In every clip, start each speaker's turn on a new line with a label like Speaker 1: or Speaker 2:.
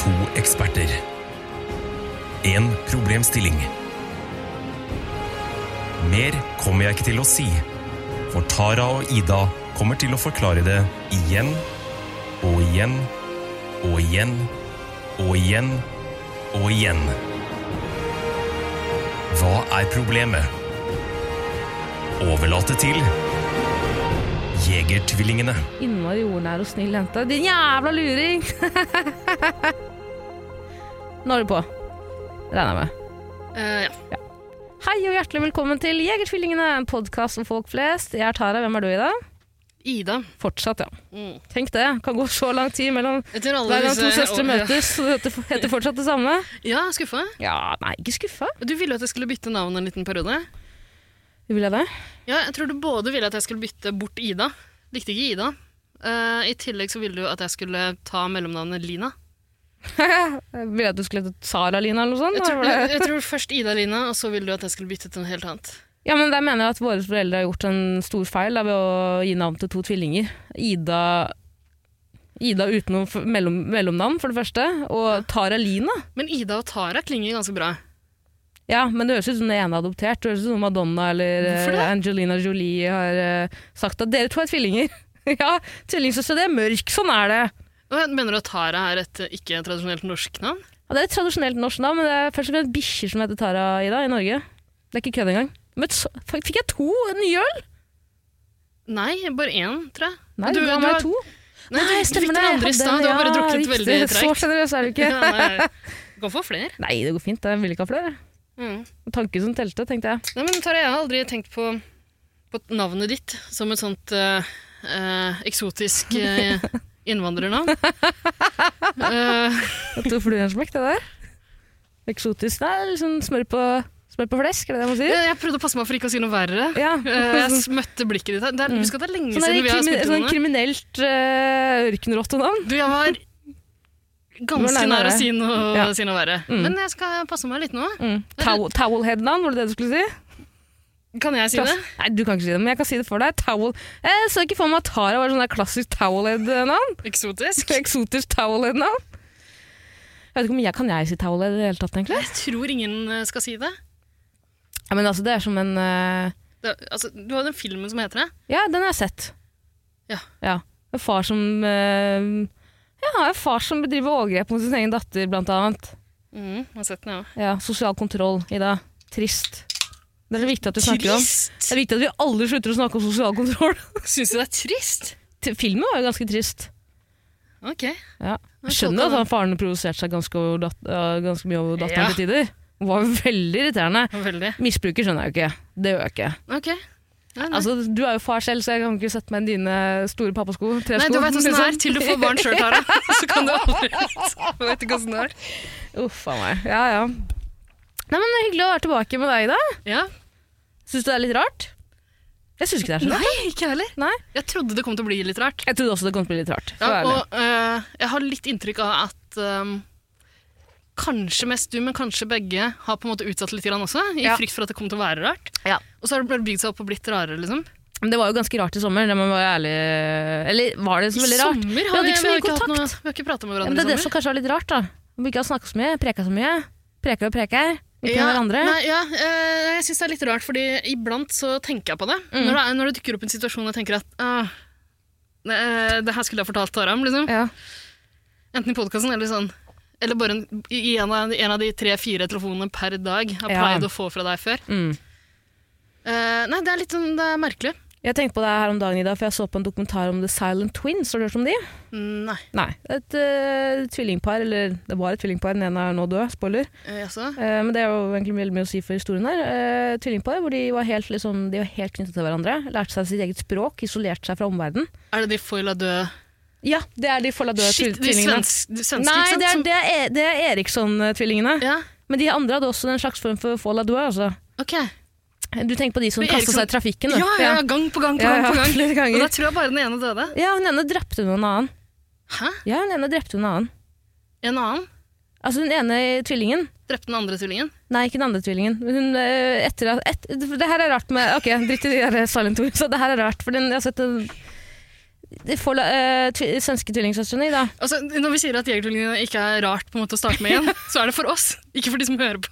Speaker 1: To eksperter. En problemstilling. Mer kommer jeg ikke til å si, for Tara og Ida kommer til å forklare det igjen og igjen og igjen og igjen og igjen. Hva er problemet? Overlate til Jegertvillingene.
Speaker 2: Innmari jordnær og snill jente. Din jævla luring! Nå er du på. Regner jeg med.
Speaker 3: Eh, ja.
Speaker 2: Hei og hjertelig velkommen til Jegertvillingene, en podkast om folk flest. Jeg er Tara, hvem er du i dag?
Speaker 3: Ida.
Speaker 2: Fortsatt, ja.
Speaker 3: Mm.
Speaker 2: Tenk det, kan gå så lang tid mellom
Speaker 3: Etter alle
Speaker 2: hver gang
Speaker 3: disse
Speaker 2: to søstre
Speaker 3: år-
Speaker 2: møtes, så det heter- heter fortsatt det samme.
Speaker 3: Ja, skuffa.
Speaker 2: Ja, nei, ikke skuffa.
Speaker 3: Du ville at jeg skulle bytte navn en liten periode.
Speaker 2: Vil jeg det?
Speaker 3: Ja, jeg tror du både ville at jeg skulle bytte bort Ida. Likte ikke Ida. Eh, I tillegg så ville du at jeg skulle ta mellomnavnet Lina.
Speaker 2: Vil jeg at du skulle hete Sara-Lina eller noe sånt?
Speaker 3: Jeg tror,
Speaker 2: eller?
Speaker 3: jeg, jeg tror først Ida Lina, og så ville du at jeg skulle bytte til noe helt annet.
Speaker 2: Ja, men der mener jeg at våre foreldre har gjort en stor feil da, ved å gi navn til to tvillinger. Ida, Ida uten noe f- mellom, mellomnavn, for det første, og Tara Lina.
Speaker 3: Men Ida og Tara klinger ganske bra.
Speaker 2: Ja, men det høres ut som den ene er adoptert. Det høres ut som Madonna eller
Speaker 3: Hvorfor det?
Speaker 2: eh, Angelina Jolie har eh, sagt at dere to er tvillinger. ja, tvillingsøstre, det er mørk, sånn er det.
Speaker 3: Og jeg mener du at Tara er et eh, ikke tradisjonelt norsk navn?
Speaker 2: Ja, det er et tradisjonelt norsk navn, men det er først og fremst bikkjer som heter Tara Ida i Norge. Det er ikke kødd engang. Men så, fikk jeg to nye øl?
Speaker 3: Nei, bare én, tror jeg.
Speaker 2: Nei,
Speaker 3: Du-
Speaker 2: du, ga
Speaker 3: du
Speaker 2: meg
Speaker 3: har-
Speaker 2: to.
Speaker 3: Nei,
Speaker 2: Nei,
Speaker 3: du fikk den andre i stad. Du har bare drukket veldig
Speaker 2: Så
Speaker 3: tregt.
Speaker 2: generøs er du ikke.
Speaker 3: Ja, nei, Gå for flere.
Speaker 2: Nei, det går fint. Jeg vil ikke ha flere.
Speaker 3: Mm.
Speaker 2: Tanken som telte, tenkte jeg.
Speaker 3: Nei, men Tara, jeg har aldri tenkt på, på navnet ditt som et sånt eh, eh, eksotisk eh, innvandrernavn. Eh,
Speaker 2: To fluer i en smekk, det der. Eksotisk. Nei, liksom smør på, smør på flesk, er det det man sier?
Speaker 3: jeg jeg prøvde å passe meg for ikke å si noe verre.
Speaker 2: Ja.
Speaker 3: Eh, jeg smøtte blikket ditt. her. Det er, Husk at det er lenge
Speaker 2: Sånn, der
Speaker 3: siden vi har
Speaker 2: krimi
Speaker 3: smøtt
Speaker 2: sånn
Speaker 3: noe.
Speaker 2: kriminelt uh, ørkenrottenavn.
Speaker 3: Du, jeg var
Speaker 2: Du var
Speaker 3: ganske
Speaker 2: nær
Speaker 3: nær å
Speaker 2: deg.
Speaker 3: si noe,
Speaker 2: Ja.
Speaker 3: si noe verre.
Speaker 2: Mm.
Speaker 3: Men jeg skal passe meg litt nå.
Speaker 2: Mm. Towel- Towelhead-navn, var det det du skulle si?
Speaker 3: Kan jeg si det?
Speaker 2: Klass- Nei, du kan ikke si det, men jeg kan si det for deg. Towel. Jeg så ikke for meg at Tara var sånn der klassisk towelhead-navn.
Speaker 3: Eksotisk?
Speaker 2: Eksotisk towelhead-navn. Jeg vet ikke om jeg kan jeg si towelhead i det hele tatt, egentlig.
Speaker 3: Jeg tror ingen eh, skal si det.
Speaker 2: Ja, men altså, det er som en eh,
Speaker 3: det altså, du har den filmen som heter det.
Speaker 2: Ja, den har jeg sett.
Speaker 3: Ja.
Speaker 2: En far som eh, Ja, en far som bedriver overgrep mot sin egen datter, blant annet.
Speaker 3: Mm, jeg har sett den, ja.
Speaker 2: Ja, sosial kontroll, Ida. Trist. Det er det viktig at vi snakker om. Det
Speaker 3: Trist!
Speaker 2: er viktig at vi aldri slutter å snakke om sosial kontroll.
Speaker 3: Syns du det er trist?
Speaker 2: Til- Filmen var jo ganske trist.
Speaker 3: Ok.
Speaker 2: Ja.
Speaker 3: Jeg
Speaker 2: Jeg skjønner
Speaker 3: tolker
Speaker 2: at han faren provoserte seg ganske, over dat- øh, ganske mye over datteren
Speaker 3: Ja.
Speaker 2: til tider. Hun var veldig irriterende.
Speaker 3: det. Veldig.
Speaker 2: Misbruker skjønner jeg jo ikke. Det gjør jeg ikke.
Speaker 3: Ok. Nei, nei.
Speaker 2: Altså, du er jo far selv, så jeg kan ikke sette meg i dine store pappasko.
Speaker 3: nei, du vet sånn åssen det er
Speaker 2: liksom.
Speaker 3: til du får barn sjøl, Tara. Så kan du aldri Du vet ikke åssen det er.
Speaker 2: Uff a meg. Ja, ja. Nei, men Hyggelig å være tilbake med deg, Ida.
Speaker 3: Ja.
Speaker 2: Syns du det er litt rart? Jeg syns ikke det er så rart.
Speaker 3: Nei, ikke jeg heller.
Speaker 2: Nei.
Speaker 3: Jeg trodde det kom til å bli litt rart.
Speaker 2: Jeg trodde også det kom til å bli litt rart. for å
Speaker 3: Ja,
Speaker 2: være ærlig.
Speaker 3: og eh, jeg har litt inntrykk av at ehm, Kanskje mest du, men kanskje begge har på en måte utsatt litt grann også, i
Speaker 2: Ja.
Speaker 3: frykt for at det kommer til å være rart.
Speaker 2: Ja.
Speaker 3: Og så har det bare bygd seg opp og blitt rarere, liksom.
Speaker 2: Men det var jo ganske rart i sommer. Det må jeg være ærlig. Eller var det så veldig rart?
Speaker 3: sommer
Speaker 2: Vi
Speaker 3: har
Speaker 2: hadde
Speaker 3: vi,
Speaker 2: ikke så
Speaker 3: vi, har
Speaker 2: mye
Speaker 3: ikke hatt noe,
Speaker 2: kontakt.
Speaker 3: vi har ikke prata
Speaker 2: Ja,
Speaker 3: med
Speaker 2: men
Speaker 3: hverandre
Speaker 2: det er
Speaker 3: i
Speaker 2: det som
Speaker 3: sommer.
Speaker 2: kanskje er litt rart, da. Om vi ikke har snakket så mye, preka så mye. Preker og preker. Ikke med hverandre.
Speaker 3: Nei, ja, eh, jeg syns det er litt rart, fordi iblant så tenker jeg på det.
Speaker 2: Mm.
Speaker 3: Når, det er, når det dukker opp en situasjon og jeg tenker at ah, det, eh, det her skulle jeg fortalt Tara om, liksom.
Speaker 2: Ja.
Speaker 3: Enten i podkasten eller sånn. Eller bare en, i en av, en av de tre-fire telefonene per dag jeg har
Speaker 2: Ja.
Speaker 3: pleid å få fra deg før.
Speaker 2: Mm.
Speaker 3: Eh, nei, det er litt sånn, det er merkelig.
Speaker 2: Jeg tenkte på det her om dagen, Ida, for jeg så på en dokumentar om The Silent Twins. Har du hørt om de?
Speaker 3: Nei,
Speaker 2: Nei. Et eh, tvillingpar, eller det var et tvillingpar, den ene er nå død, spoiler.
Speaker 3: eh, jaså?
Speaker 2: Eh, men det er jo egentlig veldig mye å si for historien her. Eh, tvillingpar hvor de var helt, liksom, de var helt knyttet til hverandre. Lærte seg sitt eget språk, isolerte seg fra omverdenen.
Speaker 3: Er det de Foila døde
Speaker 2: Ja, det er de forla døde
Speaker 3: Shit, de
Speaker 2: tvillingene.
Speaker 3: svenske, de svenske
Speaker 2: Nei,
Speaker 3: ikke
Speaker 2: det er,
Speaker 3: sant?
Speaker 2: det er, det er Eriksson-tvillingene.
Speaker 3: Som, ja,
Speaker 2: Men de andre hadde også en slags form for fola due, altså.
Speaker 3: ok.
Speaker 2: Du tenker på de som
Speaker 3: Men
Speaker 2: kasta seg
Speaker 3: Eriksson-
Speaker 2: i trafikken,
Speaker 3: Ja,
Speaker 2: du.
Speaker 3: ja, gang på gang på
Speaker 2: Ja,
Speaker 3: gang
Speaker 2: ja,
Speaker 3: på gang.
Speaker 2: flere
Speaker 3: Og
Speaker 2: ganger.
Speaker 3: da tror jeg bare den ene døde.
Speaker 2: Ja, hun ene drepte hun en annen.
Speaker 3: Hæ?
Speaker 2: Ja, hun ene drepte hun en annen.
Speaker 3: En annen?
Speaker 2: Altså den ene tvillingen.
Speaker 3: Drepte den andre tvillingen?
Speaker 2: Nei, ikke den andre tvillingen. Hun, øh, etter, at- et, det her er rart med Ok, dritt i de der Silent Twins. så Det her er rart, for altså, den, jeg har sett en de får, la- eh, tvi, svenske tvillingsøstrene, Ida.
Speaker 3: Altså, når vi sier at Jegertvillingene ikke er rart på en måte å starte med igjen, så er det for oss, ikke for de som hører på.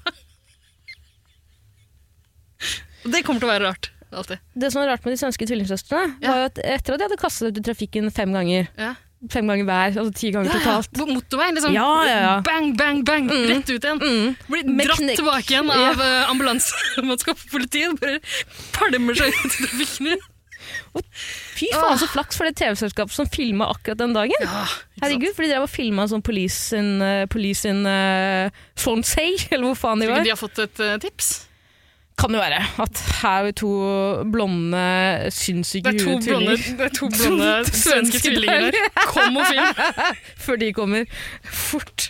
Speaker 3: Og det kommer til å være rart. Alltid.
Speaker 2: Det som var rart med de svenske tvillingsøstrene,
Speaker 3: Ja.
Speaker 2: var jo at etter at de hadde kastet ut i trafikken fem ganger,
Speaker 3: Ja.
Speaker 2: fem ganger hver, altså ti ganger totalt
Speaker 3: På motorveien, liksom.
Speaker 2: Ja, ja, ja.
Speaker 3: Bang, bang, bang. Rett ut igjen.
Speaker 2: mm.
Speaker 3: Blir
Speaker 2: Med
Speaker 3: dratt
Speaker 2: knekk.
Speaker 3: tilbake igjen av eh, ja. ambulansemannskap og politiet. Bare palmer seg ut i trafikken.
Speaker 2: Fy faen, så flaks for det TV-selskapet som filma akkurat den dagen.
Speaker 3: Ja, ikke sant?
Speaker 2: Herregud, for de drev og filma sånn Police in, eh, police in eh, Fonseca, eller hvor faen de
Speaker 3: Tror
Speaker 2: var.
Speaker 3: ikke de har fått et eh, tips?
Speaker 2: Kan jo være at her er to blonde, sinnssyke
Speaker 3: Det er to
Speaker 2: huetvillinger.
Speaker 3: blonde, det er to blonde svenske tvillinger der. Kom og film!
Speaker 2: Før de kommer fort.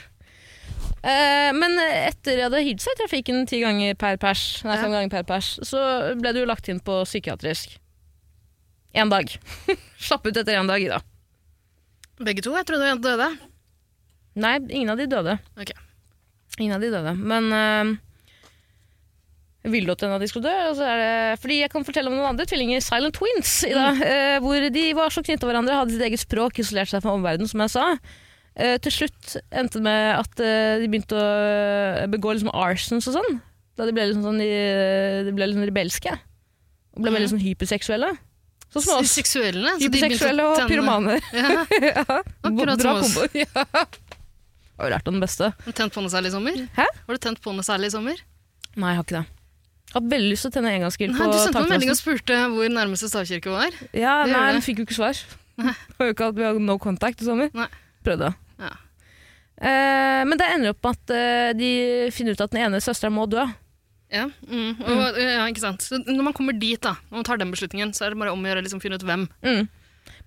Speaker 2: Eh, men etter jeg hadde hidd seg i trafikken ti ganger per pers, nei, fem ganger per pers, så ble du lagt inn på psykiatrisk. Én dag. Slapp ut etter én dag, da.
Speaker 3: Begge to. Jeg trodde de døde.
Speaker 2: Nei, ingen av de døde.
Speaker 3: Ok.
Speaker 2: Ingen av de døde. Men eh, ville du at en av de skulle dø? Og så er det, fordi jeg kan fortelle om noen andre tvillinger, Silent Twins, i dag,
Speaker 3: Mm.
Speaker 2: eh, hvor de var så knyttet til hverandre, hadde sitt eget språk, isolert seg fra omverdenen, som jeg sa. Eh, til slutt endte det med at eh, de begynte å eh, begå liksom arsons og sånn. Da de ble liksom sånn, de, de ble liksom rebelske. Og ble
Speaker 3: Mhm.
Speaker 2: veldig sånn hyperseksuelle. Sånn som oss.
Speaker 3: Seksuelle. så altså, de begynte å
Speaker 2: Hyperseksuelle og
Speaker 3: tenne-
Speaker 2: pyromaner.
Speaker 3: Ja, Akkurat
Speaker 2: Bra
Speaker 3: som oss.
Speaker 2: kombo. Ja. Det var Lært av den beste.
Speaker 3: Har du tent på noe særlig i sommer?
Speaker 2: Hæ?
Speaker 3: Har du tent på noe særlig i sommer?
Speaker 2: Nei, jeg har ikke det. Jeg har veldig lyst til å tenne engangsgrill
Speaker 3: Nei,
Speaker 2: på
Speaker 3: du sendte meg en melding
Speaker 2: takterrassen.
Speaker 3: og spurte hvor nærmeste stavkirke var.
Speaker 2: Ja,
Speaker 3: Det
Speaker 2: nei,
Speaker 3: gjorde
Speaker 2: den fikk jo ikke svar. Det var jo ikke at vi hadde no contact i sommer.
Speaker 3: Nei.
Speaker 2: Prøvde.
Speaker 3: Ja.
Speaker 2: Eh, men det ender opp med at eh, de finner ut at den ene søsteren må dø.
Speaker 3: Ja, mm. og, ja, ikke sant? Så når man kommer dit, da, når man tar den beslutningen, så er det bare om å gjøre å liksom, finne ut hvem.
Speaker 2: Mm.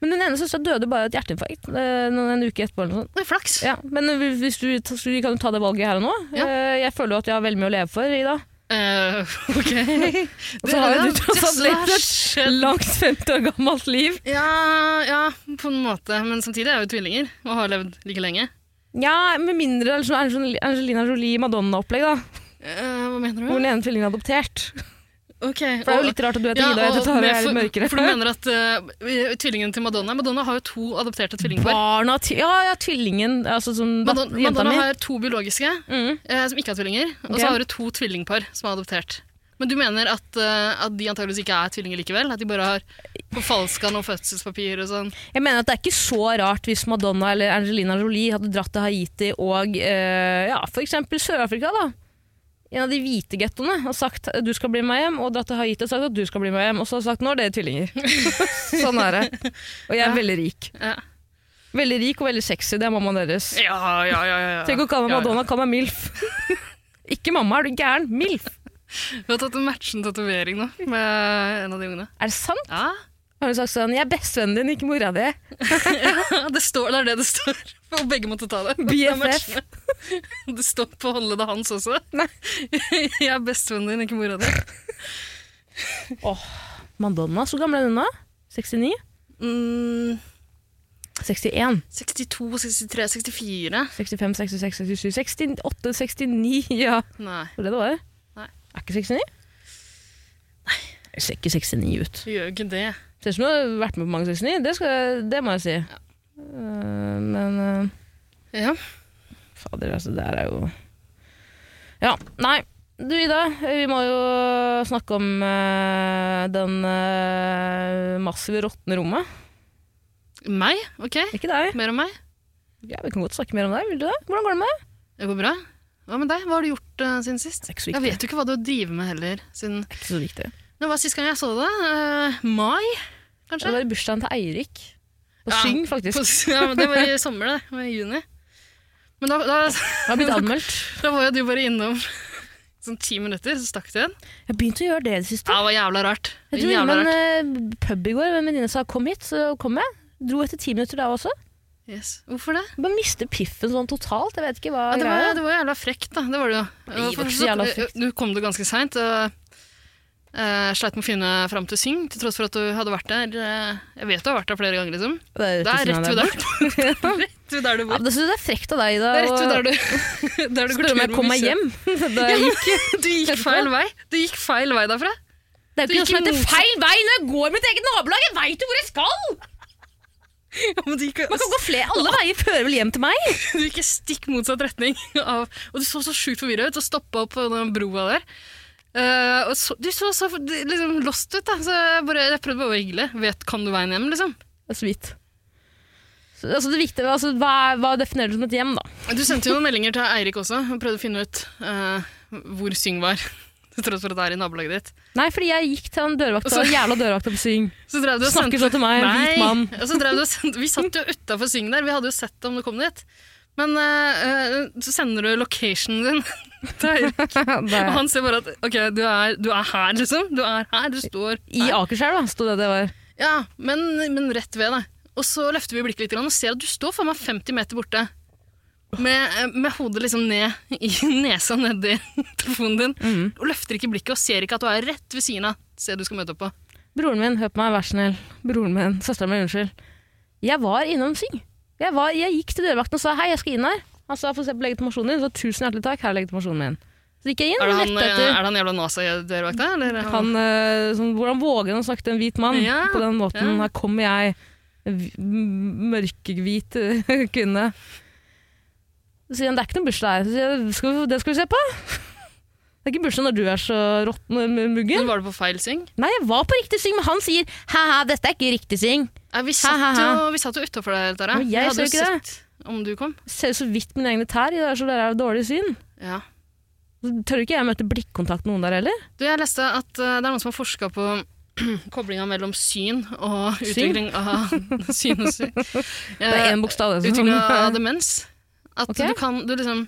Speaker 2: Men den ene søsteren døde bare av et hjerteinfarkt eh, noen- en uke etterpå. eller noe sånt.
Speaker 3: Det er flaks.
Speaker 2: Ja, men hvis du, vi kan jo ta det valget her og nå.
Speaker 3: Ja.
Speaker 2: Eh, jeg føler jo at jeg har veldig mye å leve for i dag.
Speaker 3: Eh, ok. Det,
Speaker 2: Og så har jo
Speaker 3: det-
Speaker 2: du tross alt
Speaker 3: det
Speaker 2: levd
Speaker 3: har
Speaker 2: et
Speaker 3: skjedd.
Speaker 2: langt 50 år gammelt liv.
Speaker 3: Ja, ja, på en måte. Men samtidig er jo tvillinger og har levd like lenge.
Speaker 2: Ja, med mindre liksom Angel- Angelina Jolie-Madonna-opplegg, da.
Speaker 3: Eh, hva mener
Speaker 2: Hvor
Speaker 3: du?
Speaker 2: den ene tvillingen er adoptert.
Speaker 3: Ok,
Speaker 2: For det er
Speaker 3: og-
Speaker 2: jo litt rart at du heter
Speaker 3: ja,
Speaker 2: Ida, og jeg
Speaker 3: og
Speaker 2: heter Tara, og
Speaker 3: med-
Speaker 2: jeg er litt mørkere.
Speaker 3: For, for du mener at eh, tvillingen til Madonna Madonna har jo to adopterte tvillingpar.
Speaker 2: Barna til Ja, ja, tvillingen, altså som dat-
Speaker 3: Madonna,
Speaker 2: jenta
Speaker 3: Madonna
Speaker 2: mi.
Speaker 3: har to biologiske
Speaker 2: Mm.
Speaker 3: eh, som ikke er tvillinger, og
Speaker 2: Ok.
Speaker 3: så har du to tvillingpar som er adoptert. Men du mener at, eh, at de antageligvis ikke er tvillinger likevel? At de bare har forfalska noen fødselspapir og sånn?
Speaker 2: Jeg mener at det er ikke så rart hvis Madonna eller Angelina Jolie hadde dratt til Haiti og eh, ja, for eksempel Sør-Afrika, da. En av de hvite gettoene har sagt 'du skal bli med hjem', og dratt til Haiti og sagt at 'du skal bli med hjem', og så har sagt 'nå er dere tvillinger'. sånn er det. Og jeg er
Speaker 3: Ja.
Speaker 2: veldig rik.
Speaker 3: Ja,
Speaker 2: Veldig rik og veldig sexy, det er mammaen deres.
Speaker 3: ja, ja. ja, ja.
Speaker 2: Tenk å kalle meg
Speaker 3: Ja, ja.
Speaker 2: Madonna, kall meg MILF. ikke mamma, er du gæren? MILF!
Speaker 3: Du har tatt en matchende tatovering nå med en av de ungene.
Speaker 2: Er det sant?
Speaker 3: Ja,
Speaker 2: Har hun sagt sånn 'jeg er bestevennen din, ikke mora di'?
Speaker 3: det, står, det er det det står. Og begge måtte ta det. Det er
Speaker 2: BFF.
Speaker 3: matchende. Det står på håndleddet hans også.
Speaker 2: Nei.
Speaker 3: Jeg er bestevennen din, ikke mora di.
Speaker 2: Madonna, så gammel er hun nå? 69?
Speaker 3: Mm,
Speaker 2: 61?
Speaker 3: 62, 63, 64.
Speaker 2: 65, 66, 67, 68, 69 Ja,
Speaker 3: Nei,
Speaker 2: var det det var?
Speaker 3: Nei.
Speaker 2: Er ikke 69? Nei. Jeg ser ikke 69 ut.
Speaker 3: du gjør jo ikke det.
Speaker 2: Ser ut som du har vært med på mange 69, det, skal, jeg- det må jeg si. Eh, men eh,
Speaker 3: Ja.
Speaker 2: Fader, altså, det her er jo Ja, nei. Du, Ida, vi må jo snakke om eh, den eh, massive råtne rommet.
Speaker 3: Meg? Ok.
Speaker 2: Ikke deg.
Speaker 3: Mer om meg?
Speaker 2: Ja, Vi kan godt snakke mer om deg. Vil du det? Hvordan går det med deg?
Speaker 3: Det går bra. Hva med deg? Hva har du gjort eh, siden sist?
Speaker 2: Det er ikke så
Speaker 3: Jeg
Speaker 2: viktig.
Speaker 3: vet jo ikke hva du driver med heller. Siden...
Speaker 2: Det er ikke så viktig.
Speaker 3: Det var sist gang jeg så det. eh, mai,
Speaker 2: Det
Speaker 3: kanskje?
Speaker 2: var i bursdagen til Eirik. På
Speaker 3: Ja,
Speaker 2: Syng, faktisk.
Speaker 3: På- Ja, men det var i sommer, det. Det var i juni. Men da, da,
Speaker 2: Jeg har blitt anmeldt.
Speaker 3: da var jo du bare innom sånn ti minutter, så stakk du igjen.
Speaker 2: Jeg begynte å gjøre det i det
Speaker 3: Ja,
Speaker 2: siste.
Speaker 3: det var jævla rart.
Speaker 2: Jeg dro
Speaker 3: jævla
Speaker 2: innom en eh, pub i går, og en venninne sa 'kom hit', så kom jeg. Dro etter ti minutter da også.
Speaker 3: Yes. Hvorfor det?
Speaker 2: Bare mister piffen sånn totalt. Jeg vet ikke hva
Speaker 3: Ja, det,
Speaker 2: greia
Speaker 3: var,
Speaker 2: er.
Speaker 3: det var jævla frekt, da. Det var sånn, det jo.
Speaker 2: Nei, det var ikke så jævla frekt.
Speaker 3: Du eh, kom det ganske seint. og eh, sleit med å finne fram til Syng, til tross for at du hadde vært der eh, Jeg vet du har vært der flere ganger, liksom.
Speaker 2: Det er
Speaker 3: Det er
Speaker 2: tusen av
Speaker 3: rett ved
Speaker 2: dem.
Speaker 3: der, rett ved der du
Speaker 2: Ja,
Speaker 3: bor.
Speaker 2: det synes jeg er frekt av deg, Ida.
Speaker 3: Det er rett ved
Speaker 2: og-
Speaker 3: der du, der du
Speaker 2: Spør
Speaker 3: går tur
Speaker 2: om jeg
Speaker 3: med
Speaker 2: kom meg
Speaker 3: bikkje.
Speaker 2: hjem. Da jeg gikk.
Speaker 3: Du gikk feil vei. Du gikk feil vei derfra.
Speaker 2: Det er jo ikke
Speaker 3: Du
Speaker 2: noe som
Speaker 3: gikk
Speaker 2: heter
Speaker 3: imot-
Speaker 2: feil vei når jeg går mitt eget nabolag! Jeg veit jo hvor jeg skal!
Speaker 3: Ja, men det gikk,
Speaker 2: Man kan gå flere. Alle veier fører vel hjem til meg?
Speaker 3: Altså, Du gikk i stikk motsatt retning. Av, og du så så sjukt forvirra ut og stoppa opp på den broa der. Eh, og så, du så så for- du- liksom lost ut, da. Så jeg, bare, jeg prøvde bare å være hyggelig. Vet, kan du veien hjem, liksom?
Speaker 2: Det er sweet. Så, altså, det viktige, altså, hva, er- hva definerer du som et hjem, da?
Speaker 3: Du sendte jo noen meldinger til Eirik også og prøvde å finne ut eh, hvor Syng var. Til tross for at det er i nabolaget ditt.
Speaker 2: Nei, fordi jeg gikk til han dørvakta,
Speaker 3: Altså-
Speaker 2: jævla dørvakta på Syng.
Speaker 3: Så drev du og
Speaker 2: Snakker
Speaker 3: sendte-
Speaker 2: sånn til meg, en hvit mann.
Speaker 3: Og så drev du og sendte, vi satt jo utafor Syng der, vi hadde jo sett om du kom dit. Men eh, eh, så sender du locationen din til Eirik.
Speaker 2: Det-
Speaker 3: Og han ser bare at ok, du er, du er her, liksom. Du er her, du står
Speaker 2: I
Speaker 3: her.
Speaker 2: Akerselv, da, sto det det var.
Speaker 3: Ja, men, men rett ved deg. Og så løfter vi blikket litt grann og ser at du står for meg 50 meter borte. Med, med hodet liksom ned i nesa nedi telefonen din.
Speaker 2: Mm.
Speaker 3: Og løfter ikke blikket og ser ikke at du er rett ved siden av stedet du skal møte opp på.
Speaker 2: Broren min, hør på meg, vær så snill. Broren min, søsteren min, unnskyld. Jeg var innom Syng. Jeg, var, jeg gikk til dørvakten og sa hei, jeg skal inn her. Han sa få se på legitimasjonen din, så tusen hjertelig takk, her er legitimasjonen min. Så gikk jeg inn
Speaker 3: Er det
Speaker 2: og
Speaker 3: han, eh,
Speaker 2: lette
Speaker 3: er
Speaker 2: etter.
Speaker 3: det han jævla NASA-dørvakta? eller er
Speaker 2: Han, eh, sånn, hvordan våger han å snakke til en hvit mann
Speaker 3: Ja,
Speaker 2: på den måten?
Speaker 3: ja.
Speaker 2: Her kommer jeg, hv- m- mørkehvit eh, kvinne. Så sier han det er ikke noen bursdag her. Så sier jeg skal vi, det skal vi se på. Det er ikke bursdag når du er så råtten og muggen.
Speaker 3: Men Var det på feil syng?
Speaker 2: Nei, jeg var på riktig syng, men han sier ha-ha, dette er ikke riktig syng.
Speaker 3: Nei, Eh, vi
Speaker 2: Ha,
Speaker 3: satt
Speaker 2: ha,
Speaker 3: jo, vi satt jo utafor deg, Tara.
Speaker 2: Men jeg
Speaker 3: Vi hadde
Speaker 2: så
Speaker 3: jo
Speaker 2: ikke det.
Speaker 3: sett om du kom.
Speaker 2: Ser jo så vidt mine egne tær, i det, så det er jo dårlig syn.
Speaker 3: Ja.
Speaker 2: Så tør ikke jeg møte blikkontakt med noen der heller.
Speaker 3: Du, jeg leste at eh, det er noen som har forska på koblinga mellom syn og
Speaker 2: Syn?
Speaker 3: utvikling av syn og syn.
Speaker 2: Det er
Speaker 3: Eh,
Speaker 2: én bokstav. det, som-
Speaker 3: Utvikling av demens. At
Speaker 2: Altså, sånn- Ok.
Speaker 3: du kan du liksom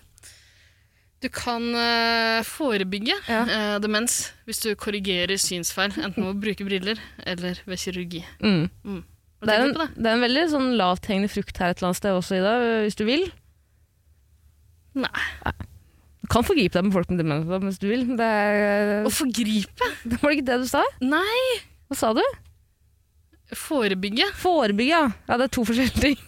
Speaker 3: du kan eh, forebygge
Speaker 2: Ja.
Speaker 3: eh, demens hvis du korrigerer synsfeil, enten ved å bruke briller eller ved kirurgi.
Speaker 2: Mm.
Speaker 3: Har du
Speaker 2: Det er,
Speaker 3: tenkt på
Speaker 2: en, det er en veldig sånn lavthengende frukt her et eller annet sted også, Ida, hvis du vil.
Speaker 3: Nei.
Speaker 2: Du kan forgripe deg med folk med demens da, hvis du vil. Det er,
Speaker 3: Å forgripe?
Speaker 2: det var det ikke det du sa?
Speaker 3: Nei!
Speaker 2: Hva sa du?
Speaker 3: Forebygge?
Speaker 2: Forebygge, ja. Ja, det er to forskjellige ting.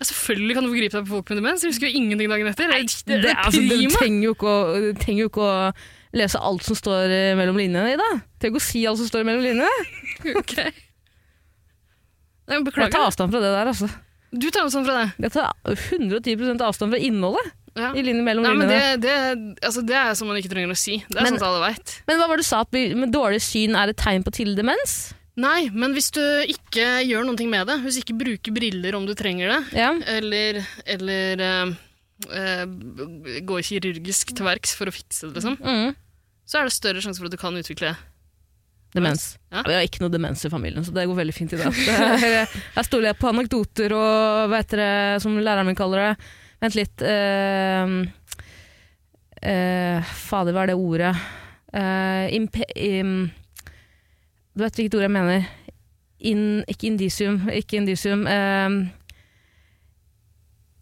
Speaker 3: Ja, selvfølgelig kan du forgripe deg på folk med demens. Jeg husker jo ingenting dagen etter. det, det,
Speaker 2: Det er, altså, du
Speaker 3: prima.
Speaker 2: trenger jo, ikke å, du trenger jo ikke å lese alt som står eh, mellom linjene, Ida. Trenger ikke å si alt som står mellom linjene.
Speaker 3: Ok. Nei, men
Speaker 2: Jeg tar
Speaker 3: beklager.
Speaker 2: avstand fra det der, altså.
Speaker 3: Du tar avstand fra det.
Speaker 2: Jeg tar 110 avstand fra innholdet
Speaker 3: Ja.
Speaker 2: i linjen mellom
Speaker 3: Nei, men det,
Speaker 2: linjene.
Speaker 3: det, altså, det er som man ikke trenger å si. Det er
Speaker 2: Men-
Speaker 3: sånt alle veit.
Speaker 2: Men hva var det du sa, at vi- med dårlig syn er et tegn på tidlig demens?
Speaker 3: Nei, men hvis du ikke gjør noe med det, hvis du ikke bruker briller om du trenger det,
Speaker 2: Ja.
Speaker 3: eller, eller eh, eh, går kirurgisk til verks for å fikse det, liksom,
Speaker 2: Mm.
Speaker 3: så er det større sjanse for at du kan utvikle det.
Speaker 2: Demens.
Speaker 3: Ja.
Speaker 2: Vi har ikke noe demens i familien, så det går veldig fint i dag. Jeg stoler jeg på anekdoter og hva heter det, som læreren min kaller det. Vent litt. Uh, fader, hva er det ordet? Eh, impe... im- du vet hvilket ord jeg mener. In, ikke indisium. Ikke indisium.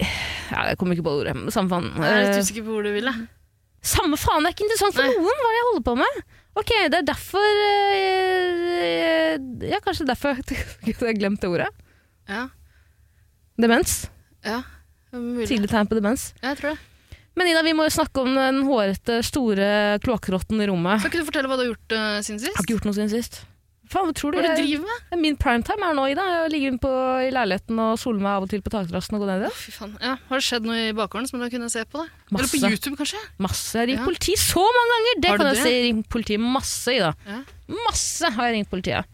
Speaker 2: eh, ja, jeg kommer ikke på ordet. Samme faen.
Speaker 3: Jeg er
Speaker 2: Eh,
Speaker 3: litt usikker på hvor du vil. Jeg.
Speaker 2: samme faen, det er ikke interessant for
Speaker 3: Nei.
Speaker 2: noen hva jeg holder på med. Ok, det er derfor eh, Ja, kanskje derfor jeg har glemt det ordet.
Speaker 3: Ja,
Speaker 2: Demens.
Speaker 3: ja, mulig.
Speaker 2: Tidlig tegn på demens.
Speaker 3: Jeg tror det.
Speaker 2: Men Ina, vi må jo snakke om den hårete, store kloakkrotten i rommet.
Speaker 3: Kan ikke du fortelle hva du har gjort eh, siden
Speaker 2: Jeg har
Speaker 3: sist?
Speaker 2: ikke gjort noe siden sist. Faen, hva tror du?
Speaker 3: Hva er det du
Speaker 2: Jeg,
Speaker 3: driver med?
Speaker 2: min primetime er nå, Ida. Jeg ligger inne på, i leiligheten og soler meg av og til på takterrassen og går ned i det.
Speaker 3: Fy faen. Ja, har det skjedd noe i bakgården som du kunne se på? da? Eller på
Speaker 2: Masse.
Speaker 3: YouTube, kanskje?
Speaker 2: masse. Jeg har ringt
Speaker 3: Ja.
Speaker 2: politiet så mange ganger! Det
Speaker 3: Har du
Speaker 2: kan jeg
Speaker 3: det?
Speaker 2: si. Jeg har ringt politiet masse, Ida.
Speaker 3: Ja.
Speaker 2: Masse har jeg ringt politiet.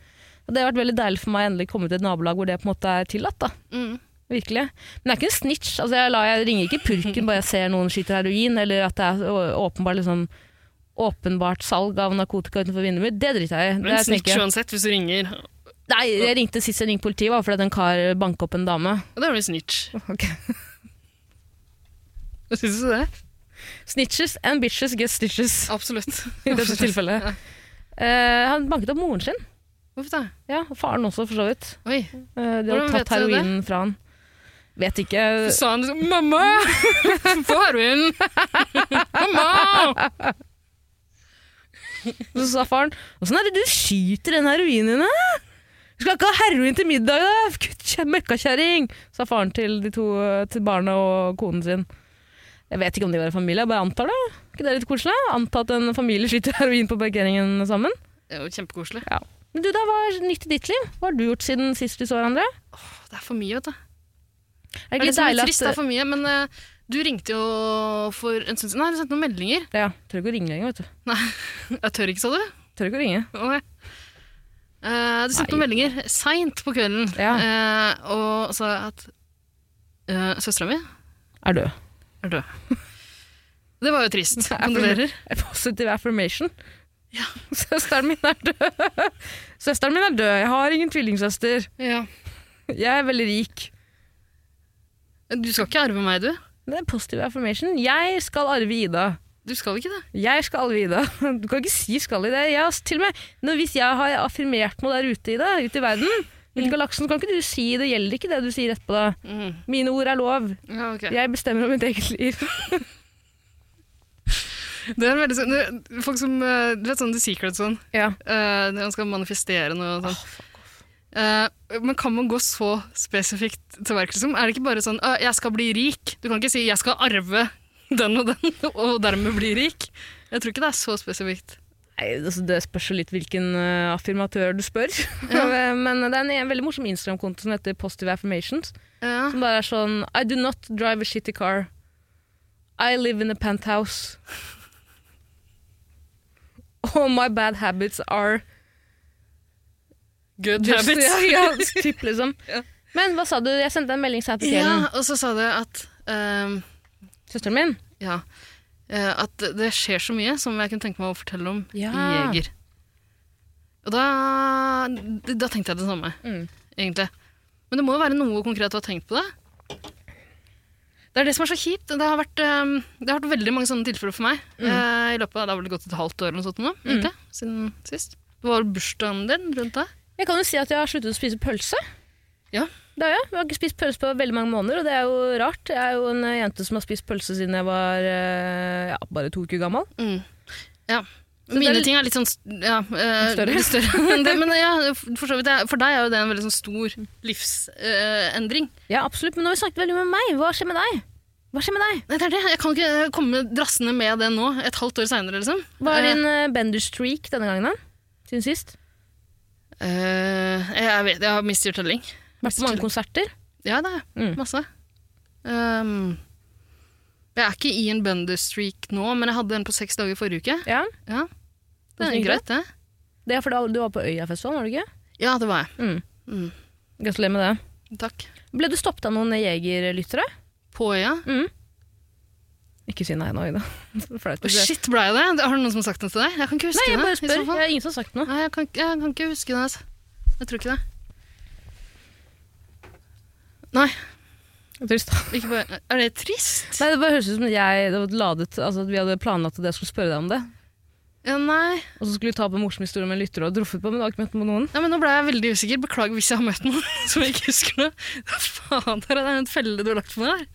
Speaker 2: Og det har vært veldig deilig for meg å endelig komme til et nabolag hvor det på en måte er tillatt. da.
Speaker 3: Mm.
Speaker 2: Virkelig. Men det er ikke en snitch. Altså, jeg, lar, jeg ringer ikke purken bare jeg ser noen skyter heroin, eller at det er å- åpenbart, liksom, åpenbart salg av narkotika utenfor vinduet mitt. Det driter jeg i.
Speaker 3: Men
Speaker 2: Det
Speaker 3: en snitch
Speaker 2: tenker jeg-
Speaker 3: uansett, hvis du ringer.
Speaker 2: Nei, jeg ringte sist jeg ringte politiet, var fordi at en kar banka opp en dame.
Speaker 3: Og da er du en snitch.
Speaker 2: Okay.
Speaker 3: Syns du det?
Speaker 2: Snitches and bitches get stitches,
Speaker 3: Absolutt.
Speaker 2: i dette tilfellet.
Speaker 3: Ja.
Speaker 2: Eh, han banket opp moren sin.
Speaker 3: Hvorfor da?
Speaker 2: Ja, og faren også, for så vidt.
Speaker 3: Oi.
Speaker 2: Eh, De
Speaker 3: Hvordan
Speaker 2: har tatt
Speaker 3: vet du det?
Speaker 2: heroinen fra han. Vet ikke.
Speaker 3: Så sa han liksom 'mamma, få heroin'! Mamma!
Speaker 2: Så sa faren 'Åssen er det du skyter den heroinen, da?' 'Du skal ikke ha heroin til middag, da! Gutt, kjæ- Møkkakjerring!' Sa faren til, de to, til barna og konen sin. Jeg vet ikke om de var i familie, jeg bare antar det. Er Ikke det litt koselig? Anta at en familie skyter heroin på parkeringen sammen.
Speaker 3: Det er jo kjempekoselig.
Speaker 2: Ja. Men du da, hva er nytt i ditt liv? Hva har du gjort siden sist vi så hverandre?
Speaker 3: Det er for mye, vet du.
Speaker 2: Er det ikke
Speaker 3: Det er
Speaker 2: litt
Speaker 3: litt
Speaker 2: deilig
Speaker 3: trist, det er for mye, men eh, du ringte jo for en stund siden. Nei, du sendte noen meldinger.
Speaker 2: Ja, tør ikke å ringe lenger, vet du.
Speaker 3: Jeg tør ikke, sa du?
Speaker 2: Tør ikke å ringe.
Speaker 3: Ok. Eh, du sendte noen meldinger seint på kvelden
Speaker 2: Ja.
Speaker 3: eh, og sa at uh, søstera mi
Speaker 2: Er død.
Speaker 3: er død. Det var jo trist.
Speaker 2: for-
Speaker 3: Kondolerer.
Speaker 2: Positive affirmation. Søsteren min er død. Søsteren min er død. Jeg har ingen tvillingsøster.
Speaker 3: Ja.
Speaker 2: Jeg er veldig rik.
Speaker 3: Du skal ikke arve meg, du.
Speaker 2: Det er positive affirmation. Jeg skal arve Ida.
Speaker 3: Du skal ikke det.
Speaker 2: Jeg skal arve Ida. Du kan ikke si 'skal' i det. Jeg, har- til og med, når, hvis jeg har affirmert noe der ute, Ida, ute i verden, Mitt galaksen, kan ikke du si det gjelder ikke det du sier etterpå da. Mine ord er lov.
Speaker 3: Mm. Ja, ok.
Speaker 2: Jeg bestemmer om mitt eget liv.
Speaker 3: Det er veldig sånn, det- folk som, eh, du vet sånn The Secret sånn,
Speaker 2: Ja.
Speaker 3: eh, når man skal manifestere noe sånn. Eh, men kan man gå så spesifikt til verks? Liksom? Er det ikke bare sånn «Å, 'jeg skal bli rik'? Du kan ikke si 'jeg skal arve den og den, og dermed bli rik'. Jeg tror ikke det er så spesifikt.
Speaker 2: Nei, altså det spørs jo litt hvilken eh, affirmatør du spør. Men det er en, en veldig morsom Instagram-konto som heter Positive Affirmations.
Speaker 3: Ja.
Speaker 2: Som bare er sånn I do not drive a shitty car. I live in a penthouse. All my bad habits are
Speaker 3: Good
Speaker 2: just-
Speaker 3: habits.
Speaker 2: Ja, ja, typ liksom.
Speaker 3: Ja.
Speaker 2: Men hva sa du? Jeg sendte en melding sent på kvelden.
Speaker 3: Ja, og så sa du at, eh,
Speaker 2: Søsteren min?
Speaker 3: ja, eh, at det skjer så mye som jeg kunne tenke meg å fortelle om
Speaker 2: Ja.
Speaker 3: i Jeger. Og da, da tenkte jeg det samme.
Speaker 2: Mm.
Speaker 3: egentlig. Men det må jo være noe konkret du har tenkt på det. Det er det som er så kjipt. Det har vært, um, det har vært veldig mange sånne tilfeller for meg.
Speaker 2: Mm.
Speaker 3: eh, i løpet av, Det har vel gått et halvt år eller noe sånt nå, egentlig, siden sist. Det var bursdagen din rundt deg.
Speaker 2: Jeg kan jo si at jeg har sluttet å spise pølse.
Speaker 3: Ja.
Speaker 2: Det har jeg. Jeg har ikke spist pølse på veldig mange måneder, og det er jo rart. Jeg er jo en eh, jente som har spist pølse siden jeg var eh, ja, bare to uker gammel.
Speaker 3: Mm. Ja.
Speaker 2: det er
Speaker 3: Mine
Speaker 2: litt-
Speaker 3: ting er litt sånn st- ja, eh,
Speaker 2: Større.
Speaker 3: litt større enn det, men ja, for, så vidt, det er- for deg er jo det en veldig sånn stor eh, livsendring.
Speaker 2: Ja, absolutt. Men nå har vi snakket veldig mye med meg. Hva skjer med deg? Hva skjer med deg?
Speaker 3: Nei, det er det. Jeg kan ikke komme drassende med det nå, et halvt år seinere, liksom.
Speaker 2: Hva er
Speaker 3: Eh,
Speaker 2: din eh, bender-streak denne gangen, da? Siden sist?
Speaker 3: eh, jeg, vet, jeg har mistet telling.
Speaker 2: Vært på mange konserter?
Speaker 3: Ja, det er
Speaker 2: Mm.
Speaker 3: masse. Ehm, jeg er ikke i en Bender-streak nå, men jeg hadde en på seks dager forrige uke.
Speaker 2: Ja.
Speaker 3: Ja,
Speaker 2: Hvordan
Speaker 3: Det er
Speaker 2: gikk
Speaker 3: greit, det.
Speaker 2: Det er fordi du var på Øyafestivalen, var du ikke?
Speaker 3: Ja, det var jeg.
Speaker 2: Mm.
Speaker 3: Mm.
Speaker 2: Gratulerer med det.
Speaker 3: Takk.
Speaker 2: Ble du stoppet av noen jegerlyttere?
Speaker 3: På øya.
Speaker 2: Ikke si nei nå, Ida. Det er Flaut.
Speaker 3: Mm. Å, shit, ble jeg det? Har noen som har sagt noe til deg? Jeg kan ikke huske
Speaker 2: Nei, jeg
Speaker 3: det.
Speaker 2: bare
Speaker 3: i
Speaker 2: spør.
Speaker 3: så fall.
Speaker 2: Jeg er ingen som har sagt noe.
Speaker 3: Nei, jeg kan, ikke- jeg kan ikke huske det. Altså. Jeg tror ikke det. Nei,
Speaker 2: Trist.
Speaker 3: ikke bare. er det trist?
Speaker 2: Nei, det bare høres ut som jeg det var ladet, altså at vi hadde planlagt at jeg skulle spørre deg om det.
Speaker 3: Ja, nei.
Speaker 2: Og så skulle vi ta opp en morsom historie med en lytter og truffet på, men du har ikke møtt noen.
Speaker 3: nei, men nå ble jeg veldig usikker. Beklager hvis jeg har møtt noen som jeg ikke husker noe. Faen, det er en felle du har lagt for meg der.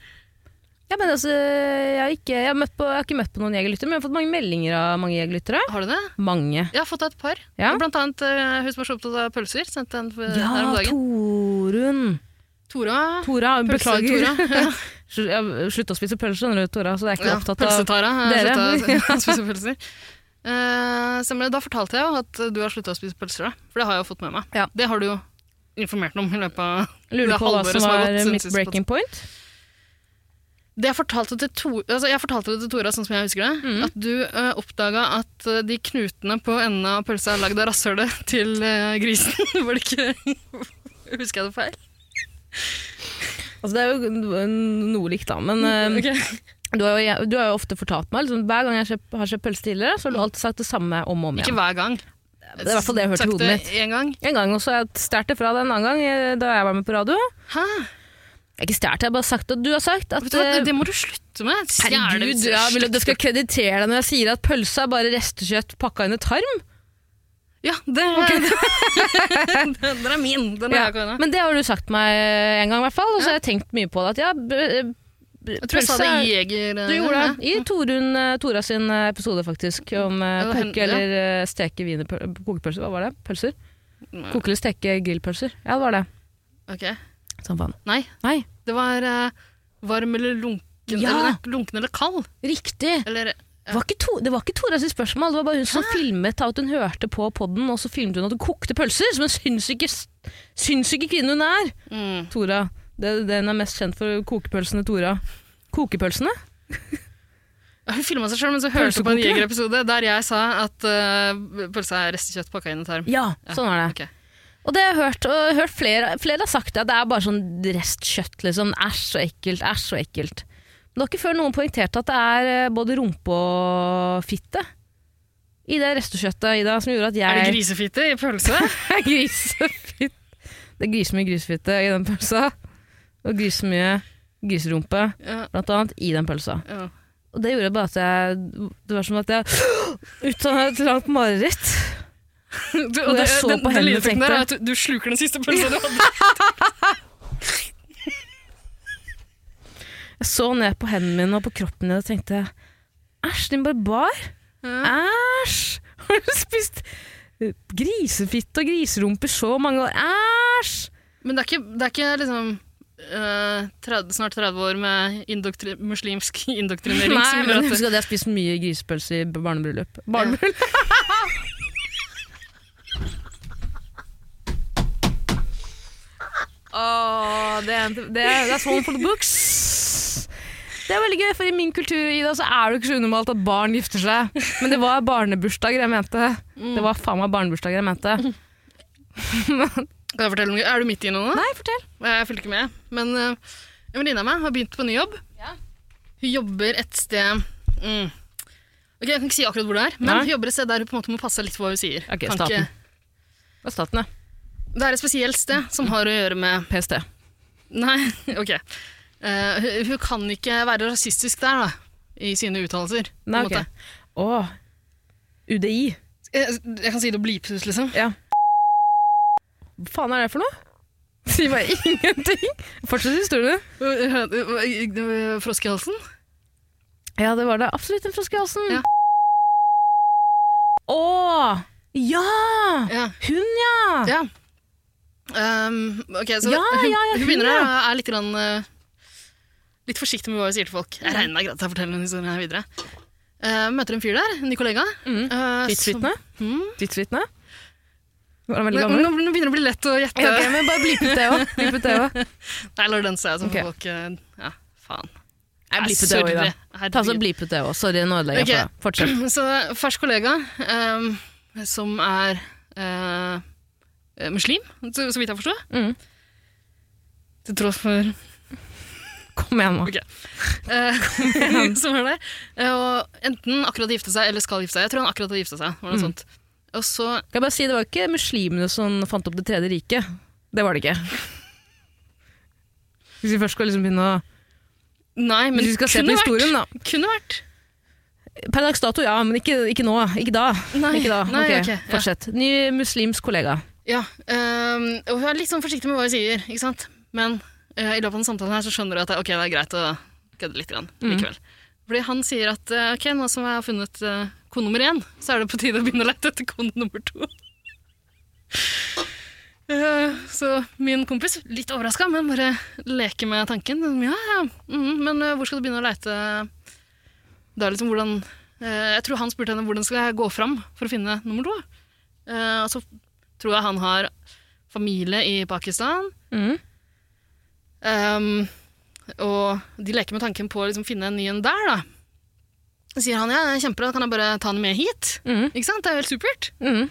Speaker 2: Ja, men altså, jeg har ikke, jeg har møtt på, jeg har ikke møtt på noen jegerlyttere, men jeg har fått mange meldinger av mange jegerlyttere.
Speaker 3: Har du det?
Speaker 2: Mange.
Speaker 3: Jeg har fått et par.
Speaker 2: Ja.
Speaker 3: Og Blant annet eh, hun som var så opptatt av pølser. Sendte en for,
Speaker 2: Ja,
Speaker 3: Eh, her om dagen.
Speaker 2: Torunn.
Speaker 3: Tora.
Speaker 2: Tora, beklager.
Speaker 3: Pølse-Tora. Ja.
Speaker 2: Slu- Jeg slutta å spise pølse, skjønner du, Tora, så jeg er ikke
Speaker 3: Ja,
Speaker 2: opptatt av
Speaker 3: Pølsetara. Jeg
Speaker 2: dere.
Speaker 3: har slutta å spise pølser. Eh, stemmer det. Da fortalte jeg jo at du har slutta å spise pølser, da. For det har jeg jo fått med meg.
Speaker 2: Ja.
Speaker 3: Det har du jo informert om i løpet av
Speaker 2: Lurer
Speaker 3: det
Speaker 2: på hva
Speaker 3: halvåret
Speaker 2: som
Speaker 3: som har
Speaker 2: var
Speaker 3: gått siden
Speaker 2: mitt
Speaker 3: sist
Speaker 2: breaking point.
Speaker 3: Det jeg fortalte til, to, altså jeg fortalte det til Tora, sånn som jeg husker det,
Speaker 2: Mhm.
Speaker 3: at du uh, oppdaga at eh, de knutene på enden av pølsa er lagd av rasshølet til eh, grisen. Var det ikke Husker jeg det feil?
Speaker 2: Altså, det er jo n- noe likt, da, men eh,
Speaker 3: Mm, Ok.
Speaker 2: du, har jo, du har jo ofte fortalt meg liksom, Hver gang jeg kjøp- har kjøpt pølse tidligere, så har du alltid sagt det samme om og om
Speaker 3: Ikke
Speaker 2: igjen.
Speaker 3: hver gang.
Speaker 2: Det er i hvert fall det jeg hørte i
Speaker 3: Sagt
Speaker 2: hodet mitt.
Speaker 3: det én gang.
Speaker 2: En gang også, jeg stjerte fra det en annen gang eh, da jeg var med på radio.
Speaker 3: Hæ?
Speaker 2: Jeg har ikke stjert, jeg har bare sagt at du har sagt at
Speaker 3: Vet du hva, det,
Speaker 2: eh,
Speaker 3: det må du slutte med. Stjerne-
Speaker 2: Herregud, ja, vil du at jeg skal kreditere deg når jeg sier at pølse er bare restekjøtt pakka inn i tarm?
Speaker 3: Ja, det, den, den er min. Den
Speaker 2: Ja,
Speaker 3: er ja.
Speaker 2: men det har du sagt meg eh, en gang, i hvert fall. Og så har jeg tenkt mye på det. At ja, b- eh, b-
Speaker 3: Jeg tror jeg sa det i Jeger.
Speaker 2: Du gjorde det i Torun, eh, Tora sin eh, episode, faktisk. Om eh,
Speaker 3: Ja, det
Speaker 2: koke
Speaker 3: hender, ja.
Speaker 2: eller eh, steke wienerpøl- kokepølser. Hva var det? Pølser?
Speaker 3: Nei.
Speaker 2: Koke eller steke grillpølser. Ja, det var det.
Speaker 3: Ok.
Speaker 2: Sånn faen.
Speaker 3: Nei,
Speaker 2: Nei.
Speaker 3: det var eh, varm eller lunken.
Speaker 2: Ja.
Speaker 3: Eller, nei, lunken eller kald.
Speaker 2: Riktig!
Speaker 3: Eller
Speaker 2: Det var, ikke to, det var ikke Tora sitt spørsmål, det var bare hun som filmet at hun hørte på podden, og så filmet hun at hun kokte pølser, som en sinnssyke, sinnssyke kvinne hun er.
Speaker 3: Mm.
Speaker 2: Tora. Det er det hun er mest kjent for, kokepølsene Tora. Kokepølsene?
Speaker 3: Ja, Hun filma seg sjøl mens hun hørte på en
Speaker 2: Pølsekokere.
Speaker 3: Jeger-episode der jeg sa at uh, pølsa er restekjøtt pakka inn i tarm.
Speaker 2: Ja, sånn er det.
Speaker 3: Ok.
Speaker 2: Og det har jeg hørt, og jeg har hørt flere, flere har sagt det, at det er bare sånn restkjøtt, liksom. Æsj, så ekkelt, æsj, så ekkelt. Men det var ikke før noen poengterte at det er eh, både rumpe og fitte i det restekjøttet, Ida, som gjorde at jeg
Speaker 3: Er det grisefitte i pølse?
Speaker 2: grisefitt. Det er grisemye grisefitte i den pølsa. Og grisemye griserumpe,
Speaker 3: ja,
Speaker 2: blant annet, i den pølsa.
Speaker 3: ja.
Speaker 2: Og det gjorde bare at jeg Det var som at jeg utdanna et langt mareritt.
Speaker 3: Du,
Speaker 2: Og jeg så på hendene og
Speaker 3: lydeffekten
Speaker 2: tenkte-
Speaker 3: der er at du, du sluker den siste pølsa du hadde.
Speaker 2: Jeg så ned på hendene mine og på kroppen min og tenkte Æsj, din barbar!
Speaker 3: Ja.
Speaker 2: Æsj! Har du spist grisefitte og griserumpe i så mange år? Æsj!
Speaker 3: Men det er ikke, det er ikke liksom eh, 30, snart 30 år med indoktri muslimsk indoktrinering
Speaker 2: Nei,
Speaker 3: som gjør
Speaker 2: men
Speaker 3: at
Speaker 2: husk at jeg har spist mye grisepølse i barnebryllup. Barnebryllup? Åh, det, er, det, er, det er sånn for the books. Det er veldig gøy, for i min kultur Ida, så er det jo ikke så unormalt at barn gifter seg. Men det var barnebursdager jeg mente. Det var faen meg barnebursdager jeg mente.
Speaker 3: Kan jeg fortelle noe? Er du midt i noe nå?
Speaker 2: Nei, fortell.
Speaker 3: Jeg følger ikke med. Men eh, en venninne av meg har begynt på ny jobb.
Speaker 2: Ja.
Speaker 3: Hun jobber et sted mm. Ok, Jeg kan ikke si akkurat hvor det er, men
Speaker 2: Nei.
Speaker 3: hun jobber et sted der hun på en måte må passe litt på hva hun sier.
Speaker 2: Ok,
Speaker 3: Kan
Speaker 2: staten.
Speaker 3: ikke-
Speaker 2: Det er staten, ja.
Speaker 3: Det er et spesielt sted som har å gjøre med
Speaker 2: PST.
Speaker 3: Nei, ok. Eh, hun, hun kan ikke være rasistisk der, da, i sine uttalelser. på en
Speaker 2: Nei,
Speaker 3: måte.
Speaker 2: ok. Åh, UDI.
Speaker 3: Jeg, jeg kan si det og bleepe ut, liksom.
Speaker 2: Ja. Hva faen er det for noe? Sier bare ingenting. Fortsett historien.
Speaker 3: Froskehalsen?
Speaker 2: Ja, det var det. Absolutt en frosk i halsen.
Speaker 3: Ja.
Speaker 2: Å! Ja!
Speaker 3: Ja.
Speaker 2: Hun, ja!
Speaker 3: ja. Ehm, ok, så
Speaker 2: Ah. Ja,
Speaker 3: hun,
Speaker 2: ja, ja,
Speaker 3: hun
Speaker 2: hun,
Speaker 3: begynner å
Speaker 2: ja.
Speaker 3: er litt, grann, eh, litt forsiktig med hva hun sier til folk. Jeg regner med at jeg forteller denne historien her videre. Eh, møter en fyr der, en ny kollega.
Speaker 2: Mm.
Speaker 3: eh, som-
Speaker 2: Tidsvitne.
Speaker 3: Mm.
Speaker 2: Tidsvitne. Var han
Speaker 3: Nå,
Speaker 2: veldig gammel?
Speaker 3: nå nå begynner det å bli lett å gjette.
Speaker 2: Ja, ok, men bare blip ut det òg. Blip ut det òg.
Speaker 3: Nei, la den stå, så
Speaker 2: Ok.
Speaker 3: får folk eh, Ja, faen.
Speaker 2: Jeg
Speaker 3: Jeg
Speaker 2: blipet det òg,
Speaker 3: surrer.
Speaker 2: da. Ta så
Speaker 3: Herregud.
Speaker 2: blip ut det òg. Sorry, nå ødelegger jeg
Speaker 3: Ok.
Speaker 2: for deg. Fortsett.
Speaker 3: Så fersk kollega ehm, som er eh, eh, muslim, så, så vidt jeg forstår.
Speaker 2: Mm.
Speaker 3: Til tross for
Speaker 2: Kom igjen, nå.
Speaker 3: Ok. eh, som er der. Eh, og enten akkurat har gifta seg, eller skal gifte seg. Jeg tror han akkurat har gifta seg. Var det
Speaker 2: Mm.
Speaker 3: noe sånt. Og så
Speaker 2: Kan jeg bare si, Det var ikke muslimene som fant opp Det tredje riket. Det var det ikke. Hvis vi først skal liksom begynne å
Speaker 3: Nei, men
Speaker 2: Hvis vi skal se på
Speaker 3: kunne vært.
Speaker 2: historien, da.
Speaker 3: Kunne vært.
Speaker 2: Per dags dato, ja, men ikke, ikke nå. Ikke da.
Speaker 3: Nei,
Speaker 2: ikke da.
Speaker 3: nei,
Speaker 2: Ok,
Speaker 3: ok, ja.
Speaker 2: Fortsett. Ny muslimsk kollega.
Speaker 3: Ja, ehm, og hun er litt sånn forsiktig med hva hun sier, ikke sant? Men eh, i løpet av den samtalen her så skjønner du at det, ok, det er greit å kødde litt grann, likevel. Fordi han sier at eh, ok, nå som jeg har funnet eh, kone nummer én, så er det på tide å begynne å lete etter kone nummer to. Eh, så min kompis, litt overraska, men bare leker med tanken. Ja, ja, mhm, men eh, hvor skal du begynne å leite? Da liksom hvordan eh, Jeg tror han spurte henne hvordan skal jeg gå fram for å finne nummer to. Eh, og så tror jeg han har familie i Pakistan.
Speaker 2: Mm.
Speaker 3: Ehm, og de leker med tanken på å liksom finne en ny en der, da. Så sier han ja, jeg kjemper, da kan jeg bare ta den med hit.
Speaker 2: Mm.
Speaker 3: Ikke sant? Det er jo helt supert.
Speaker 2: Mm.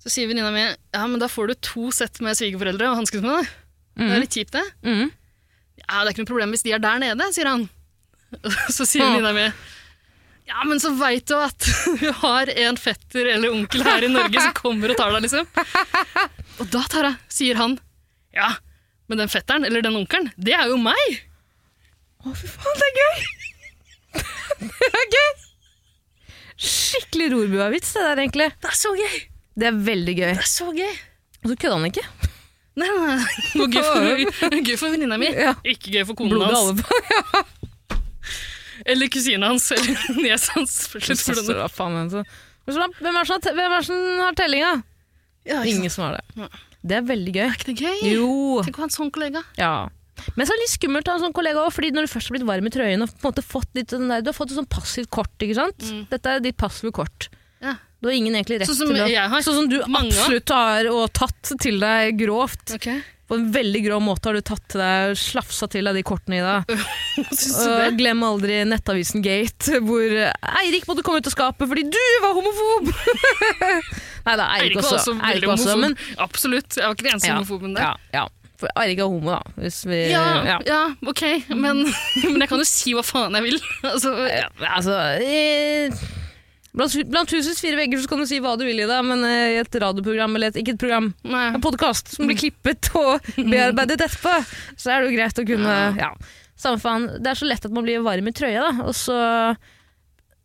Speaker 3: Så sier venninna mi ja, men da får du to sett med svigerforeldre og hansker med det. Det er litt kjipt, det.
Speaker 2: Mm.
Speaker 3: Ja, det er ikke noe problem hvis de er der nede, sier han. Og Så sier
Speaker 2: Åh.
Speaker 3: venninna mi ja, men så veit du at du har en fetter eller onkel her i Norge som kommer og tar deg, liksom. Og da, Tara, sier han ja, men den fetteren eller den onkelen, det er jo meg.
Speaker 2: Å, fy faen, det er gøy! det er gøy! Skikkelig rorbuavits, det der, egentlig.
Speaker 3: Det er så gøy!
Speaker 2: Det er veldig gøy.
Speaker 3: Det er så gøy!
Speaker 2: Og så kødda han ikke.
Speaker 3: Nei, nei, nei. Og Gøy for, gøy for venninna mi.
Speaker 2: Ja.
Speaker 3: Ikke gøy for konen
Speaker 2: Blodet
Speaker 3: hans.
Speaker 2: alle på.
Speaker 3: Eller kusina hans, eller niesa hans. Fortsett
Speaker 2: Søster,
Speaker 3: hvordan det-
Speaker 2: hva faen, men så- Hvem er det som har te- hvem er det som har tellinga?
Speaker 3: Ja, ikke sant.
Speaker 2: Ingen som har
Speaker 3: Nei.
Speaker 2: det. Det er veldig gøy.
Speaker 3: Er ikke det gøy?
Speaker 2: Jo.
Speaker 3: Tenk å ha en sånn kollega.
Speaker 2: Ja. Men så er det litt skummelt å ha en sånn kollega òg, fordi når du først har blitt varm i trøyen og på en måte fått litt den der, du har fått et sånn passivt kort, ikke sant? Dette er ditt passive kort.
Speaker 3: Ja.
Speaker 2: Du har ingen egentlig rett
Speaker 3: Mm. Sånn som
Speaker 2: til å
Speaker 3: jeg har.
Speaker 2: Sånn som du
Speaker 3: Mange har.
Speaker 2: absolutt har og tatt til deg grovt.
Speaker 3: Ok,
Speaker 2: På en veldig grov måte har du tatt til deg, slafsa til deg de kortene i dag.
Speaker 3: Syns du det?
Speaker 2: Og glem aldri Nettavisen Gate, hvor eh, Eirik måtte komme ut av skapet fordi du var homofob! Nei da, Eirik
Speaker 3: Eirik var
Speaker 2: også.
Speaker 3: også
Speaker 2: Eirik
Speaker 3: veldig
Speaker 2: var også,
Speaker 3: homofob.
Speaker 2: men-
Speaker 3: Absolutt. Jeg var ikke den eneste
Speaker 2: Ja,
Speaker 3: homofoben der.
Speaker 2: ja, ja. For Eirik er homo, da. Hvis vi,
Speaker 3: Ja, ja.
Speaker 2: ja.
Speaker 3: ok, men, men jeg kan jo si hva faen jeg vil. Altså,
Speaker 2: Ja, Altså eh, blant, blant husets fire vegger så kan du si hva du vil i det, men eh, i et radioprogram eller et, ikke et program,
Speaker 3: nei.
Speaker 2: en podkast som blir klippet og bearbeidet etterpå, så er det jo greit å kunne ja. Samme faen. Det er så lett at man blir varm i trøya, da. Og så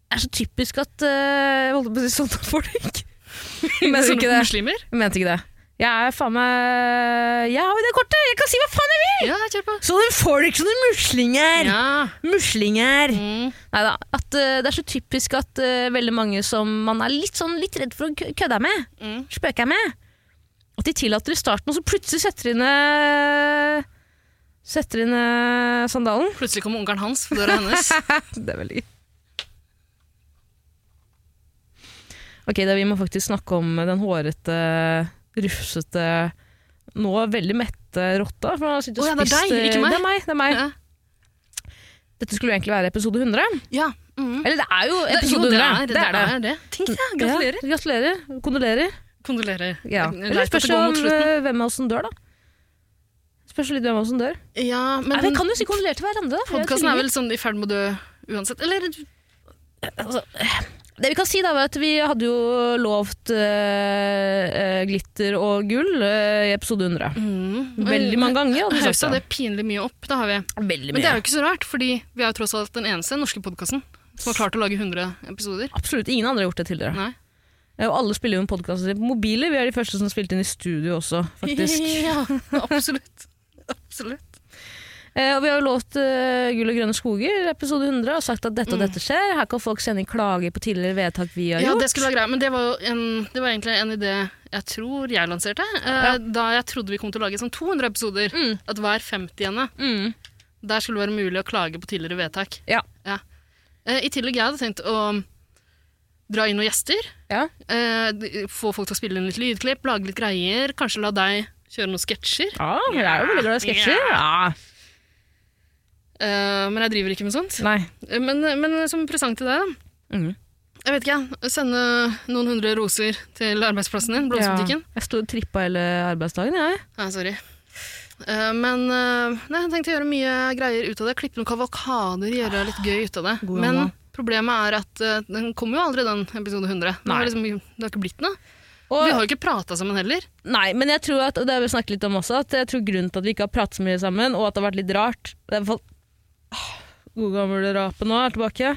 Speaker 2: er det så typisk at eh, Jeg holdt på å si sånne folk. Mener
Speaker 3: Sånne
Speaker 2: ikke det.
Speaker 3: Muslimer?
Speaker 2: Jeg mente ikke det. Jeg er faen meg Jeg har jo det kortet! Jeg kan si hva faen jeg vil!
Speaker 3: Ja, kjør på.
Speaker 2: Sånne folk, sånne muslinger!
Speaker 3: Ja.
Speaker 2: Muslinger!
Speaker 3: Mm.
Speaker 2: Neida, At eh, det er så typisk at eh, veldig mange som man er litt, sånn, litt redd for å kø- kødde med,
Speaker 3: Mm.
Speaker 2: spøke med, at de tillater i starten, og så plutselig setter inn eh, Setter inn eh, sandalen.
Speaker 3: Plutselig kommer onkelen hans for døra hennes.
Speaker 2: det er veldig gøy. Ok, da, vi må faktisk snakke om den hårete, rufsete, nå veldig mette rotta. For han har sittet og
Speaker 3: Å ja, det er
Speaker 2: spist,
Speaker 3: deg,
Speaker 2: eh,
Speaker 3: ikke meg.
Speaker 2: Det er meg, det er meg.
Speaker 3: Ja.
Speaker 2: Dette skulle jo egentlig være episode 100.
Speaker 3: ja. Mm.
Speaker 2: Eller det er jo episode 100.
Speaker 3: Jo, det er det. det, er det. Tenk det, gratulerer.
Speaker 2: Ja, gratulerer. Kondolerer.
Speaker 3: Kondolerer.
Speaker 2: Ja.
Speaker 3: Det er
Speaker 2: Eller
Speaker 3: leit at
Speaker 2: spørs
Speaker 3: det går mot
Speaker 2: om
Speaker 3: slutten.
Speaker 2: eh, hvem av oss som dør, da. Spørs litt hvem av oss som dør.
Speaker 3: Ja,
Speaker 2: Nei, vi
Speaker 3: men
Speaker 2: eh, kan jo si kondolerer til hverandre. da, for jeg
Speaker 3: podkasten er
Speaker 2: tvinger.
Speaker 3: vel sånn i ferd med å dø uansett. Eller
Speaker 2: altså, Det vi kan si da, var at vi hadde jo lovt eh, eh, glitter og gull eh, i episode 100.
Speaker 3: mm.
Speaker 2: Veldig mange ganger. hadde vi
Speaker 3: Hausa
Speaker 2: sagt
Speaker 3: det pinlig mye opp, det har vi.
Speaker 2: da. Veldig
Speaker 3: Men det
Speaker 2: mye.
Speaker 3: er jo ikke så rart, fordi vi er jo tross alt den eneste norske podkasten som har klart å lage 100 episoder.
Speaker 2: Absolutt. Ingen andre har gjort det tidligere.
Speaker 3: Nei.
Speaker 2: Eh, Og alle spiller jo en podkast på mobiler. Vi er de første som spilte inn i studio også, faktisk.
Speaker 3: Ja, absolutt. Absolutt.
Speaker 2: Eh, og vi har jo lovt eh, Gull og grønne skoger, episode 100, og sagt at dette og dette skjer. Her kan folk sende inn klager på tidligere vedtak vi har
Speaker 3: Mm. Ja,
Speaker 2: gjort.
Speaker 3: det skulle være greit, men det var, jo en, det var egentlig en idé jeg tror jeg lanserte, eh, da jeg trodde vi kom til å lage sånn 200 episoder,
Speaker 2: Mm.
Speaker 3: at hver 50.
Speaker 2: Mm.
Speaker 3: der skulle det være mulig å klage på tidligere vedtak.
Speaker 2: Ja.
Speaker 3: Eh, I tillegg jeg hadde tenkt å dra inn noen gjester,
Speaker 2: Ja.
Speaker 3: eh, d- få folk til å spille inn litt lydklipp, lage litt greier, kanskje la deg kjøre noen sketsjer.
Speaker 2: Ja, men jeg er jo veldig glad i sketsjer. Ja.
Speaker 3: Eh, men jeg driver ikke med sånt.
Speaker 2: Nei.
Speaker 3: Eh, Men, men som presang til deg, da. Mm. Jeg vet ikke, jeg. Sende noen hundre roser til arbeidsplassen din, blomsterbutikken.
Speaker 2: Ja. Jeg sto og trippa hele arbeidsdagen, jeg.
Speaker 3: Nei, sorry. Eh, men eh, nei, jeg tenkte å gjøre mye greier ut av det. Klippe noen kavalkader, gjøre litt gøy ut av det.
Speaker 2: God
Speaker 3: men
Speaker 2: jobb,
Speaker 3: problemet er at eh, den kommer jo aldri, den episode 100. Det
Speaker 2: Nei.
Speaker 3: har, liksom, det har ikke blitt noe.
Speaker 2: Og,
Speaker 3: Vi har jo ikke prata sammen heller.
Speaker 2: Nei, men jeg tror at, og det har vi snakket litt om også, at jeg tror grunnen til at vi ikke har pratet så mye sammen, og at det har vært litt rart Det er i hvert fall Åh, God gammel rape nå er tilbake.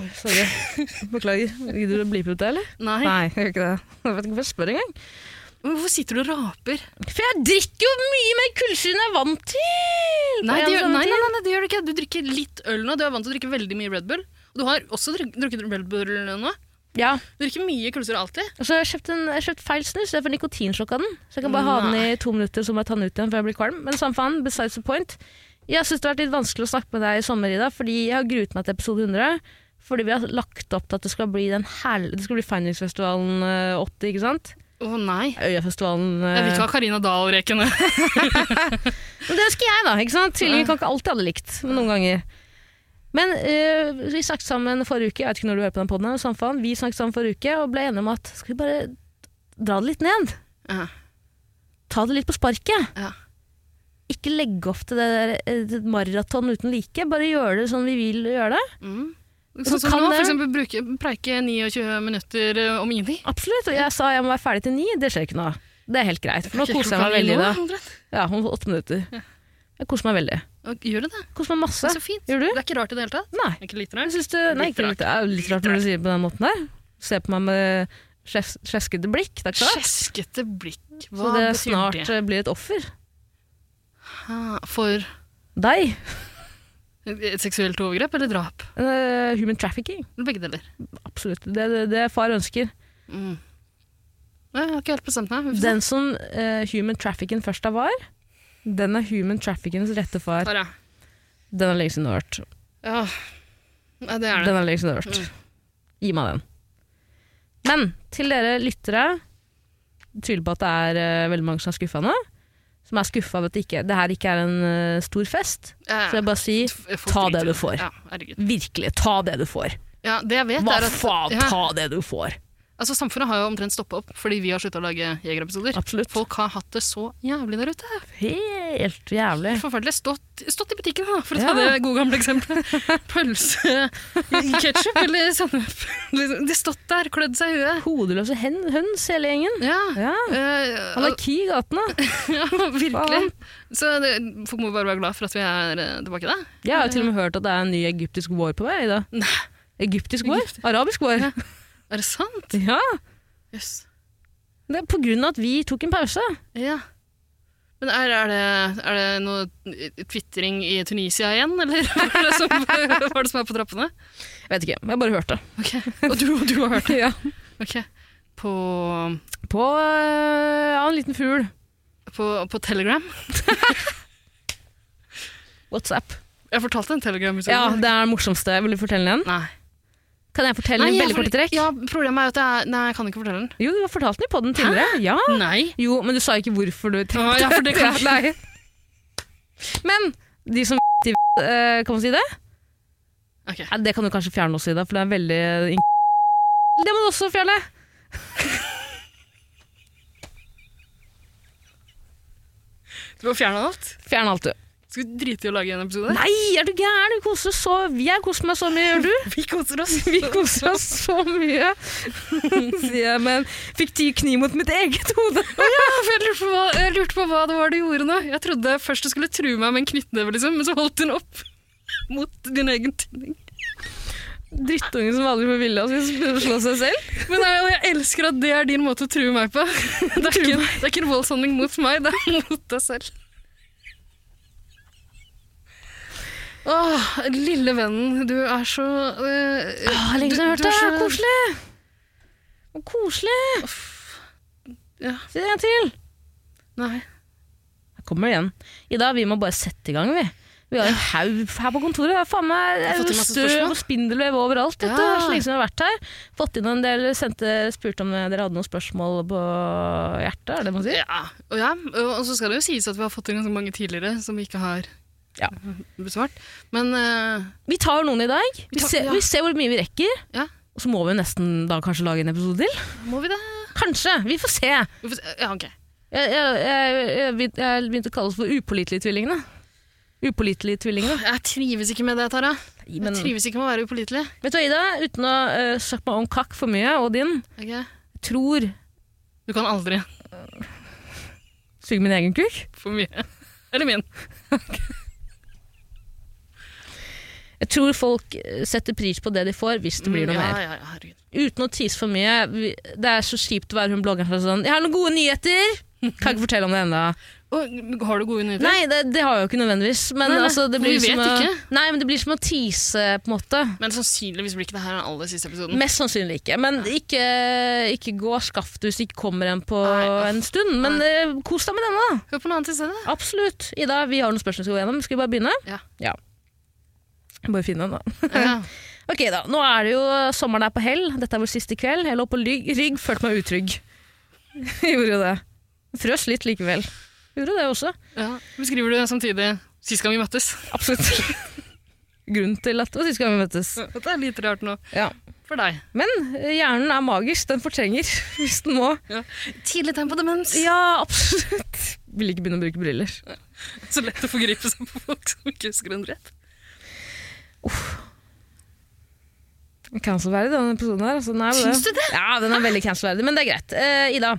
Speaker 2: Oi, sorry. Beklager. Gidder du å blipe ut det, eller?
Speaker 3: Nei.
Speaker 2: jeg gjør ikke det. Jeg vet ikke hvorfor jeg spør engang.
Speaker 3: Men hvorfor sitter du og raper?
Speaker 2: For jeg drikker jo mye mer kullsyre enn jeg er vant til! På
Speaker 3: Nei, det
Speaker 2: en sånn
Speaker 3: gjør,
Speaker 2: og samme
Speaker 3: nei,
Speaker 2: tid.
Speaker 3: nei, nei, det gjør du ikke. Du drikker litt øl nå. Du er vant til å drikke veldig mye Red Bull. Og du har også druk- drukket Red Bull nå.
Speaker 2: Ja.
Speaker 3: Du drikker mye kullsyre alltid.
Speaker 2: Og så har jeg kjøpt, en, jeg har kjøpt feil snus, jeg får nikotinsjokk av den. Så jeg kan bare ha den i to minutter, så må jeg ta den ut igjen før jeg blir kvalm. Men samme faen, besides the point. Jeg syns det har vært litt vanskelig å snakke med deg i sommer, Ida, fordi jeg har gruet meg til episode 100. Fordi vi har lagt opp til at det skal bli, den hel det skal bli Findings-festivalen eh, 80, ikke sant?
Speaker 3: Å nei.
Speaker 2: Øyafestivalen eh,
Speaker 3: Jeg vil ikke ha Karina Dahl-rekene.
Speaker 2: Men det ønsker jeg, da. ikke sant? Tvillinger kan ikke alltid ha det likt, men noen ganger. Men eh, vi snakket sammen forrige uke, jeg vet ikke når du hører på den podden, her, men samme faen, vi snakket sammen forrige uke og ble enige om at skal vi bare dra det litt ned?
Speaker 3: Ja.
Speaker 2: Ta det litt på sparket.
Speaker 3: Ja.
Speaker 2: Ikke legge opp til det der eh, det maraton uten like. Bare gjøre det sånn vi vil gjøre det.
Speaker 3: Mm.
Speaker 2: så
Speaker 3: Sånn som
Speaker 2: kan
Speaker 3: nå,
Speaker 2: det-
Speaker 3: for eksempel bruke, preike 29 minutter eh, om ingenting.
Speaker 2: Absolutt. Og jeg sa jeg må være ferdig til ni. Det skjer ikke nå. Det er helt greit. For nå
Speaker 3: Ikke
Speaker 2: koser jeg meg
Speaker 3: klokka ni
Speaker 2: veldig.
Speaker 3: nå,
Speaker 2: Da.
Speaker 3: omtrent.
Speaker 2: Ja, om åtte minutter. Jeg koser meg veldig.
Speaker 3: Og Gjør det det?
Speaker 2: Koser meg
Speaker 3: Det
Speaker 2: masse.
Speaker 3: er så fint.
Speaker 2: Gjør du?
Speaker 3: Det er ikke rart i det hele tatt.
Speaker 2: Nei.
Speaker 3: Det er ikke litt
Speaker 2: Jeg
Speaker 3: rart.
Speaker 2: synes det, nei,
Speaker 3: Litt
Speaker 2: ikke
Speaker 3: rart.
Speaker 2: litt, det er jo litt rart når du sier det på den måten der. Se på meg med skjes- skjeskete blikk. Det er ikke rart.
Speaker 3: Kjeskete blikk.
Speaker 2: Så
Speaker 3: Hva
Speaker 2: det
Speaker 3: betyr
Speaker 2: snart
Speaker 3: det?
Speaker 2: eh, blir et offer.
Speaker 3: Ah, For
Speaker 2: Deg.
Speaker 3: et seksuelt overgrep eller drap?
Speaker 2: Eh, human trafficking.
Speaker 3: Eller Begge deler.
Speaker 2: Absolutt. Det er det, det far ønsker.
Speaker 3: Mm. Nei, Jeg har ikke helt bestemt meg. Vi får se.
Speaker 2: Den som eh, human trafficking først da var, Den er human traffickings rette far.
Speaker 3: Her, ja.
Speaker 2: Den har lenge siden du har hørt.
Speaker 3: ja. Nei, det Mm. er det.
Speaker 2: Den har lenge siden du har hørt. Gi meg den. Men til dere lyttere det Tyder på at det er eh, veldig mange som er skuffa nå. Som er skuffa over at det, ikke, det her ikke er en eh, stor fest.
Speaker 3: Ja, ja.
Speaker 2: Så jeg bare sier
Speaker 3: Jeg får
Speaker 2: ta
Speaker 3: drite
Speaker 2: det du får.
Speaker 3: Ja, herregud.
Speaker 2: virkelig, ta det du får.
Speaker 3: Ja, det jeg vet
Speaker 2: Hva
Speaker 3: er at
Speaker 2: faen,
Speaker 3: ja,
Speaker 2: ta det du får.
Speaker 3: altså, Samfunnet har jo omtrent stoppa opp fordi vi har slutta å lage jegerepisoder.
Speaker 2: Absolutt.
Speaker 3: Folk har hatt det så jævlig der ute.
Speaker 2: Helt jævlig.
Speaker 3: Forferdelig. Stått, stått i butikken, da, for å
Speaker 2: Ja.
Speaker 3: ta det gode gamle eksempelet. Pølse, ketsjup eller sennep. Liksom, De stått der, klødd seg i huet.
Speaker 2: Hodeløse hen, høns, hele gjengen.
Speaker 3: Ja.
Speaker 2: Ja.
Speaker 3: Eh,
Speaker 2: Anarki i gatene.
Speaker 3: ja, virkelig. Så det, folk må bare være glad for at vi er eh, tilbake der.
Speaker 2: Jeg har jo til og med hørt at det er en ny egyptisk vår på vei. Da.
Speaker 3: Nei.
Speaker 2: Egyptisk vår? Arabisk vår?
Speaker 3: Ja. Er det sant?
Speaker 2: Ja.
Speaker 3: Jøss.
Speaker 2: Det er på grunn av at vi tok en pause.
Speaker 3: Ja. Men er, er, det, er det noe tvitring i Tunisia igjen, eller hva er det som, hva er, det som er på trappene?
Speaker 2: Jeg vet ikke, jeg bare hørte.
Speaker 3: Ok, Og du, og du har hørt det?
Speaker 2: Ja.
Speaker 3: Ok. På,
Speaker 2: På øh, ja, en liten fugl.
Speaker 3: på, på Telegram?
Speaker 2: WhatsApp.
Speaker 3: Jeg fortalte en Telegram-historie.
Speaker 2: Ja, det er det morsomste. Vil du fortelle den?
Speaker 3: Nei.
Speaker 2: Kan jeg fortelle
Speaker 3: Nei,
Speaker 2: den i
Speaker 3: jeg
Speaker 2: veldig
Speaker 3: for-
Speaker 2: korte trekk?
Speaker 3: Ja, problemet er jo at jeg, nei, jeg kan ikke fortelle den.
Speaker 2: Jo, du har fortalt den i podden tidligere. Ja.
Speaker 3: Nei.
Speaker 2: Jo, men du sa ikke hvorfor du
Speaker 3: Å, ja, for det kan
Speaker 2: Ah, Ja, nei. Men de som i øh, kan man si det?
Speaker 3: Ok.
Speaker 2: Ja, det kan du kanskje fjerne også, Ida, for det er veldig in- Det må du også fjerne!
Speaker 3: Du har fjerna alt?
Speaker 2: Fjern alt, du.
Speaker 3: Skal vi drite i å lage en episode?
Speaker 2: Nei, er du gæren? Vi koser oss så Jeg koser meg så mye, gjør du?
Speaker 3: Vi koser oss.
Speaker 2: Vi koser oss så mye, sier jeg, men fikk ti kniv mot mitt eget hode.
Speaker 3: For Jeg lurte, på hva, jeg lurte på hva det var du gjorde nå. Jeg trodde først du skulle true meg med en knyttneve, liksom, men så holdt hun opp mot din egen tinning.
Speaker 2: Drittungen som aldri får vilja si, begynner å slå seg selv.
Speaker 3: Men jeg, og jeg elsker at det er din måte å true meg på. Det er ikke, det er ikke en voldshandling mot meg, det er mot deg selv. Åh, lille vennen, du er så eh,
Speaker 2: Åh, lenge siden jeg har hørt
Speaker 3: du-
Speaker 2: det.
Speaker 3: du er så-
Speaker 2: Koselig. Å, Koselig.
Speaker 3: Ja.
Speaker 2: Si det en til.
Speaker 3: Nei.
Speaker 2: Her kommer det igjen. Ida, vi må bare sette i gang, vi. Vi har en haug her på kontoret. Det er faen meg
Speaker 3: har fått inn masse
Speaker 2: støv
Speaker 3: spørsmål.
Speaker 2: og spindelvev overalt. vet du.
Speaker 3: Ja.
Speaker 2: Det er Så lenge som vi har vært her. Fått inn en del, sendte, spurte om dere hadde noen spørsmål på hjertet, er det det man sier?
Speaker 3: Ja. Og, ja, og så skal det jo sies at vi har fått inn ganske mange tidligere som vi ikke har eh,
Speaker 2: Ja.
Speaker 3: besvart. Men eh,
Speaker 2: Vi tar noen i dag. Vi,
Speaker 3: tar-
Speaker 2: ser,
Speaker 3: ja.
Speaker 2: vi ser hvor mye vi rekker.
Speaker 3: Ja.
Speaker 2: Og så må vi jo nesten da kanskje lage en episode til.
Speaker 3: må vi det?
Speaker 2: Kanskje. Vi får se.
Speaker 3: Vi får se- Ja, ok.
Speaker 2: Jeg, jeg, jeg, jeg, begynte- jeg begynte å kalle oss for upålitelige tvillingene. Upålitelige tvillingene.
Speaker 3: Jeg trives ikke med det, Tara. Jeg
Speaker 2: Men vet
Speaker 3: trives ikke med å være upålitelig.
Speaker 2: du hva, Ida? Uten å uh, snakke meg om kakk for mye, og din,
Speaker 3: Ok?
Speaker 2: jeg tror
Speaker 3: Du kan aldri
Speaker 2: Suge min egen kuk?
Speaker 3: for mye. Eller min.
Speaker 2: Jeg tror folk eh, setter pris på det de får, hvis det blir noe
Speaker 3: Mm, ja,
Speaker 2: mer.
Speaker 3: Ja, ja, herregud.
Speaker 2: Uten å tise for mye. vi- Det er så kjipt å være hun bloggeren som er sånn 'Jeg har noen gode nyheter!' Kan ikke fortelle om det ennå.
Speaker 3: Og, har du gode nyheter?
Speaker 2: Nei, det, det har jeg jo ikke nødvendigvis. Men
Speaker 3: Nei, nei,
Speaker 2: altså, det
Speaker 3: vi
Speaker 2: blir
Speaker 3: vet
Speaker 2: som å,
Speaker 3: ikke.
Speaker 2: Nei, men det blir som å tise, på en måte.
Speaker 3: Men sannsynligvis blir ikke det her den aller siste episoden.
Speaker 2: Mest sannsynlig ikke. Men ikke, ikke gå og skaff det hvis det ikke kommer en på
Speaker 3: Nei, uff.
Speaker 2: en stund. Men eh, kos deg med denne, da.
Speaker 3: Hør på noe annet i stedet.
Speaker 2: Absolutt. Ida, vi har noen spørsmål vi skal gå gjennom. Skal vi bare begynne?
Speaker 3: Ja.
Speaker 2: Bare finne den, da.
Speaker 3: Ja.
Speaker 2: Ok da, Nå er det jo eh, sommeren er på hell. Dette er vår siste kveld. Jeg lå på rygg, rygg følte meg utrygg. Gjorde jo det. Frøs litt likevel. Gjorde det også.
Speaker 3: Ja. Beskriver du samtidig sist gang vi møttes?
Speaker 2: Absolutt. Grunnen til at det var sist gang vi møttes.
Speaker 3: Det er litt rart nå.
Speaker 2: Ja.
Speaker 3: For deg.
Speaker 2: Men eh, hjernen er magisk. Den fortrenger hvis den må.
Speaker 3: Tidlig tegn på demens.
Speaker 2: Ja, absolutt. Vil ikke begynne å bruke briller.
Speaker 3: Så lett å forgripe seg på folk som ikke husker en rett.
Speaker 2: Cancelverdig, denne episoden her. Altså, den er jo
Speaker 3: Syns du det?
Speaker 2: Ja, den er veldig cancelverdig, men det er greit. Eh, Ida,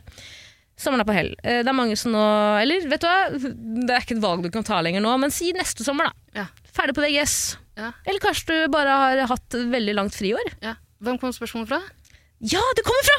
Speaker 2: sommeren er på hell. Eh, det er mange som nå Eller, vet du hva? Det er ikke et valg du kan ta lenger nå, men si neste sommer, da.
Speaker 3: Ja.
Speaker 2: Ferdig på VGS.
Speaker 3: Ja.
Speaker 2: Eller kanskje du bare har hatt veldig langt friår?
Speaker 3: Ja. Hvem kom spørsmålet fra?
Speaker 2: Ja, det kommer fra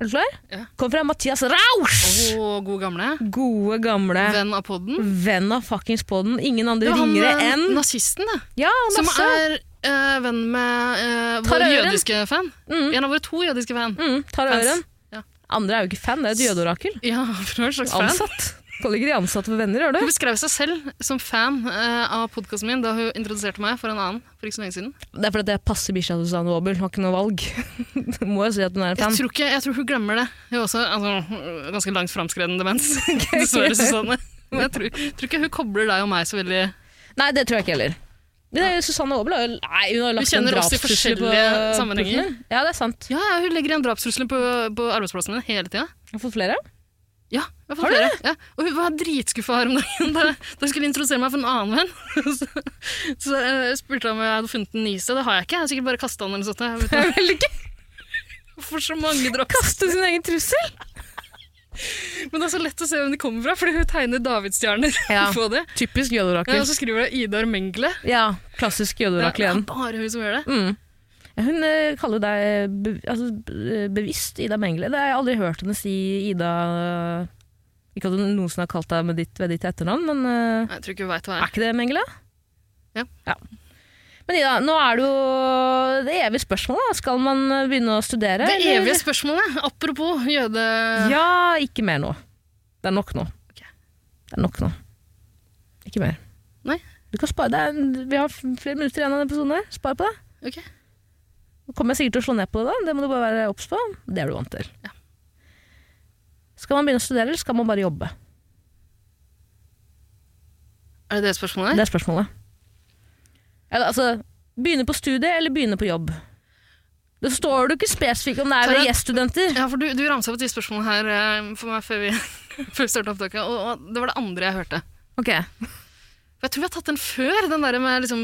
Speaker 2: Er du klar?
Speaker 3: Ja.
Speaker 2: Kommer fra Mathias Rausch!
Speaker 3: Å, god gamle.
Speaker 2: Gode, gamle
Speaker 3: Venn av podden.
Speaker 2: venn av fuckings podden. Ingen andre
Speaker 3: Det var han,
Speaker 2: ringere
Speaker 3: eh,
Speaker 2: enn
Speaker 3: Nazisten, da.
Speaker 2: Ja,
Speaker 3: Som
Speaker 2: masse.
Speaker 3: er eh, venn med eh, vår
Speaker 2: Tara Øren.
Speaker 3: jødiske fan.
Speaker 2: Mm.
Speaker 3: En av våre to jødiske fan.
Speaker 2: Mm, tar
Speaker 3: Fans.
Speaker 2: øren.
Speaker 3: Ja.
Speaker 2: Andre er jo ikke fan, det er et jødeorakel.
Speaker 3: Ja, for du er en slags fan.
Speaker 2: Ansatt. Pålegger de ansatte for venner, gjør du?
Speaker 3: Hun beskrev seg selv som fan eh, av podkasten min da hun introduserte meg for en annen for ikke så lenge siden.
Speaker 2: Det er fordi jeg passer bikkja til Susanne Aabel, har ikke noe valg. Må jo si at hun er en
Speaker 3: Jeg
Speaker 2: fan.
Speaker 3: tror, ikke, jeg tror hun glemmer det. Hun har også altså, ganske langt framskreden demens, dessverre, Susanne. Men jeg tror, tror ikke hun kobler deg og meg så veldig
Speaker 2: Nei, det tror jeg ikke heller. Men det er jo Susanne Aabel har jo Nei, hun har lagt en
Speaker 3: kjenner oss i
Speaker 2: drapstrussel på
Speaker 3: forskjellige
Speaker 2: på
Speaker 3: sammenhenger.
Speaker 2: putten min. Ja, det er sant.
Speaker 3: Ja, ja, hun legger igjen drapstrusler på, på arbeidsplassen din hele tida.
Speaker 2: Har du fått flere?
Speaker 3: Ja,
Speaker 2: Har
Speaker 3: jeg har fått
Speaker 2: du
Speaker 3: flere. Ja. Og hun var dritskuffa her om dagen da, da hun skulle introdusere meg for en annen venn. Så, så jeg spurte jeg om jeg hadde funnet den ny sted. Det har jeg ikke. Jeg har sikkert bare kasta den eller noe sånt. Jeg vet
Speaker 2: Det
Speaker 3: ikke.
Speaker 2: er vel ikke
Speaker 3: For så mange drops.
Speaker 2: kaste sin egen trussel?
Speaker 3: Men det er så lett å se hvem de kommer fra, fordi hun tegner davidsstjerner
Speaker 2: Ja.
Speaker 3: på det.
Speaker 2: Typisk
Speaker 3: Ja,
Speaker 2: jødeorakel.
Speaker 3: og så skriver hun Idar Mengele.
Speaker 2: altså- Ja, klassisk
Speaker 3: Ja,
Speaker 2: jødeorakel
Speaker 3: det er
Speaker 2: igjen.
Speaker 3: bare hun som gjør det.
Speaker 2: Mm. Ja, Hun eh, kaller deg be, altså, be- bevisst Ida Mengele. Det har jeg aldri hørt henne si Ida eh, Ikke at hun noensinne har kalt deg med ditt, ved ditt etternavn, men eh,
Speaker 3: Nei, Jeg tror ikke hun veit hva
Speaker 2: Er
Speaker 3: jeg er.
Speaker 2: ikke det Mengele?
Speaker 3: Ja.
Speaker 2: Men Ida, nå er det jo det evige spørsmålet. da. Skal man begynne å studere?
Speaker 3: Det
Speaker 2: eller?
Speaker 3: evige spørsmålet, apropos jøde...
Speaker 2: Ja, ikke mer nå. Det er nok nå.
Speaker 3: Ok.
Speaker 2: Det er nok nå. Ikke mer.
Speaker 3: Nei.
Speaker 2: Du kan spare det er- Vi har f- flere minutter igjen av denne episoden. her. Spar på det.
Speaker 3: Ok.
Speaker 2: Nå kommer jeg sikkert til å slå ned på det, da. Det må du bare være obs på. Det er du vant til. Skal man begynne å studere, eller skal man bare jobbe?
Speaker 3: Er det det spørsmålet?
Speaker 2: Det er spørsmålet. Eller, altså, begynne på studie eller begynne på jobb? Det står du ikke spesifikt om det er
Speaker 3: Tara-
Speaker 2: ved gjeststudenter.
Speaker 3: Ja, for du, du ramsa opp de spørsmålene her eh, for meg før vi, før vi starta opptaket, og, og det var det andre jeg hørte.
Speaker 2: Ok.
Speaker 3: For Jeg tror vi har tatt den før, den der med liksom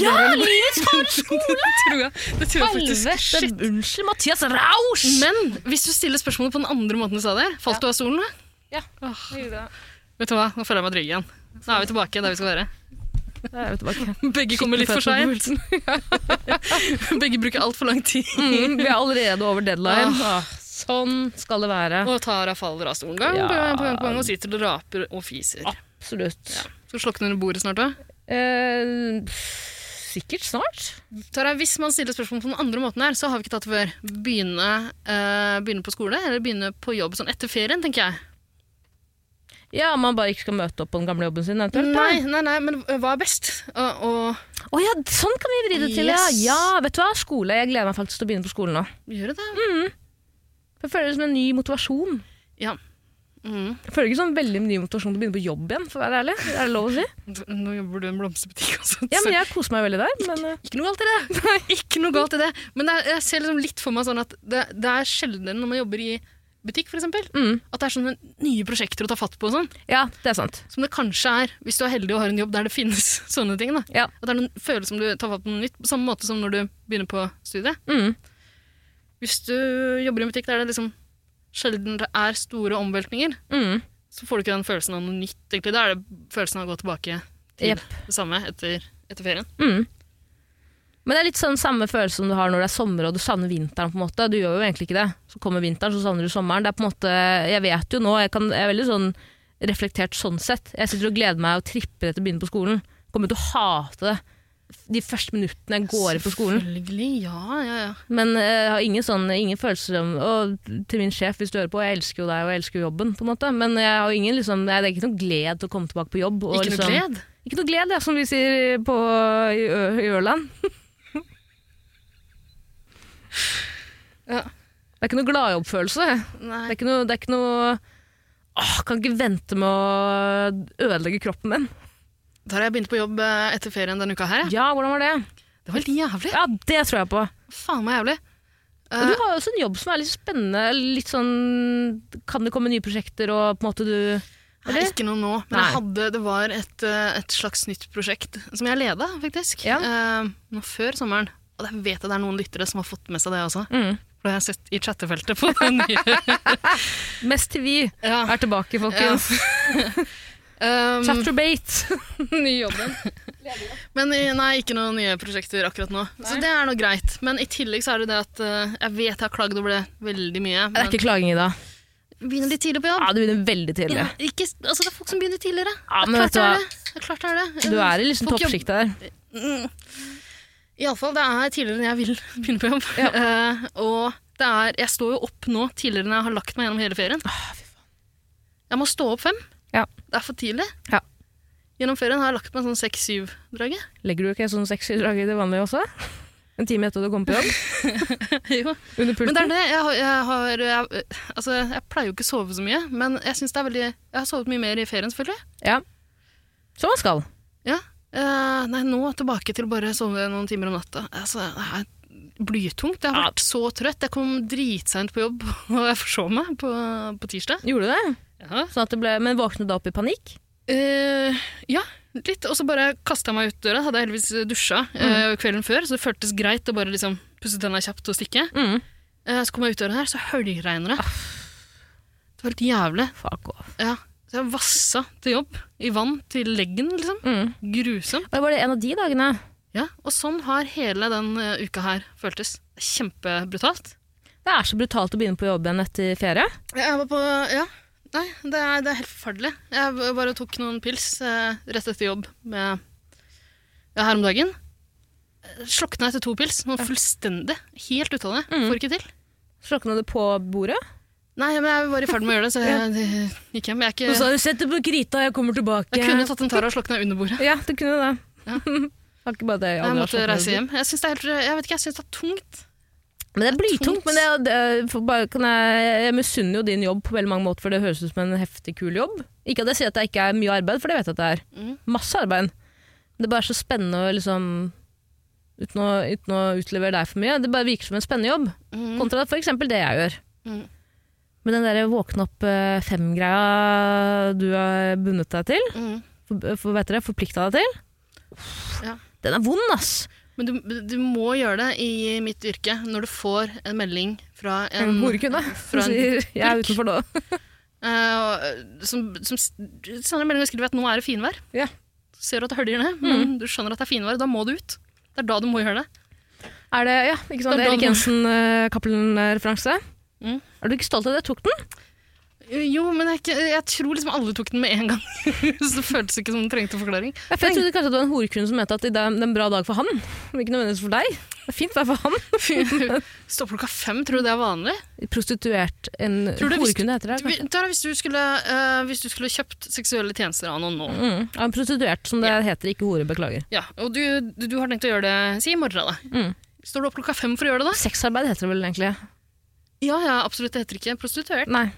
Speaker 2: Ja,
Speaker 3: livets harde skole! det tror jeg, det tror jeg faktisk.
Speaker 2: Helvete!
Speaker 3: Shit.
Speaker 2: Unnskyld, Mathias Rausch!
Speaker 3: Men hvis du stiller spørsmålet på den andre måten du sa det, falt du av stolen? da?
Speaker 2: Ja.
Speaker 3: Åh, vet du hva, nå føler jeg meg trygg igjen. Nå er vi tilbake der vi skal være.
Speaker 2: Da er vi tilbake.
Speaker 3: Begge kommer litt for seint. Begge bruker altfor lang tid.
Speaker 2: Mm, vi er allerede over deadline. Sånn skal det være.
Speaker 3: Og Tara faller av stolen gang
Speaker 2: Ja. Ah.
Speaker 3: på gang på gang på gang og sitter og raper og fiser.
Speaker 2: Absolutt.
Speaker 3: Skal du slokne under bordet snart, da?
Speaker 2: Eh, pff, sikkert snart.
Speaker 3: Tara, hvis man stiller spørsmål på den andre måten her, så har vi ikke tatt det før. Begynne, eh, begynne på skole, eller begynne på jobb sånn etter ferien, tenker jeg.
Speaker 2: Ja, om man bare ikke skal møte opp på den gamle jobben sin. eventuelt, da.
Speaker 3: Nei, nei, nei, men hva er best? Å, å
Speaker 2: Å ja, sånn kan vi vri det til,
Speaker 3: Yes.
Speaker 2: ja. ja. Vet du hva, skole. Jeg gleder meg faktisk til å begynne på skolen nå.
Speaker 3: gjøre det?
Speaker 2: Jeg føler det som en ny motivasjon.
Speaker 3: Ja. Mm.
Speaker 2: Jeg føler ikke sånn veldig ny motivasjon til å begynne på jobb igjen, for å være ærlig. Er det lov å si?
Speaker 3: Nå jobber du i en blomsterbutikk også.
Speaker 2: Ja, men jeg koser meg veldig der. Men eh,
Speaker 3: Ikke noe galt i det. ikke noe galt i det. Men det er, jeg ser liksom litt for meg sånn at det, det er sjeldnere når man jobber i butikk, for eksempel,
Speaker 2: Mm.
Speaker 3: at det er sånne nye prosjekter å ta fatt på og sånn,
Speaker 2: ja, det er sant.
Speaker 3: som det kanskje er hvis du er heldig og har en jobb der det finnes sånne ting. Da.
Speaker 2: Ja.
Speaker 3: At det er noen følelse som du tar fatt på noe nytt, på samme måte som når du begynner på studiet.
Speaker 2: Mm.
Speaker 3: Hvis du jobber i en butikk der det liksom sjelden det er store omveltninger,
Speaker 2: Mm.
Speaker 3: så får du ikke den følelsen av noe nytt, egentlig. Da er det følelsen av å gå tilbake til
Speaker 2: Jepp.
Speaker 3: det samme etter, etter ferien.
Speaker 2: Mm. Men det er litt sånn samme følelse som du har når det er sommer og du savner vinteren. på en måte. Du gjør jo egentlig ikke det. Så kommer vinteren, så savner du sommeren. Det er på en måte, Jeg vet jo nå, jeg, kan, jeg er veldig sånn reflektert sånn sett. Jeg sitter og gleder meg og tripper etter å begynne på skolen. Kommer til å hate det de første minuttene jeg går inn på skolen.
Speaker 3: Selvfølgelig, ja, ja, ja.
Speaker 2: Men eh, jeg har ingen, sånn, ingen følelser om Og til min sjef, hvis du hører på, jeg elsker jo deg og jeg elsker jo jobben, på en måte. Men jeg har ingen, liksom, jeg, det er ikke noe glede til å komme tilbake på jobb. Og,
Speaker 3: Ikke noe
Speaker 2: liksom,
Speaker 3: gled.
Speaker 2: Ikke noe glede, ja, som vi sier på, i, Ø i Ørland.
Speaker 3: Ja.
Speaker 2: Det er ikke noe gladjobbfølelse.
Speaker 3: Nei.
Speaker 2: Det er ikke noe, det er ikke noe Åh, kan ikke vente med å ødelegge kroppen min.
Speaker 3: Da har jeg begynt på jobb eh, etter ferien denne uka her. jeg.
Speaker 2: Ja, hvordan var det?
Speaker 3: Det var helt jævlig.
Speaker 2: Ja, det tror jeg på.
Speaker 3: Faen meg jævlig.
Speaker 2: Og du har jo også en jobb som er litt spennende. Litt sånn Kan det komme nye prosjekter, og på en måte du
Speaker 3: Eh,
Speaker 2: Eller?
Speaker 3: ikke noe nå, men jeg
Speaker 2: Nei.
Speaker 3: hadde, det var et, eh, et slags nytt prosjekt som jeg leda, faktisk.
Speaker 2: Ja.
Speaker 3: Eh, nå før sommeren. Og jeg vet at det er noen lyttere som har fått med seg det også.
Speaker 2: Mm.
Speaker 3: For det har jeg sett i chattefeltet på den nye.
Speaker 2: Mest til vi
Speaker 3: ja.
Speaker 2: er tilbake, folkens. Mm.
Speaker 3: Um,
Speaker 2: Chatterbate. Ny jobben.
Speaker 3: Men i- nei, ikke noen nye prosjekter akkurat nå. Så det er nå greit. Men i tillegg så er det det at eh, jeg vet jeg har klagd over det veldig
Speaker 2: Det
Speaker 3: mye.
Speaker 2: er
Speaker 3: Men
Speaker 2: ikke klaging i dag.
Speaker 3: begynner litt tidlig på jobb.
Speaker 2: Ja, du begynner veldig tidlig.
Speaker 3: Ja, ikke, altså, det er folk som begynner tidligere.
Speaker 2: Ja,
Speaker 3: Det er
Speaker 2: men
Speaker 3: klart
Speaker 2: vet du hva?
Speaker 3: det er det. Det er klart det er det.
Speaker 2: Du er i liksom
Speaker 3: Folk jobber-
Speaker 2: toppsjiktet der.
Speaker 3: Mm. Iallfall, det er tidligere enn jeg vil begynne på jobb. Eh, og det er, jeg står jo opp nå tidligere enn jeg har lagt meg gjennom hele ferien. Jeg må stå opp fem.
Speaker 2: Ah, Ja.
Speaker 3: Det er for tidlig.
Speaker 2: Ja.
Speaker 3: Gjennom ferien har jeg lagt meg sånn 6-7-draget.
Speaker 2: Legger du ikke sånn sexy drag i det vanlige også? En time etter du kommer på jobb?
Speaker 3: jo.
Speaker 2: Under
Speaker 3: Men
Speaker 2: pulten?
Speaker 3: det er det. Jeg, har, jeg, har, jeg, altså, jeg pleier jo ikke å sove så mye, men jeg synes det er veldig Jeg har sovet mye mer i ferien, selvfølgelig.
Speaker 2: Ja. Som man skal.
Speaker 3: Ja. Eh, nei, nå tilbake til bare å sove noen timer om natta. Altså, det er blytungt. Jeg har
Speaker 2: Ja.
Speaker 3: vært så trøtt. Jeg kom dritseint på jobb, og jeg forsov meg på, på tirsdag.
Speaker 2: Gjorde du det?
Speaker 3: Ja.
Speaker 2: Sånn at det ble, men våknet da opp i panikk?
Speaker 3: Eh, ja, litt. Og så bare kasta jeg meg ut døra. Hadde jeg heldigvis dusja eh, kvelden ffør, så det føltes greit å bare liksom pusse tenna kjapt og stikke.
Speaker 2: Mm.
Speaker 3: Eh, så kom jeg ut døra her, så høljregner det. Det var helt jævlig.
Speaker 2: Fuck off.
Speaker 3: Ja. Så jeg vassa til jobb. I vann til leggen, liksom.
Speaker 2: Mm.
Speaker 3: Grusomt.
Speaker 2: Og var det en av de dagene?
Speaker 3: Ja, Og sånn har hele den eh, uka her føltes. Kjempebrutalt.
Speaker 2: Det er så brutalt å begynne på jobb igjen etter ferie.
Speaker 3: Jeg var på Ja. Nei, det er, det er helt forferdelig. Jeg b- bare tok noen pils eh, rett etter jobb med, ja, her om dagen. Eh, Slokna etter to pils. Noe fullstendig. Helt ute av det.
Speaker 2: Mm.
Speaker 3: Får ikke til.
Speaker 2: Slokna det på bordet?
Speaker 3: Nei, men jeg var i ferd med å gjøre det, så jeg eh, gikk hjem. Jeg, er
Speaker 2: Og så
Speaker 3: ikke,
Speaker 2: har du sett det på krita, jeg kommer tilbake.
Speaker 3: jeg kunne tatt en tara og slokna under bordet.
Speaker 2: Ja, du kunne det.
Speaker 3: Ja.
Speaker 2: Har ikke bare det.
Speaker 3: Jeg måtte reise hjem. Jeg syns det er helt Jeg vet ikke, jeg syns det er tungt.
Speaker 2: Men det er blytungt.
Speaker 3: Tungt.
Speaker 2: Men det, det, for bare, kan jeg, jeg misunner jo din jobb på veldig mange måter, for det høres ut som en heftig kul jobb. Ikke at jeg sier at det ikke er mye arbeid, for det vet jeg at det er.
Speaker 3: Mm.
Speaker 2: Masse arbeid. Men det er bare så spennende å liksom Uten å, uten å utlevere deg for mye. Det bare virker som en spennende jobb.
Speaker 3: Mm.
Speaker 2: Kontra for eksempel det jeg gjør.
Speaker 3: Mm.
Speaker 2: Men den der våkne opp eh, fem-greia du har bundet deg til,
Speaker 3: Mm.
Speaker 2: for, for, vet dere, forplikta deg til,
Speaker 3: Ja.
Speaker 2: den er vond, ass!
Speaker 3: Men du, du må gjøre det i mitt yrke når du får en melding fra en,
Speaker 2: En horkunde
Speaker 3: fra
Speaker 2: som
Speaker 3: en
Speaker 2: sier 'jeg er
Speaker 3: purk.
Speaker 2: utenfor nå'.
Speaker 3: Eh, og, som, som s- sender en melding og skriver at nå er det finvær.
Speaker 2: Ja.
Speaker 3: Ser du at det høljer ned, men du skjønner at det er finvær, da må du ut. Det er da du må gjøre det.
Speaker 2: Er det ja, ikke sant?
Speaker 3: Det er
Speaker 2: Erik
Speaker 3: da-
Speaker 2: Jensen-Cappelen-referanse?
Speaker 3: Mm.
Speaker 2: Er du ikke stolt av det? Tok den?
Speaker 3: Eh, Jo, men jeg, er ikke- jeg tror liksom alle tok den med en gang. så det føltes ikke som den trengte forklaring.
Speaker 2: Jeg, jeg trodde kanskje det var en horekunde som mente at det er en bra dag for han, men ikke nødvendigvis for deg. Det er fint vær for han.
Speaker 3: Stå opp klokka fem, tror du det er vanlig?
Speaker 2: Prostituert en
Speaker 3: Tror du det visste-
Speaker 2: Horekunde heter det.
Speaker 3: Vi-
Speaker 2: kanskje.
Speaker 3: Tara, hvis, du skulle, eh, hvis du skulle kjøpt seksuelle tjenester av noen nå,
Speaker 2: Mm. Ja, en prostituert, som det heter. Ikke hore, beklager.
Speaker 3: ja, og du, du, du har tenkt å gjøre det si i morgen, da.
Speaker 2: Mm.
Speaker 3: Står du opp klokka fem for å gjøre det, da?
Speaker 2: Sexarbeid heter det vel egentlig.
Speaker 3: Ja, ja, absolutt. Det heter ikke prostituert.
Speaker 2: Nei.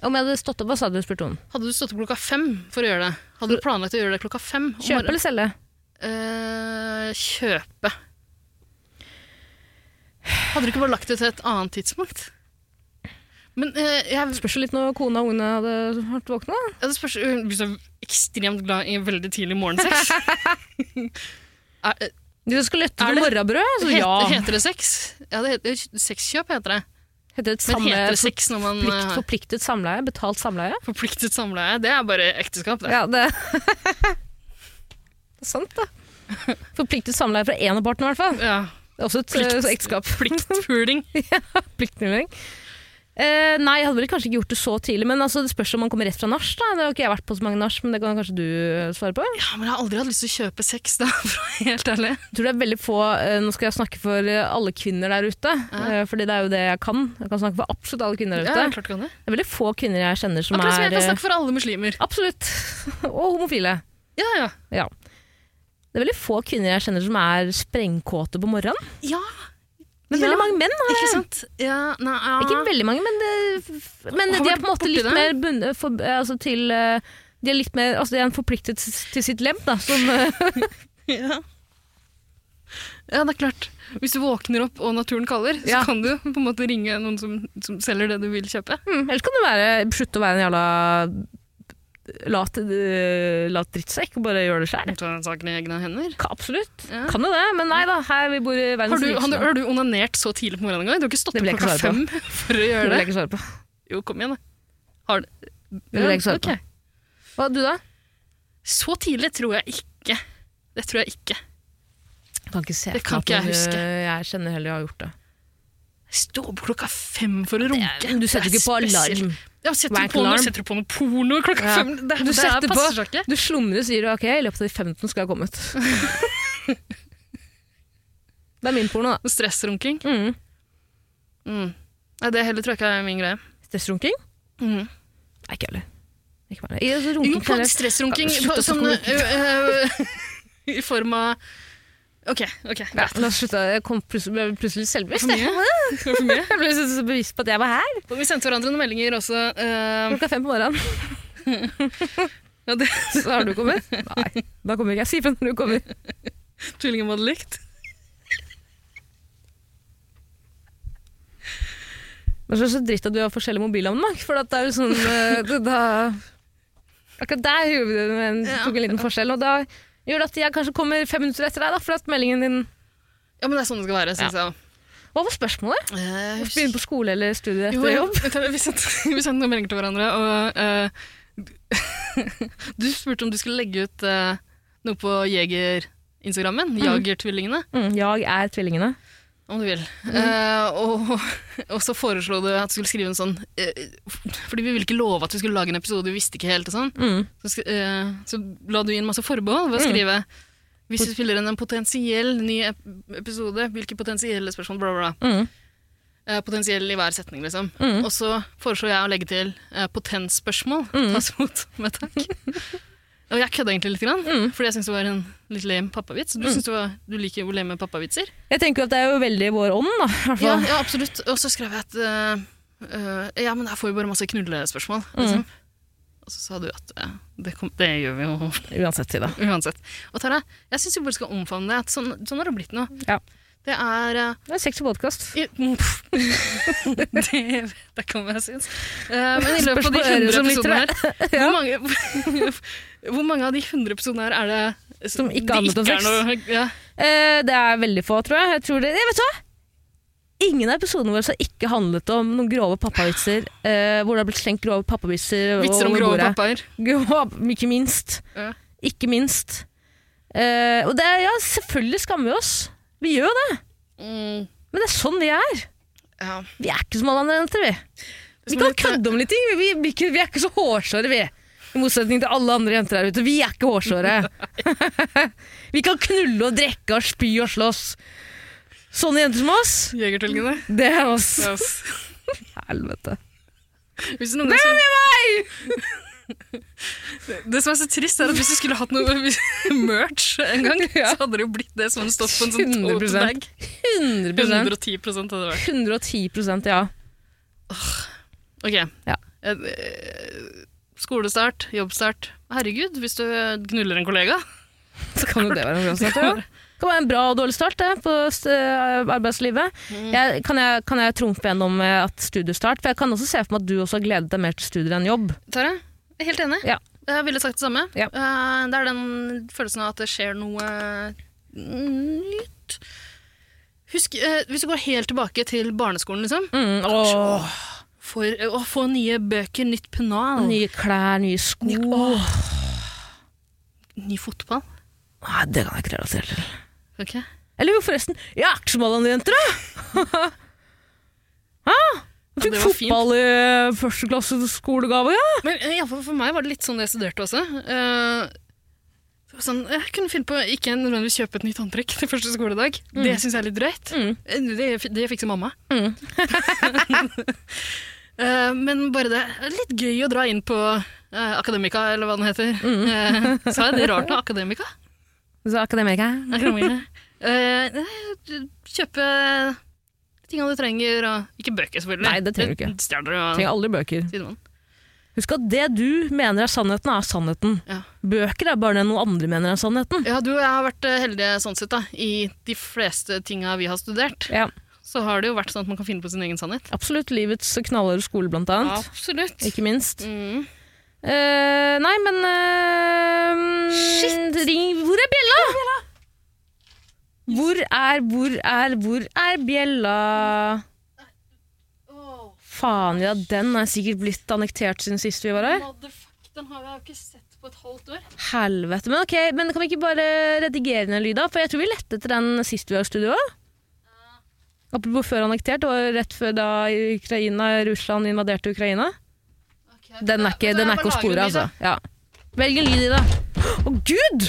Speaker 2: Om jeg hadde stått opp, hva sa du, spurte hun.
Speaker 3: Hadde du stått opp klokka fem for å gjøre det? Hadde du planlagt å gjøre det klokka fem? om
Speaker 2: Kjøpe
Speaker 3: morgenen?
Speaker 2: eller selge?
Speaker 3: Eh, kjøpe. Hadde du ikke bare lagt det til et annet tidspunkt? Men eh, jeg,
Speaker 2: Spørs jo litt når kona og ungene hadde vært våkne. da.
Speaker 3: jeg spørs, hun blir så ekstremt glad i veldig tidlig morgensex. er, eh,
Speaker 2: De skulle lette
Speaker 3: Er
Speaker 2: etter
Speaker 3: det-
Speaker 2: morrabrød. Så Altså,
Speaker 3: het,
Speaker 2: ja.
Speaker 3: Heter det sex? Ja, det heter, sexkjøp heter det.
Speaker 2: Heter det et
Speaker 3: Men
Speaker 2: samleie? Altså,
Speaker 3: heter det sex når man
Speaker 2: Forplikt,
Speaker 3: eh, har
Speaker 2: forpliktet samleie? Betalt samleie?
Speaker 3: forpliktet samleie? Det er bare ekteskap, det.
Speaker 2: Ja, det Det er sant, da. Forpliktet samleie fra én av partene, i hvert fall.
Speaker 3: Ja.
Speaker 2: Det er også et
Speaker 3: Plikt-
Speaker 2: eh, ekteskap.
Speaker 3: Pliktpuling.
Speaker 2: Pliktnulling. Eh, nei, jeg hadde vel kanskje ikke gjort det så tidlig, men altså, det spørs om man kommer rett fra nach. da. Det har ikke jeg vært på så mange nach, men det kan kanskje du eh, svare på?
Speaker 3: Ja, men jeg har aldri hatt lyst til å kjøpe sex, da, for å være helt ærlig.
Speaker 2: Jeg tror det er veldig få eh, Nå skal jeg snakke for eh, alle kvinner der ute, eh, fordi det er jo det jeg kan. Jeg kan snakke for absolutt alle kvinner der
Speaker 3: Ja,
Speaker 2: ute.
Speaker 3: klart du kan det.
Speaker 2: Det er veldig få kvinner jeg kjenner som
Speaker 3: Akkurat som jeg
Speaker 2: er
Speaker 3: kan
Speaker 2: eh,
Speaker 3: snakke for alle muslimer.
Speaker 2: Absolutt. Og homofile.
Speaker 3: Ja, ja.
Speaker 2: Det er veldig få kvinner jeg kjenner som er sprengkåte på morgenen.
Speaker 3: Ja,
Speaker 2: Men
Speaker 3: Ja.
Speaker 2: veldig mange menn har jeg
Speaker 3: ikke sant? Ja, nei, ja.
Speaker 2: Ikke veldig mange, men, det, men
Speaker 3: Ah.
Speaker 2: de
Speaker 3: Har
Speaker 2: er
Speaker 3: vært
Speaker 2: på en måte
Speaker 3: borti
Speaker 2: litt
Speaker 3: det?
Speaker 2: mer bundet for, eh, altså til eh, de er litt mer, altså de er forpliktet s- til sitt lem, da, som eh,
Speaker 3: Ja. ja, det er klart. Hvis du våkner opp og naturen kaller,
Speaker 2: Ja.
Speaker 3: så kan du på en måte ringe noen som, som selger det du vil kjøpe.
Speaker 2: mm, Ellers kan du være, slutte å være en jævla lat, eh, lat drittsekk og bare gjøre det sjæl.
Speaker 3: Ta saken i egne hender.
Speaker 2: Absolutt.
Speaker 3: Ja.
Speaker 2: Kan jo det, men nei da. Her vi bor i
Speaker 3: Har
Speaker 2: verdens
Speaker 3: du, har, du,
Speaker 2: rikeste land.
Speaker 3: har du onanert så tidlig på morgenen en gang? Du har ikke stått
Speaker 2: Det
Speaker 3: opp
Speaker 2: vil jeg ikke
Speaker 3: klokka
Speaker 2: svare
Speaker 3: fem for å
Speaker 2: Det
Speaker 3: gjøre
Speaker 2: vil
Speaker 3: det?
Speaker 2: jeg ikke svare på.
Speaker 3: Jo, kom igjen, da. Har du
Speaker 2: Det vil jeg ikke svare på.
Speaker 3: ok.
Speaker 2: Hva, du da?
Speaker 3: Så tidlig tror jeg ikke. Det tror jeg ikke.
Speaker 2: Kan ikke se
Speaker 3: Det kan ikke jeg huske.
Speaker 2: Jeg kjenner heller jeg har gjort det.
Speaker 3: Stå opp klokka fem for å runke.
Speaker 2: Du setter
Speaker 3: Det er
Speaker 2: ikke på
Speaker 3: spesielt.
Speaker 2: alarm.
Speaker 3: Ja, setter
Speaker 2: Wank
Speaker 3: du på, noe,
Speaker 2: alarm.
Speaker 3: setter du på noe porno klokka
Speaker 2: Ja.
Speaker 3: fem? Det,
Speaker 2: Du
Speaker 3: det
Speaker 2: setter
Speaker 3: er-
Speaker 2: på-
Speaker 3: passer seg ikke.
Speaker 2: Du slumrer og sier ok, i løpet av de 15 skal jeg ha kommet. det er min porno, da.
Speaker 3: Noe Stressrunking.
Speaker 2: Mm.
Speaker 3: Mm. Nei, det heller tror jeg ikke er min greie.
Speaker 2: Stressrunking?
Speaker 3: Mm.
Speaker 2: Nei, ikke heller. Ikke bare det. I- altså, runking
Speaker 3: Jo, på
Speaker 2: generelt.
Speaker 3: stressrunking
Speaker 2: Ja,
Speaker 3: på,
Speaker 2: slutt å
Speaker 3: sånn,
Speaker 2: snakke
Speaker 3: ø- ø- I form av Ok, ok.
Speaker 2: Ja, la oss slutte. Jeg kom plutselig, ble plutselig litt selvbevisst.
Speaker 3: For
Speaker 2: jeg. Jeg ble så så bevisst på at jeg var her
Speaker 3: Og vi sendte hverandre noen meldinger også. ø,
Speaker 2: klokka fem på morgenen.
Speaker 3: ja, det
Speaker 2: Så har du kommet? Nei, da kommer ikke jeg. Si ifra når du kommer.
Speaker 3: Tvillingen hadde likt.
Speaker 2: Det er så- så dritt at du har forskjellige mobilnavn, da. For at det er jo sånn eh, det- da, Akkurat der gjorde vi det med en,
Speaker 3: Ja.
Speaker 2: tok en liten forskjell. Og da gjør det at jeg kanskje kommer fem minutter etter deg, da, for at meldingen din
Speaker 3: Ja, men det er sånn det skal være, syns jeg.
Speaker 2: Hva var spørsmålet?
Speaker 3: Eh,
Speaker 2: Begynne på skole eller studie etter
Speaker 3: jo, jo,
Speaker 2: jobb?
Speaker 3: vet du, vi, sendte, vi sendte noen meldinger til hverandre, og eh, du spurte om du skulle legge ut eh, noe på Jeger-instagrammen. Jagertvillingene,
Speaker 2: Mm, jeg er tvillingene.
Speaker 3: om du vil.
Speaker 2: Mm.
Speaker 3: Eh, og, og så foreslo du at du skulle skrive en sånn eh, Fordi vi ville ikke love at vi skulle lage en episode, vi visste ikke helt og sånn.
Speaker 2: Mm.
Speaker 3: Så, sk- eh, så la du inn masse forbehold ved å
Speaker 2: Mm.
Speaker 3: skrive Hvis du spiller inn en potensiell ny ep episode, hvilke potensielle spørsmål, bla, bla, bla.
Speaker 2: Mm.
Speaker 3: Eh, potensiell i hver setning, liksom.
Speaker 2: Mm.
Speaker 3: Og så foreslår jeg å legge til eh, potensspørsmål.
Speaker 2: Mm.
Speaker 3: Tas imot med takk. Og jeg kødda egentlig litt, grann,
Speaker 2: Mm.
Speaker 3: fordi jeg syntes det var en litt lame pappavits. Du, synes det var, du liker jo lame pappavitser.
Speaker 2: Jeg tenker jo at det er jo veldig vår ånd, da. i hvert
Speaker 3: Ja,
Speaker 2: fall.
Speaker 3: ja, absolutt. Og så skrev jeg at eh, eh, Ja, men her får vi bare masse knullespørsmål.
Speaker 2: Mm.
Speaker 3: Liksom. Og så sa du at eh, det, kom, det gjør vi jo
Speaker 2: Uansett, Ida.
Speaker 3: uansett. Og Tara, jeg syns vi bare skal omfavne det. At sånn, sånn har det blitt nå.
Speaker 2: Ja.
Speaker 3: Det er eh,
Speaker 2: Det er sexy podkast.
Speaker 3: I, mm, Pff. det vet jeg ikke om jeg syns. Eh, men i løpet av de
Speaker 2: Spørs på øret
Speaker 3: 100
Speaker 2: som
Speaker 3: episodene
Speaker 2: lytter,
Speaker 3: her, hvor mange, hvor mange av de 100 episodene her er det
Speaker 2: Som ikke
Speaker 3: det
Speaker 2: handlet om
Speaker 3: ikke
Speaker 2: sex?
Speaker 3: er noe- ja.
Speaker 2: Eh, det er veldig få, tror jeg. jeg tror det, Nei, vet du hva? Ingen av episodene våre har ikke handlet om noen grove pappavitser. eh, hvor det har blitt slengt grove pappavitser
Speaker 3: Vitser om
Speaker 2: over
Speaker 3: grove
Speaker 2: bordet.
Speaker 3: pappaer.
Speaker 2: Grov, ikke minst.
Speaker 3: Ja.
Speaker 2: Ikke minst. Eh, og det er, ja, selvfølgelig skammer vi oss. Vi gjør jo det.
Speaker 3: Mm,
Speaker 2: Men det er sånn vi er.
Speaker 3: ja.
Speaker 2: Vi er ikke som alle andre jenter, vi. Vi kan kødde om litt ting. Vi, vi, vi er ikke så hårsåre, vi. I motsetning til alle andre jenter der ute. Vi er ikke hårsåre. vi kan knulle og drikke og spy og slåss. Sånne jenter som oss,
Speaker 3: Jegertvillingene.
Speaker 2: det er oss.
Speaker 3: Yes.
Speaker 2: Helvete.
Speaker 3: Hvis noen som, det, det som er så trist, er at hvis du skulle hatt noe merch en gang, så hadde det jo blitt det som hadde stått på en sånn
Speaker 2: 100%.
Speaker 3: tote-bag.
Speaker 2: 100
Speaker 3: 110 hadde det vært.
Speaker 2: 110 ja.
Speaker 3: Ok.
Speaker 2: Ja.
Speaker 3: Eh, eh, Skolestart, jobbstart. Herregud, hvis du knuller en kollega.
Speaker 2: Så kan jo det være en bra start. Ja. Det kan være en bra og dårlig start det, på st- eh, arbeidslivet. Jeg, kan, jeg, kan jeg trumfe gjennom eh, at studiestart? For jeg kan også se for meg at du også har gledet deg mer til studier enn jobb.
Speaker 3: Tara, jeg er helt enig.
Speaker 2: Ja.
Speaker 3: Jeg ville sagt det samme.
Speaker 2: Ja.
Speaker 3: Eh, Det er den følelsen av at det skjer noe nytt. Husk, eh, hvis du går helt tilbake til barneskolen, liksom.
Speaker 2: Mm,
Speaker 3: Åh, for, eh, å få nye bøker, nytt pennal, ny,
Speaker 2: Nye klær, nye sko
Speaker 3: fotball.
Speaker 2: Nei, det kan jeg ikke relatere til.
Speaker 3: Ok.
Speaker 2: Eller jo, forresten, jeg er ikke som alle andre jenter, da! Hæ? Jeg
Speaker 3: Ja,
Speaker 2: fikk
Speaker 3: det var fint.
Speaker 2: fotball i første klasse skolegave, ja.
Speaker 3: Men eh, i alle fall for meg var det litt sånn jeg studerte også. Eh, det var sånn, jeg kunne finne på å ikke nødvendigvis kjøpe et nytt håndtrekk til første skoledag. Det syns jeg er litt drøyt.
Speaker 2: Mm.
Speaker 3: Eh, Det, det fikser mamma.
Speaker 2: Mm.
Speaker 3: Eh, men bare det er litt gøy å dra inn på eh, Akademika, eller hva den heter.
Speaker 2: Mm.
Speaker 3: Eh, sa jeg det rart nå? Akademika?
Speaker 2: Så akademika.
Speaker 3: Akademia. Eh, kjøpe tingene du trenger, og ikke bøker, selvfølgelig.
Speaker 2: Nei, det trenger du ikke.
Speaker 3: Stjeler du av
Speaker 2: Trenger aldri bøker.
Speaker 3: sidemann.
Speaker 2: Husk at det du mener er sannheten, er sannheten.
Speaker 3: Ja.
Speaker 2: Bøker er bare det noen andre mener er sannheten.
Speaker 3: Ja, du og jeg har vært eh, heldige sånn sett, da. I de fleste tinga vi har studert,
Speaker 2: Ja,
Speaker 3: så har det jo vært sånn at man kan finne på sin egen sannhet.
Speaker 2: Absolutt. Livets knallharde skole, blant annet.
Speaker 3: Absolutt.
Speaker 2: Ikke minst.
Speaker 3: Mm.
Speaker 2: Eh, nei, men eh,
Speaker 3: Shit!
Speaker 2: Ring Hvor er bjella? Hvor er, hvor er, hvor er bjella? Faen, ja, den er sikkert blitt annektert siden sist vi var her.
Speaker 3: Motherfuck, den har jeg jo ikke sett på et halvt år.
Speaker 2: Helvete. Men ok, men kan vi ikke bare redigere ned lyda? For jeg tror vi lette etter den sist vi var i studio òg. Apropos før annektert, det var jo rett før da Ukraina, Russland invaderte Ukraina. Den er ikke, den er ikke å spore, altså. Ja. Velg en lyd i det. Å, gud!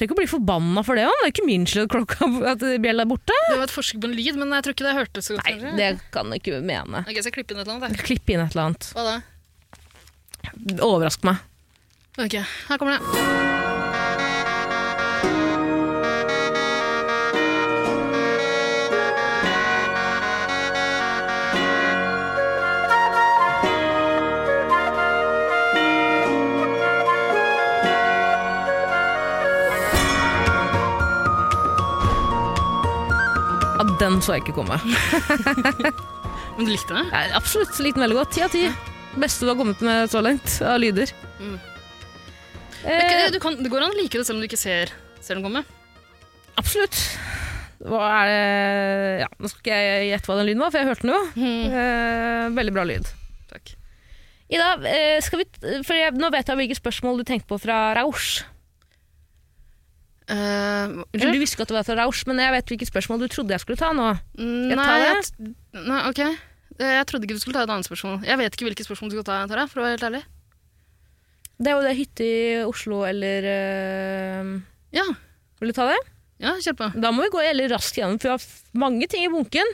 Speaker 2: Tenk å bli forbanna for det òg. Det er ikke min skyld at klokka at bjella er borte.
Speaker 3: Det var et forsøk på en lyd, men jeg tror ikke det hørtes så godt.
Speaker 2: Nei, det kan du ikke mene.
Speaker 3: Ok, så jeg klipper inn et eller annet.
Speaker 2: Klipp inn et eller annet.
Speaker 3: da. Hva da?
Speaker 2: Overrask meg.
Speaker 3: Ok, her kommer det.
Speaker 2: Ja, den så jeg ikke komme.
Speaker 3: Men du likte det?
Speaker 2: Jeg er absolutt likte den veldig godt. Ti av ti. Beste du har kommet med så langt av lyder.
Speaker 3: Mm.
Speaker 2: Eh,
Speaker 3: Du kan, det går an å like det selv om du ikke ser, ser den komme.
Speaker 2: absolutt. Hva er det Ja, nå skal ikke jeg gjette hva den lyden var, for jeg hørte den jo. Eh, veldig bra lyd.
Speaker 3: Takk.
Speaker 2: Ida, eh, skal vi, t- for jeg, nå vet jeg hvilke spørsmål du tenkte på fra Rausch.
Speaker 3: Eh,
Speaker 2: Eller
Speaker 3: Unnskyld?
Speaker 2: du visste ikke at det var fra Rausch, men jeg vet hvilke spørsmål du trodde jeg skulle ta nå. jeg ta
Speaker 3: Nei, jeg t- nei, ok. Eh, Jeg trodde ikke du skulle ta et annet spørsmål. Jeg vet ikke hvilke spørsmål du skal ta, Tara, for å være helt ærlig.
Speaker 2: Det er jo det hytte i Oslo eller eh,
Speaker 3: Ja,
Speaker 2: Vil du ta det?
Speaker 3: ja kjør på.
Speaker 2: Da må vi gå veldig raskt gjennom, for vi har f- mange ting i bunken.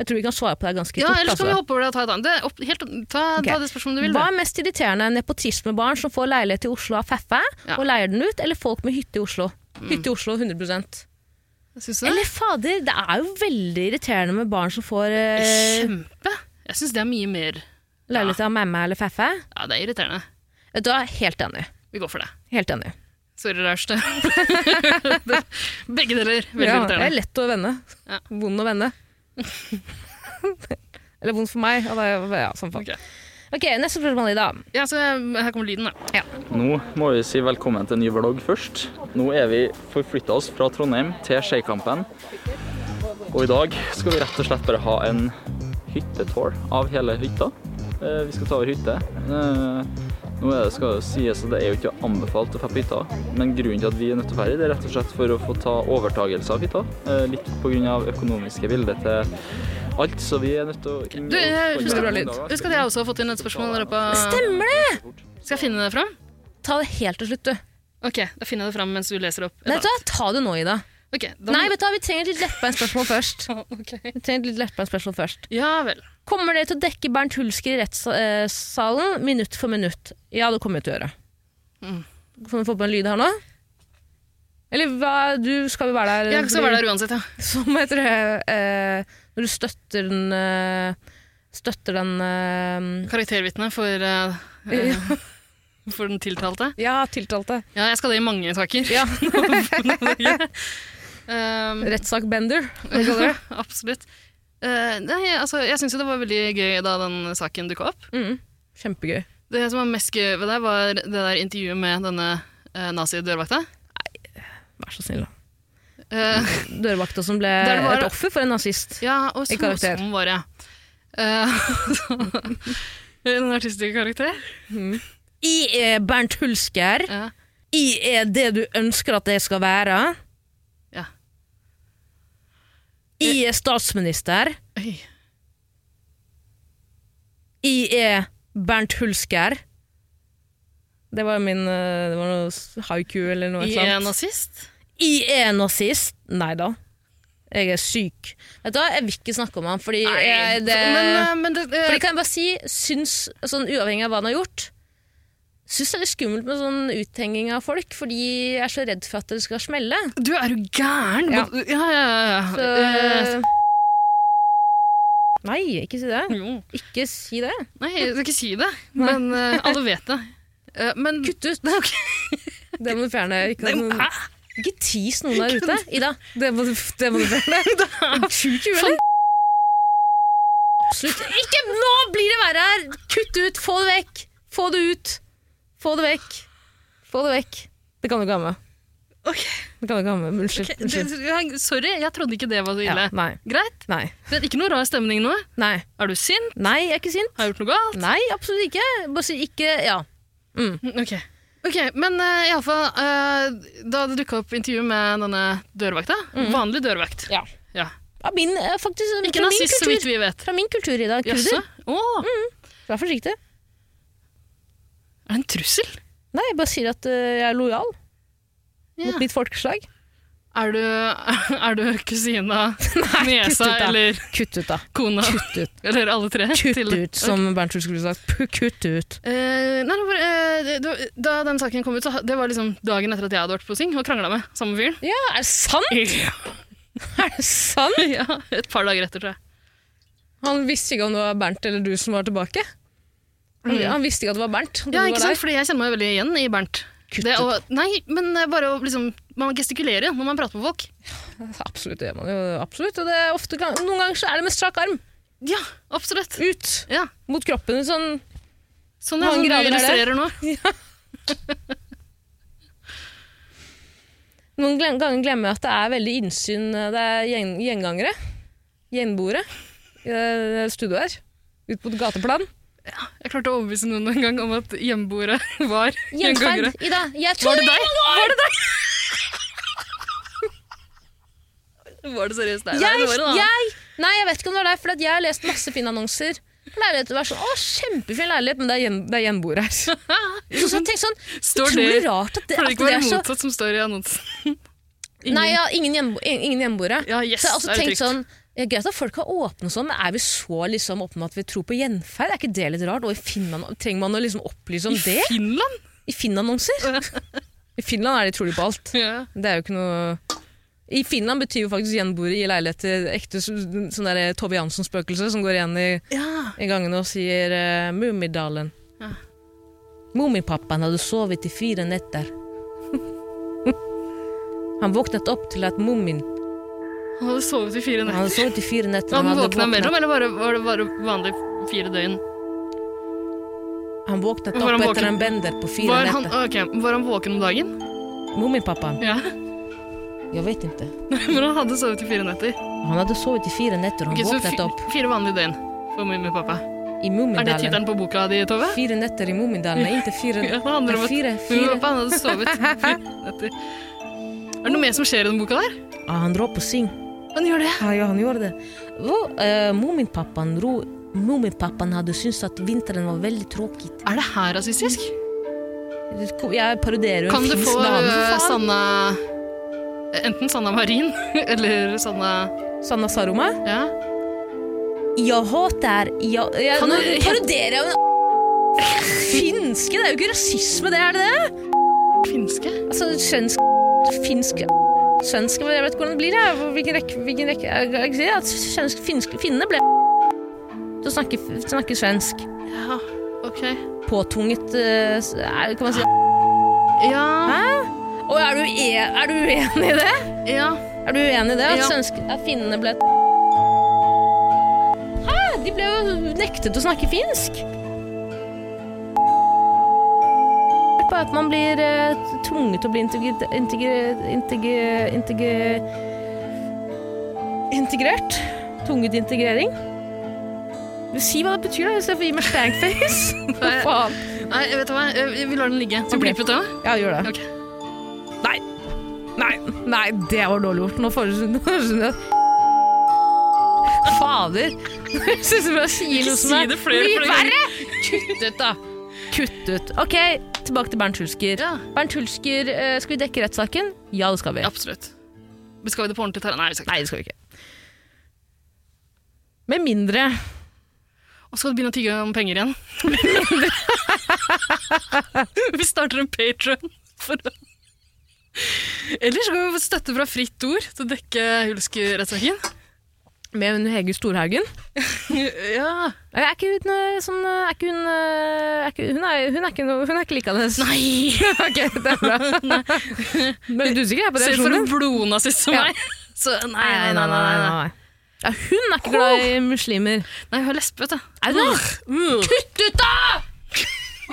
Speaker 2: Jeg tror vi kan svare på det ganske
Speaker 3: Ja,
Speaker 2: fort.
Speaker 3: ellers kan vi
Speaker 2: altså.
Speaker 3: hoppe over det og ta et annet. Det, er opp, helt, opp- ta,
Speaker 2: Ok.
Speaker 3: ta det spørsmålet du vil.
Speaker 2: Hva
Speaker 3: du.
Speaker 2: er mest irriterende? Nepotismebarn som får leilighet i Oslo av Feffe
Speaker 3: Ja. Mm.
Speaker 2: og leier den ut, eller folk med hytte i Oslo? Hytte i Oslo 100
Speaker 3: Syns du det?
Speaker 2: Eller fader, det er jo veldig irriterende med barn som får eh,
Speaker 3: Kjempe! Jeg syns det er mye mer
Speaker 2: leilighet av mamma eller Feffe.
Speaker 3: Ja, det er irriterende.
Speaker 2: Vet du hva, helt enig.
Speaker 3: Vi går for det.
Speaker 2: Helt enig.
Speaker 3: Sorry, Rausch. det- Begge deler. Veldig
Speaker 2: Ja, det er
Speaker 3: irriterende.
Speaker 2: lett å vende.
Speaker 3: Ja.
Speaker 2: Vond å vende. eller vond for meg. Ja, det er- ja, sånn faen.
Speaker 3: Ok.
Speaker 2: ok, neste spørsmål, Ida.
Speaker 3: Ja, så jeg- Her kommer lyden, da.
Speaker 4: Nå må vi si velkommen til en ny vlogg først. Nå er vi forflytta oss fra Trondheim til Skeikampen. Og i dag skal vi rett og slett bare ha en hyttetour av hele hytta. Eh, Vi skal ta over hytte. Eh, Nå er det, skal det sies at det er jo ikke anbefalt å dra på hytta, men grunnen til at vi er nødt til å dra, det er rett og slett for å få ta overtagelse av hytta. Eh, Litt pga. økonomiske bilder til alt, så vi er nødt til å
Speaker 3: Du, jeg husker, husk at jeg også har fått inn et spørsmål der oppe.
Speaker 2: Stemmer
Speaker 3: Mm.
Speaker 2: det!
Speaker 3: Skal jeg finne det fram?
Speaker 2: Ta det helt til slutt, du.
Speaker 3: Ok, da finner jeg det fram mens du leser opp. et
Speaker 2: Nei,
Speaker 3: annet.
Speaker 2: vet du hva, ta det nå, Ida.
Speaker 3: Ok, da
Speaker 2: Nei, vet du hva, vi trenger et litt lettbeint spørsmål først.
Speaker 3: Ok.
Speaker 2: Vi trenger et litt lettbeint spørsmål først.
Speaker 3: Ja vel.
Speaker 2: Kommer dere til å dekke Bernt Hulsker i rettssalen minutt for minutt? Ja, det kommer vi til å gjøre.
Speaker 3: Mm.
Speaker 2: Kan vi få på en lyd her nå? Eller hva, du skal jo være der
Speaker 3: Jeg skal være der uansett, ja.
Speaker 2: Som heter det eh, Når du støtter den eh, Støtter den eh,
Speaker 3: Karaktervitne for, eh, eh, for den tiltalte.
Speaker 2: Ja, tiltalte.
Speaker 3: Ja, jeg skal det i mange saker.
Speaker 2: Ja.
Speaker 3: um,
Speaker 2: Rettssak Bender.
Speaker 3: absolutt. Eh, nei, altså, jeg syns jo det var veldig gøy da den saken dukka opp.
Speaker 2: Mm. Kjempegøy.
Speaker 3: Det som var mest gøy ved det, var det der intervjuet med denne uh, nazi-dørvakta.
Speaker 2: Vær så snill, da.
Speaker 3: Eh,
Speaker 2: Dørvakta som ble
Speaker 3: Der var
Speaker 2: et
Speaker 3: det-
Speaker 2: offer for en nazist.
Speaker 3: Ja, og
Speaker 2: I
Speaker 3: så,
Speaker 2: karakter.
Speaker 3: sånn var jeg. Eh, en artistisk karakter.
Speaker 2: I er Bernt Hulsker.
Speaker 3: Ja.
Speaker 2: I er det du ønsker at jeg skal være.
Speaker 3: Ja.
Speaker 2: I er statsminister.
Speaker 3: Oi.
Speaker 2: I er Bernt Hulsker. Det var min eh, Det var noe haiku eller noe.
Speaker 3: I
Speaker 2: ikke sant?
Speaker 3: en nazist.
Speaker 2: I er nazist. Nei da. Jeg er syk. Vet du hva, jeg vil ikke snakke om han, fordi jeg, det
Speaker 3: men, eh, men det, eh,
Speaker 2: Fordi kan jeg bare si, syns, sånn uavhengig av hva han har gjort, syns det er litt skummelt med sånn uthenging av folk, fordi jeg er så redd for at det skal smelle.
Speaker 3: Du er jo gæren!
Speaker 2: Ja.
Speaker 3: Ja, ja, ja. ja.
Speaker 2: Så...
Speaker 3: Eh,
Speaker 2: Nei, ikke si det.
Speaker 3: jo.
Speaker 2: Ikke si det.
Speaker 3: Nei, jeg skal ikke si det, men eh, alle vet det. Eh, men Ah,
Speaker 2: Kutt ut. Det må du fjerne. Ikke,
Speaker 3: Nei, men
Speaker 2: noen... ikke tis noen der ute. Ida, det må du, det må du fjerne. Er du Sjuk i huet, eller? Absolutt. Ikke nå blir det verre her! Kutt ut! Få det vekk! Få det ut! Få det vekk! Få det vekk. Det kan du ikke ha med.
Speaker 3: Ok.
Speaker 2: Det kan du ikke ha med. Unnskyld.
Speaker 3: Ok, det- jeg- Sorry, jeg trodde ikke det var så ille.
Speaker 2: Ja, nei.
Speaker 3: Greit.
Speaker 2: Nei.
Speaker 3: Det er ikke noe rar stemning nå.
Speaker 2: Nei.
Speaker 3: Er du sint?
Speaker 2: Nei, jeg er ikke sint.
Speaker 3: Har jeg gjort noe galt?
Speaker 2: Nei, absolutt ikke. Bare si ikke Ja. Mm.
Speaker 3: Ok, Ok, Men uh, iallfall eh, Da det dukka opp intervju med denne dørvakta Vanlig dørvakt.
Speaker 2: Mm. Ja.
Speaker 3: Ja.
Speaker 2: Ja, Min, eh, faktisk,
Speaker 3: Ikke
Speaker 2: fra, min
Speaker 3: nazist, så vidt
Speaker 2: kultur,
Speaker 3: vi vet.
Speaker 2: fra min kultur i dag.
Speaker 3: Jaså?
Speaker 2: Kurder.
Speaker 3: Å,
Speaker 2: Vær forsiktig.
Speaker 3: er det en trussel?
Speaker 2: Nei, jeg bare sier at eh, jeg er lojal mot mitt folkeslag.
Speaker 3: Er du, er du kusina, niesa
Speaker 2: kutt ut, da.
Speaker 3: eller
Speaker 2: Kutt ut, da.
Speaker 3: kona?
Speaker 2: Kutt ut,
Speaker 3: Eller alle tre?
Speaker 2: kutt
Speaker 3: til-
Speaker 2: ut sånn. som Berntsen skulle sagt. Puh, Kutt ut.
Speaker 3: Eh, nei, det var, eh, det- det var- da den saken kom ut, så ha- det var liksom dagen etter at jeg hadde vært på Sing og krangla med samme fyren.
Speaker 2: Ja, er det sant?! Er det sant?!
Speaker 3: ja, et par dager etter, tror jeg.
Speaker 2: Han visste ikke om det var Bernt eller du som var tilbake. Han, han visste ikke at det var Bernt.
Speaker 3: Mm. Ja, ikke sant? Fordi jeg kjenner meg veldig igjen i Bernt.
Speaker 2: Kutt
Speaker 3: Det, og, nei, men eh, bare å liksom Man gestikulerer når man prater med folk.
Speaker 2: Absolutt, det gjør man jo. Absolutt. Og det er ofte, gang- noen ganger så er det med strak arm
Speaker 3: Ja, absolutt.
Speaker 2: ut
Speaker 3: Ja.
Speaker 2: mot kroppen. Sånn
Speaker 3: Sånn
Speaker 2: Mange
Speaker 3: ja, som du
Speaker 2: grader er det?
Speaker 3: illustrerer nå.
Speaker 2: Noen glem, ganger glemmer jeg at det er veldig innsyn eh, Det er gjeng, gjengangere. Gjenboere. I det studioet her. Ut på et gateplan.
Speaker 3: Jeg klarte å overbevise noen en gang om at hjemmeboere var gjengangere.
Speaker 2: Gjenferd! Ida, jeg
Speaker 3: Var
Speaker 2: tror
Speaker 3: det
Speaker 2: det!
Speaker 3: deg? Var det deg? Var det seriøst deg? Nei,
Speaker 2: Jeg,
Speaker 3: det var en annen.
Speaker 2: jeg, nei, jeg vet ikke om det var deg, for at jeg har lest masse fine annonser. Leiligheter var sånn, å, Kjempefin leilighet, men det er, gjen, det er gjenboere her. Så jeg tenker sånn,
Speaker 3: Står
Speaker 2: Utrolig
Speaker 3: det-
Speaker 2: rart at det, at
Speaker 3: For det ikke
Speaker 2: det
Speaker 3: var
Speaker 2: er så
Speaker 3: motsatt som står i annonsen. Ingen-
Speaker 2: Nei, ja, ingen, gjenbo, ingen gjenboere.
Speaker 3: Ja, yes,
Speaker 2: så jeg har også
Speaker 3: det er jo
Speaker 2: tenkt
Speaker 3: trygt.
Speaker 2: sånn ja, Greit at folk er åpne og sånn, men er vi så liksom åpne med at vi tror på gjenferd? Er ikke det litt rart? Og i Finland trenger man å liksom opplyse om det?
Speaker 3: Finland?
Speaker 2: I Finn-annonser? I Finland er de trolig på alt.
Speaker 3: Ja.
Speaker 2: Det er jo ikke noe I Finland betyr jo faktisk gjenboere i leiligheter ekte s- sånn der Tove Jansson-spøkelse som går igjen i, i gangene og sier uh, Mummidalen.
Speaker 3: Ja.
Speaker 2: Mummipappaen hadde sovet i fire netter. Han våknet opp til at mummien
Speaker 3: Han hadde sovet i fire
Speaker 2: Han hadde
Speaker 3: netter.
Speaker 2: sovet i fire netter.
Speaker 3: Han
Speaker 2: hadde
Speaker 3: våkna
Speaker 2: våknet-
Speaker 3: mellom, eller bare, var det bare vanlig fire døgn?
Speaker 2: han våknet
Speaker 3: Var han
Speaker 2: opp etter
Speaker 3: våken?
Speaker 2: en bender på fire
Speaker 3: Var han,
Speaker 2: netter.
Speaker 3: ok, var han våken om dagen?
Speaker 2: Mummipappaen.
Speaker 3: Ja.
Speaker 2: Jeg vet ikke.
Speaker 3: Men han hadde sovet i fire netter.
Speaker 2: Han hadde sovet i fire netter, og han
Speaker 3: Ok, så
Speaker 2: våknet
Speaker 3: fi-
Speaker 2: opp
Speaker 3: fire vanlige døgn for min pappa.
Speaker 2: i
Speaker 3: Er det
Speaker 2: Mummidalen.
Speaker 3: tittelen på boka di, Tove?
Speaker 2: Fire netter i Mummidalen. Nei, Ikke fire,
Speaker 3: Ja, det handler
Speaker 2: nei,
Speaker 3: om at
Speaker 2: fire,
Speaker 3: min
Speaker 2: fire.
Speaker 3: pappa han hadde sovet fire netter. Er det noe mer som skjer i den boka der?
Speaker 2: Ja, Ah, han dro på sing.
Speaker 3: Han gjør det.
Speaker 2: Ja, ja, han gjorde det. Og, eh, Muminpappaen dro Muminpappaen hadde syntes at vinteren var veldig tråkig.
Speaker 3: Er det her rasistisk?
Speaker 2: Det kom- Jeg parodierer jo en
Speaker 3: Kan du
Speaker 2: finsk
Speaker 3: få
Speaker 2: dame,
Speaker 3: eh,
Speaker 2: for faen.
Speaker 3: Sanna Enten Sanna Marin eller Sanna
Speaker 2: Sanna Saroma.
Speaker 3: Ja.
Speaker 2: Jeg hater jeg, jeg,
Speaker 3: Kan
Speaker 2: Nå
Speaker 3: du-
Speaker 2: parodierer jeg jo en Finske? Det er jo ikke rasisme, det er det det?
Speaker 3: Finske?
Speaker 2: Altså, svensk Finsk Svensk Jeg vet ikke hvordan det blir, jeg. Hvilken rekke, hvilken rekke jeg, jeg, jeg, at svensk, finsk, Finnene ble til å snakke, snakke svensk.
Speaker 3: Ja, ok.
Speaker 2: Påtvunget eh, s- er- Kan man si
Speaker 3: Ja,
Speaker 2: Og er du, e er du uenig i det?
Speaker 3: ja.
Speaker 2: Er du uenig i det? At,
Speaker 3: Ja.
Speaker 2: svensk, at finnene ble Hæ? De ble jo nektet å snakke finsk. På at man blir eh, tvunget til å bli integre, integre, integre, integre, integrert. Tvunget integrering. Si hva det betyr, da, istedenfor å gi meg slangface. Hva faen?
Speaker 3: Nei, vet du hva? Eh, Vi lar den ligge. Skal
Speaker 2: Ok.
Speaker 3: vi klippe ut den?
Speaker 2: Ja, gjør det.
Speaker 3: Ok.
Speaker 2: Nei. Nei, nei, det var dårlig gjort. Nå får du nå skjønner jeg Fader. Jeg syns jeg sier noe som
Speaker 3: Si
Speaker 2: er
Speaker 3: det flere,
Speaker 2: mye
Speaker 3: flere ganger.
Speaker 2: verre! Kutt ut, da. Kutt ut. OK, tilbake til Bernt Hulsker.
Speaker 3: Ja.
Speaker 2: Bernt Hulsker, eh, skal vi dekke rettssaken? Ja, det skal vi.
Speaker 3: Absolutt. Skal vi det på ordentlig? Tara? Nei, vi skal ikke.
Speaker 2: Nei, det skal vi ikke. Med mindre
Speaker 3: Og skal du begynne å tigge om penger igjen? vi starter en Patron for å Eller så kan vi få støtte fra Fritt Ord til å dekke Hulsker-rettssaken.
Speaker 2: med hun Hege Storhaugen.
Speaker 3: Ja.
Speaker 2: Er ikke hun eh, sånn eh, Er ikke hun eh, er ikke, Hun er, hun er ikke, noe- hun er ikke likeandes.
Speaker 3: Nei!
Speaker 2: ok, det er bra. Men du er sikker på
Speaker 3: Selv for en blodnazist som
Speaker 2: Ja.
Speaker 3: meg. Så nei,
Speaker 2: Nei, nei, nei. nei, nei. Ja, hun er ikke glad i muslimer.
Speaker 3: Nei, hun er lesbe, vet du.
Speaker 2: Er hun det? Mm. Kutt ut, da!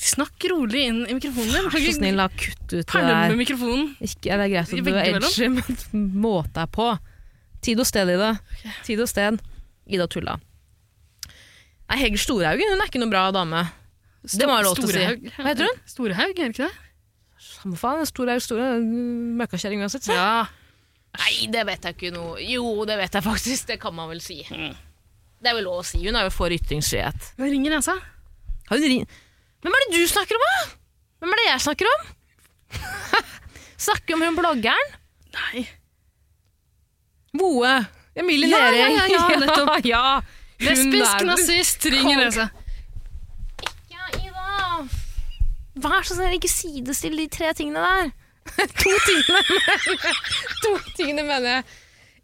Speaker 3: Snakk rolig inn i mikrofonen din.
Speaker 2: Så snill, da. Kutt ut det
Speaker 3: Perle
Speaker 2: der.
Speaker 3: med mikrofonen.
Speaker 2: Ikke, ja, det er greit at du er
Speaker 3: Veggimellom.
Speaker 2: edgy, men måte er på. Tid og sted, Ida. Tid og sted. Ida tulla. Nei, Hegel Storhaugen hun er ikke noen bra dame. Det må jeg ha lov til å si.
Speaker 3: Storhaug.
Speaker 2: Hva heter hun?
Speaker 3: Storhaug, er det ikke det?
Speaker 2: Samme faen, Storhaug Store. Møkkakjerring uansett. så.
Speaker 3: Ja.
Speaker 2: Nei, det vet jeg ikke noe Jo, det vet jeg faktisk. Det kan man vel si. Det er vel lov å si. Hun er jo for ytringsfrihet.
Speaker 3: Hva ringer nesa?
Speaker 2: Har hun ring... Hvem er det du snakker om, da? Hvem er det jeg snakker om? snakker om hun bloggeren?
Speaker 3: Nei.
Speaker 2: Voe. Emilie
Speaker 3: Ja, ja,
Speaker 2: Næring.
Speaker 3: ja, ja, nettopp.
Speaker 2: ja, ja. Hun
Speaker 3: Lesbisk
Speaker 2: der.
Speaker 3: nazist, ring Reze.
Speaker 2: Ja, Ida. Vær så snill, ikke sidestill de tre tingene der. to tingene, men, to tingene mener jeg.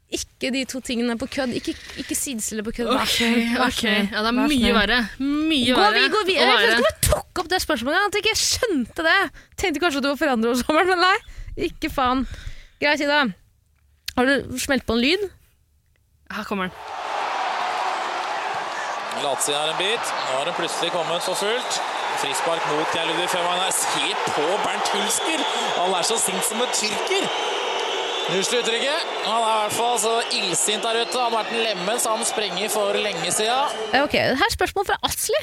Speaker 2: Ikke de to tingene på kødd. Ikke, ikke sidestille på kødd. Vær
Speaker 3: Ok,
Speaker 2: så snill, vær så
Speaker 3: ok.
Speaker 2: snill,
Speaker 3: Ja, det
Speaker 2: vær så
Speaker 3: er mye
Speaker 2: snill.
Speaker 3: verre. Mye
Speaker 2: Gå
Speaker 3: verre
Speaker 2: vi, gå vi.
Speaker 3: å
Speaker 2: Jeg vet
Speaker 3: være
Speaker 2: ikke om jeg tok opp det spørsmålet, at jeg ikke skjønte det. Tenkte kanskje at det var forandret over sommeren, men nei. Ikke faen. Greit, Ida. Har du smelt på en lyd?
Speaker 3: Her kommer den.
Speaker 5: Latsi er en bit. Nå har den plutselig kommet for fullt. Frispark mot Geir Ludvig Fevainar. Se på Bernt Hulsker! Han er så sint som en tyrker! Rusler uttrykket. Han er i hvert fall så illsint der ute. Han har vært en lemmen, så han sprenger for lenge siden.
Speaker 2: Eh, Ok, her er spørsmål fra Asli.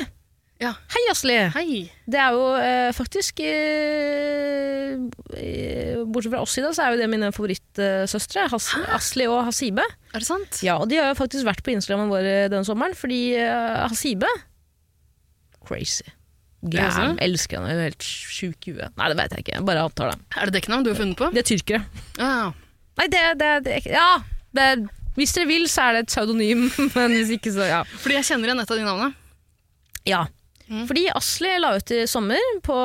Speaker 3: Ja.
Speaker 2: Hei, Asli.
Speaker 3: Hei.
Speaker 2: Det er jo eh, faktisk eh, eh, Bortsett fra oss i dag, så er jo det mine favorittsøstre. eh, Has Asli og Hasibe.
Speaker 3: Er det sant?
Speaker 2: Ah. Ja, og de har jo faktisk vært på Instagrammen vår eh, denne sommeren, fordi eh, Hasibe Crazy. Gæren.
Speaker 3: Crazy?
Speaker 2: Elsker henne. Hun er helt sjuk i huet. Nei, det veit jeg ikke. Jeg bare antar det.
Speaker 3: Er det dekknavn du har funnet på?
Speaker 2: De er tyrkere.
Speaker 3: Ja,
Speaker 2: Nei, det, det, det Ja! Det, hvis dere vil, så er det et pseudonym, men hvis ikke, så ja.
Speaker 3: Fordi jeg kjenner igjen et av de navnene.
Speaker 2: Ja.
Speaker 3: Mm.
Speaker 2: Fordi Asli la ut i sommer på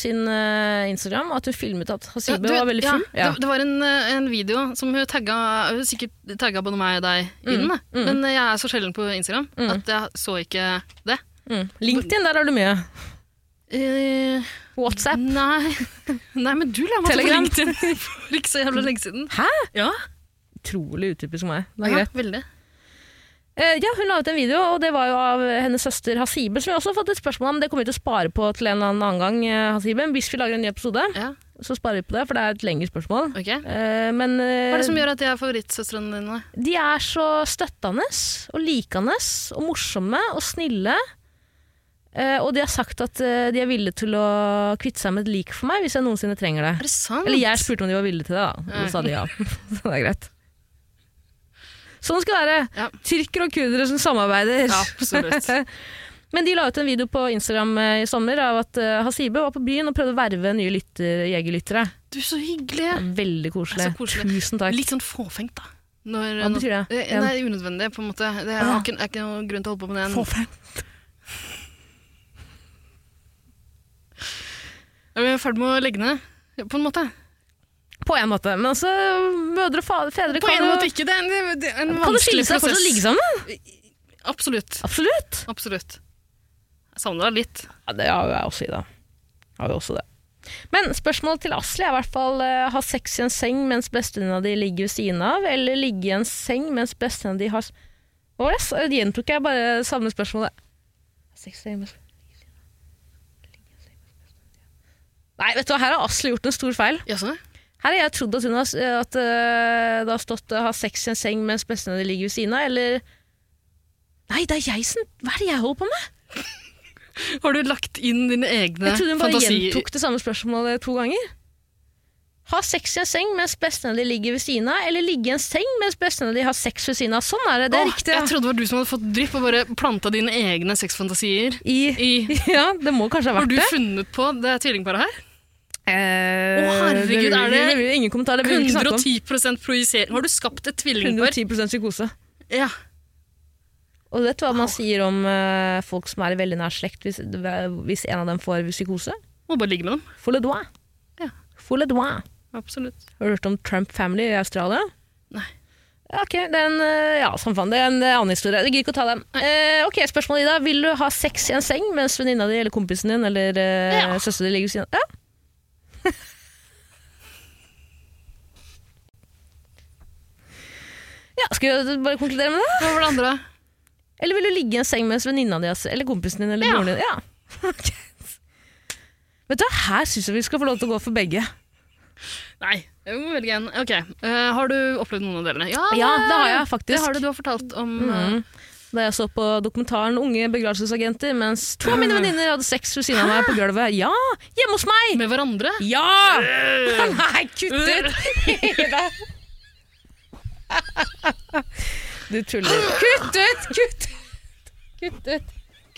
Speaker 2: sin eh, Instagram at hun filmet at
Speaker 3: Ja,
Speaker 2: Hasibe
Speaker 3: du-
Speaker 2: var veldig full.
Speaker 3: Ja, det, det var en, eh, en video som hun tagga Hun sikkert tagga både meg og deg i den, da.
Speaker 2: Mm,
Speaker 3: men eh, jeg er så sjelden på Instagram at jeg så ikke det.
Speaker 2: Mm. LinkedIn, der har du mye.
Speaker 3: Eh,
Speaker 2: WhatsApp.
Speaker 3: nei. nei, men du la meg ta på
Speaker 2: Telegram.
Speaker 3: LinkedIn for ikke så jævla lenge siden.
Speaker 2: Hæ?
Speaker 3: Ja,
Speaker 2: Utrolig utypisk meg. Det er
Speaker 3: ja
Speaker 2: greit.
Speaker 3: veldig.
Speaker 2: Eh, ja, hun la ut en video, og det var jo av hennes søster Hasibe, som vi også har fått et spørsmål om. Det kommer vi til å spare på til en eller annen gang, eh, Hasibe. Hvis vi lager en ny episode,
Speaker 3: Ja,
Speaker 2: så sparer vi på det, for det er et lengre spørsmål.
Speaker 3: ok.
Speaker 2: Eh, men eh,
Speaker 3: Hva er det som gjør at de er favorittsøstrene dine?
Speaker 2: de er så støttende og likende og morsomme og snille. Eh, og de har sagt at eh, de er villige til å kvitte seg med et lik for meg hvis jeg noensinne trenger det.
Speaker 3: Er det sant?
Speaker 2: Eller jeg spurte om de var villige til det, da. Og så sa de ja. Så det er greit. Sånn skal det være.
Speaker 3: Ja.
Speaker 2: Tyrkere og kurdere som samarbeider.
Speaker 3: Ja, absolutt.
Speaker 2: Men de la ut en video på Instagram eh, i sommer av at eh, Hasibe var på byen og prøvde å verve nye lytter, jegerlyttere.
Speaker 3: Du, så hyggelig.
Speaker 2: Veldig koselig.
Speaker 3: Så koselig.
Speaker 2: Tusen Mm, takk.
Speaker 3: Litt sånn fåfengt, da. Når,
Speaker 2: Hva betyr det?
Speaker 3: Eh, Nei, unødvendig, på en måte. Det er
Speaker 2: ja.
Speaker 3: ikke, er ikke noen grunn til å holde på med det.
Speaker 2: Ah. Fåfengt.
Speaker 3: Er vi ferdig med å legge ned? På en måte.
Speaker 2: På en måte. Men altså, mødre og fa- fedre
Speaker 3: På
Speaker 2: kan
Speaker 3: en
Speaker 2: jo-
Speaker 3: måte ikke. Det er en, det er en
Speaker 2: Kan du skille
Speaker 3: vanskelig
Speaker 2: seg og fortsatt ligge
Speaker 3: prosess.
Speaker 2: sammen?
Speaker 3: Absolutt.
Speaker 2: Absolutt.
Speaker 3: Absolutt. Jeg savner deg litt.
Speaker 2: Ja, det har jo jeg også, Ida. Har jo også det. Men spørsmålet til Asli er i hvert fall eh, ha sex i en seng mens bestevenninna di ligger ved siden av, eller ligge i en seng mens bestevenninna di har s- Hva var det? Så Gjentok jeg bare samme spørsmålet? Ha Sex i en seng mens Nei, vet du hva, her har Asli gjort en stor feil.
Speaker 3: Jaså?
Speaker 2: Her har jeg trodd at, hun har, at eh, det har stått eh, 'ha sex i en seng mens bestevenninna di ligger ved siden av', eller Nei, det er jeg som Hva er det jeg holder på med?
Speaker 3: Har du lagt inn dine egne
Speaker 2: Jeg trodde hun bare
Speaker 3: fantasier?
Speaker 2: gjentok det samme spørsmålet to ganger. Ha sex i en seng mens bestevenninna di ligger ved siden av, eller ligge i en seng mens bestevenninna di har sex ved siden av. Sånn er det. Det er
Speaker 3: Åh,
Speaker 2: riktig.
Speaker 3: Jeg trodde det var du som hadde fått drypp og bare planta dine egne sexfantasier.
Speaker 2: I,
Speaker 3: I,
Speaker 2: ja, det må kanskje ha
Speaker 3: har
Speaker 2: vært
Speaker 3: du
Speaker 2: det.
Speaker 3: funnet på det tvillingparet her?
Speaker 2: Eh,
Speaker 3: Å, herregud,
Speaker 2: det vil-
Speaker 3: er det
Speaker 2: det vil Ingen kommentar. Det vil vi ikke snakke om.
Speaker 3: 110 projisering. Har du skapt et tvillingpar?
Speaker 2: 110 psykose.
Speaker 3: Ja.
Speaker 2: Og vet du hva man sier om eh, folk som er i veldig nær slekt, hvis, hvis en av dem får psykose?
Speaker 3: Må bare ligge med dem.
Speaker 2: Full le doigt.
Speaker 3: Ja.
Speaker 2: Full le doigt.
Speaker 3: Absolutt.
Speaker 2: Har du hørt om Trump Family i Australia?
Speaker 3: Nei.
Speaker 2: Ja, Ok, det er en, eh, ja, samme faen, det er en eh, annen historie. Jeg gidder ikke å ta den. Eh, ok, spørsmålet Ida. Vil du ha sex i en seng mens venninna di eller kompisen din eller eh,
Speaker 3: Ja.
Speaker 2: søsteren din ligger ved siden av? Ja. ja, skal vi bare konkludere med det?
Speaker 3: Hva var det andre?
Speaker 2: Eller vil du ligge i en seng mens venninna di har se- eller kompisen din eller
Speaker 3: Ja.
Speaker 2: broren din? Ja. Ok. Vet du, hva, her syns jeg vi skal få lov til å gå for begge.
Speaker 3: Nei, jeg må velge en. Ok, eh, Har du opplevd noen av delene? Ja,
Speaker 2: Ja, det har jeg faktisk.
Speaker 3: Ah, Det har du, du har fortalt om eh,
Speaker 2: Mm. Da jeg så på dokumentaren Unge begravelsesagenter, mens
Speaker 3: Ah.
Speaker 2: to av mine venninner hadde sex ved siden av meg på gulvet. Ja! Hjemme hos meg!
Speaker 3: med hverandre.
Speaker 2: Ja! Nei, kutt ut! Ida. Du tuller. Kutt ut! Kutt ut! Kutt ut.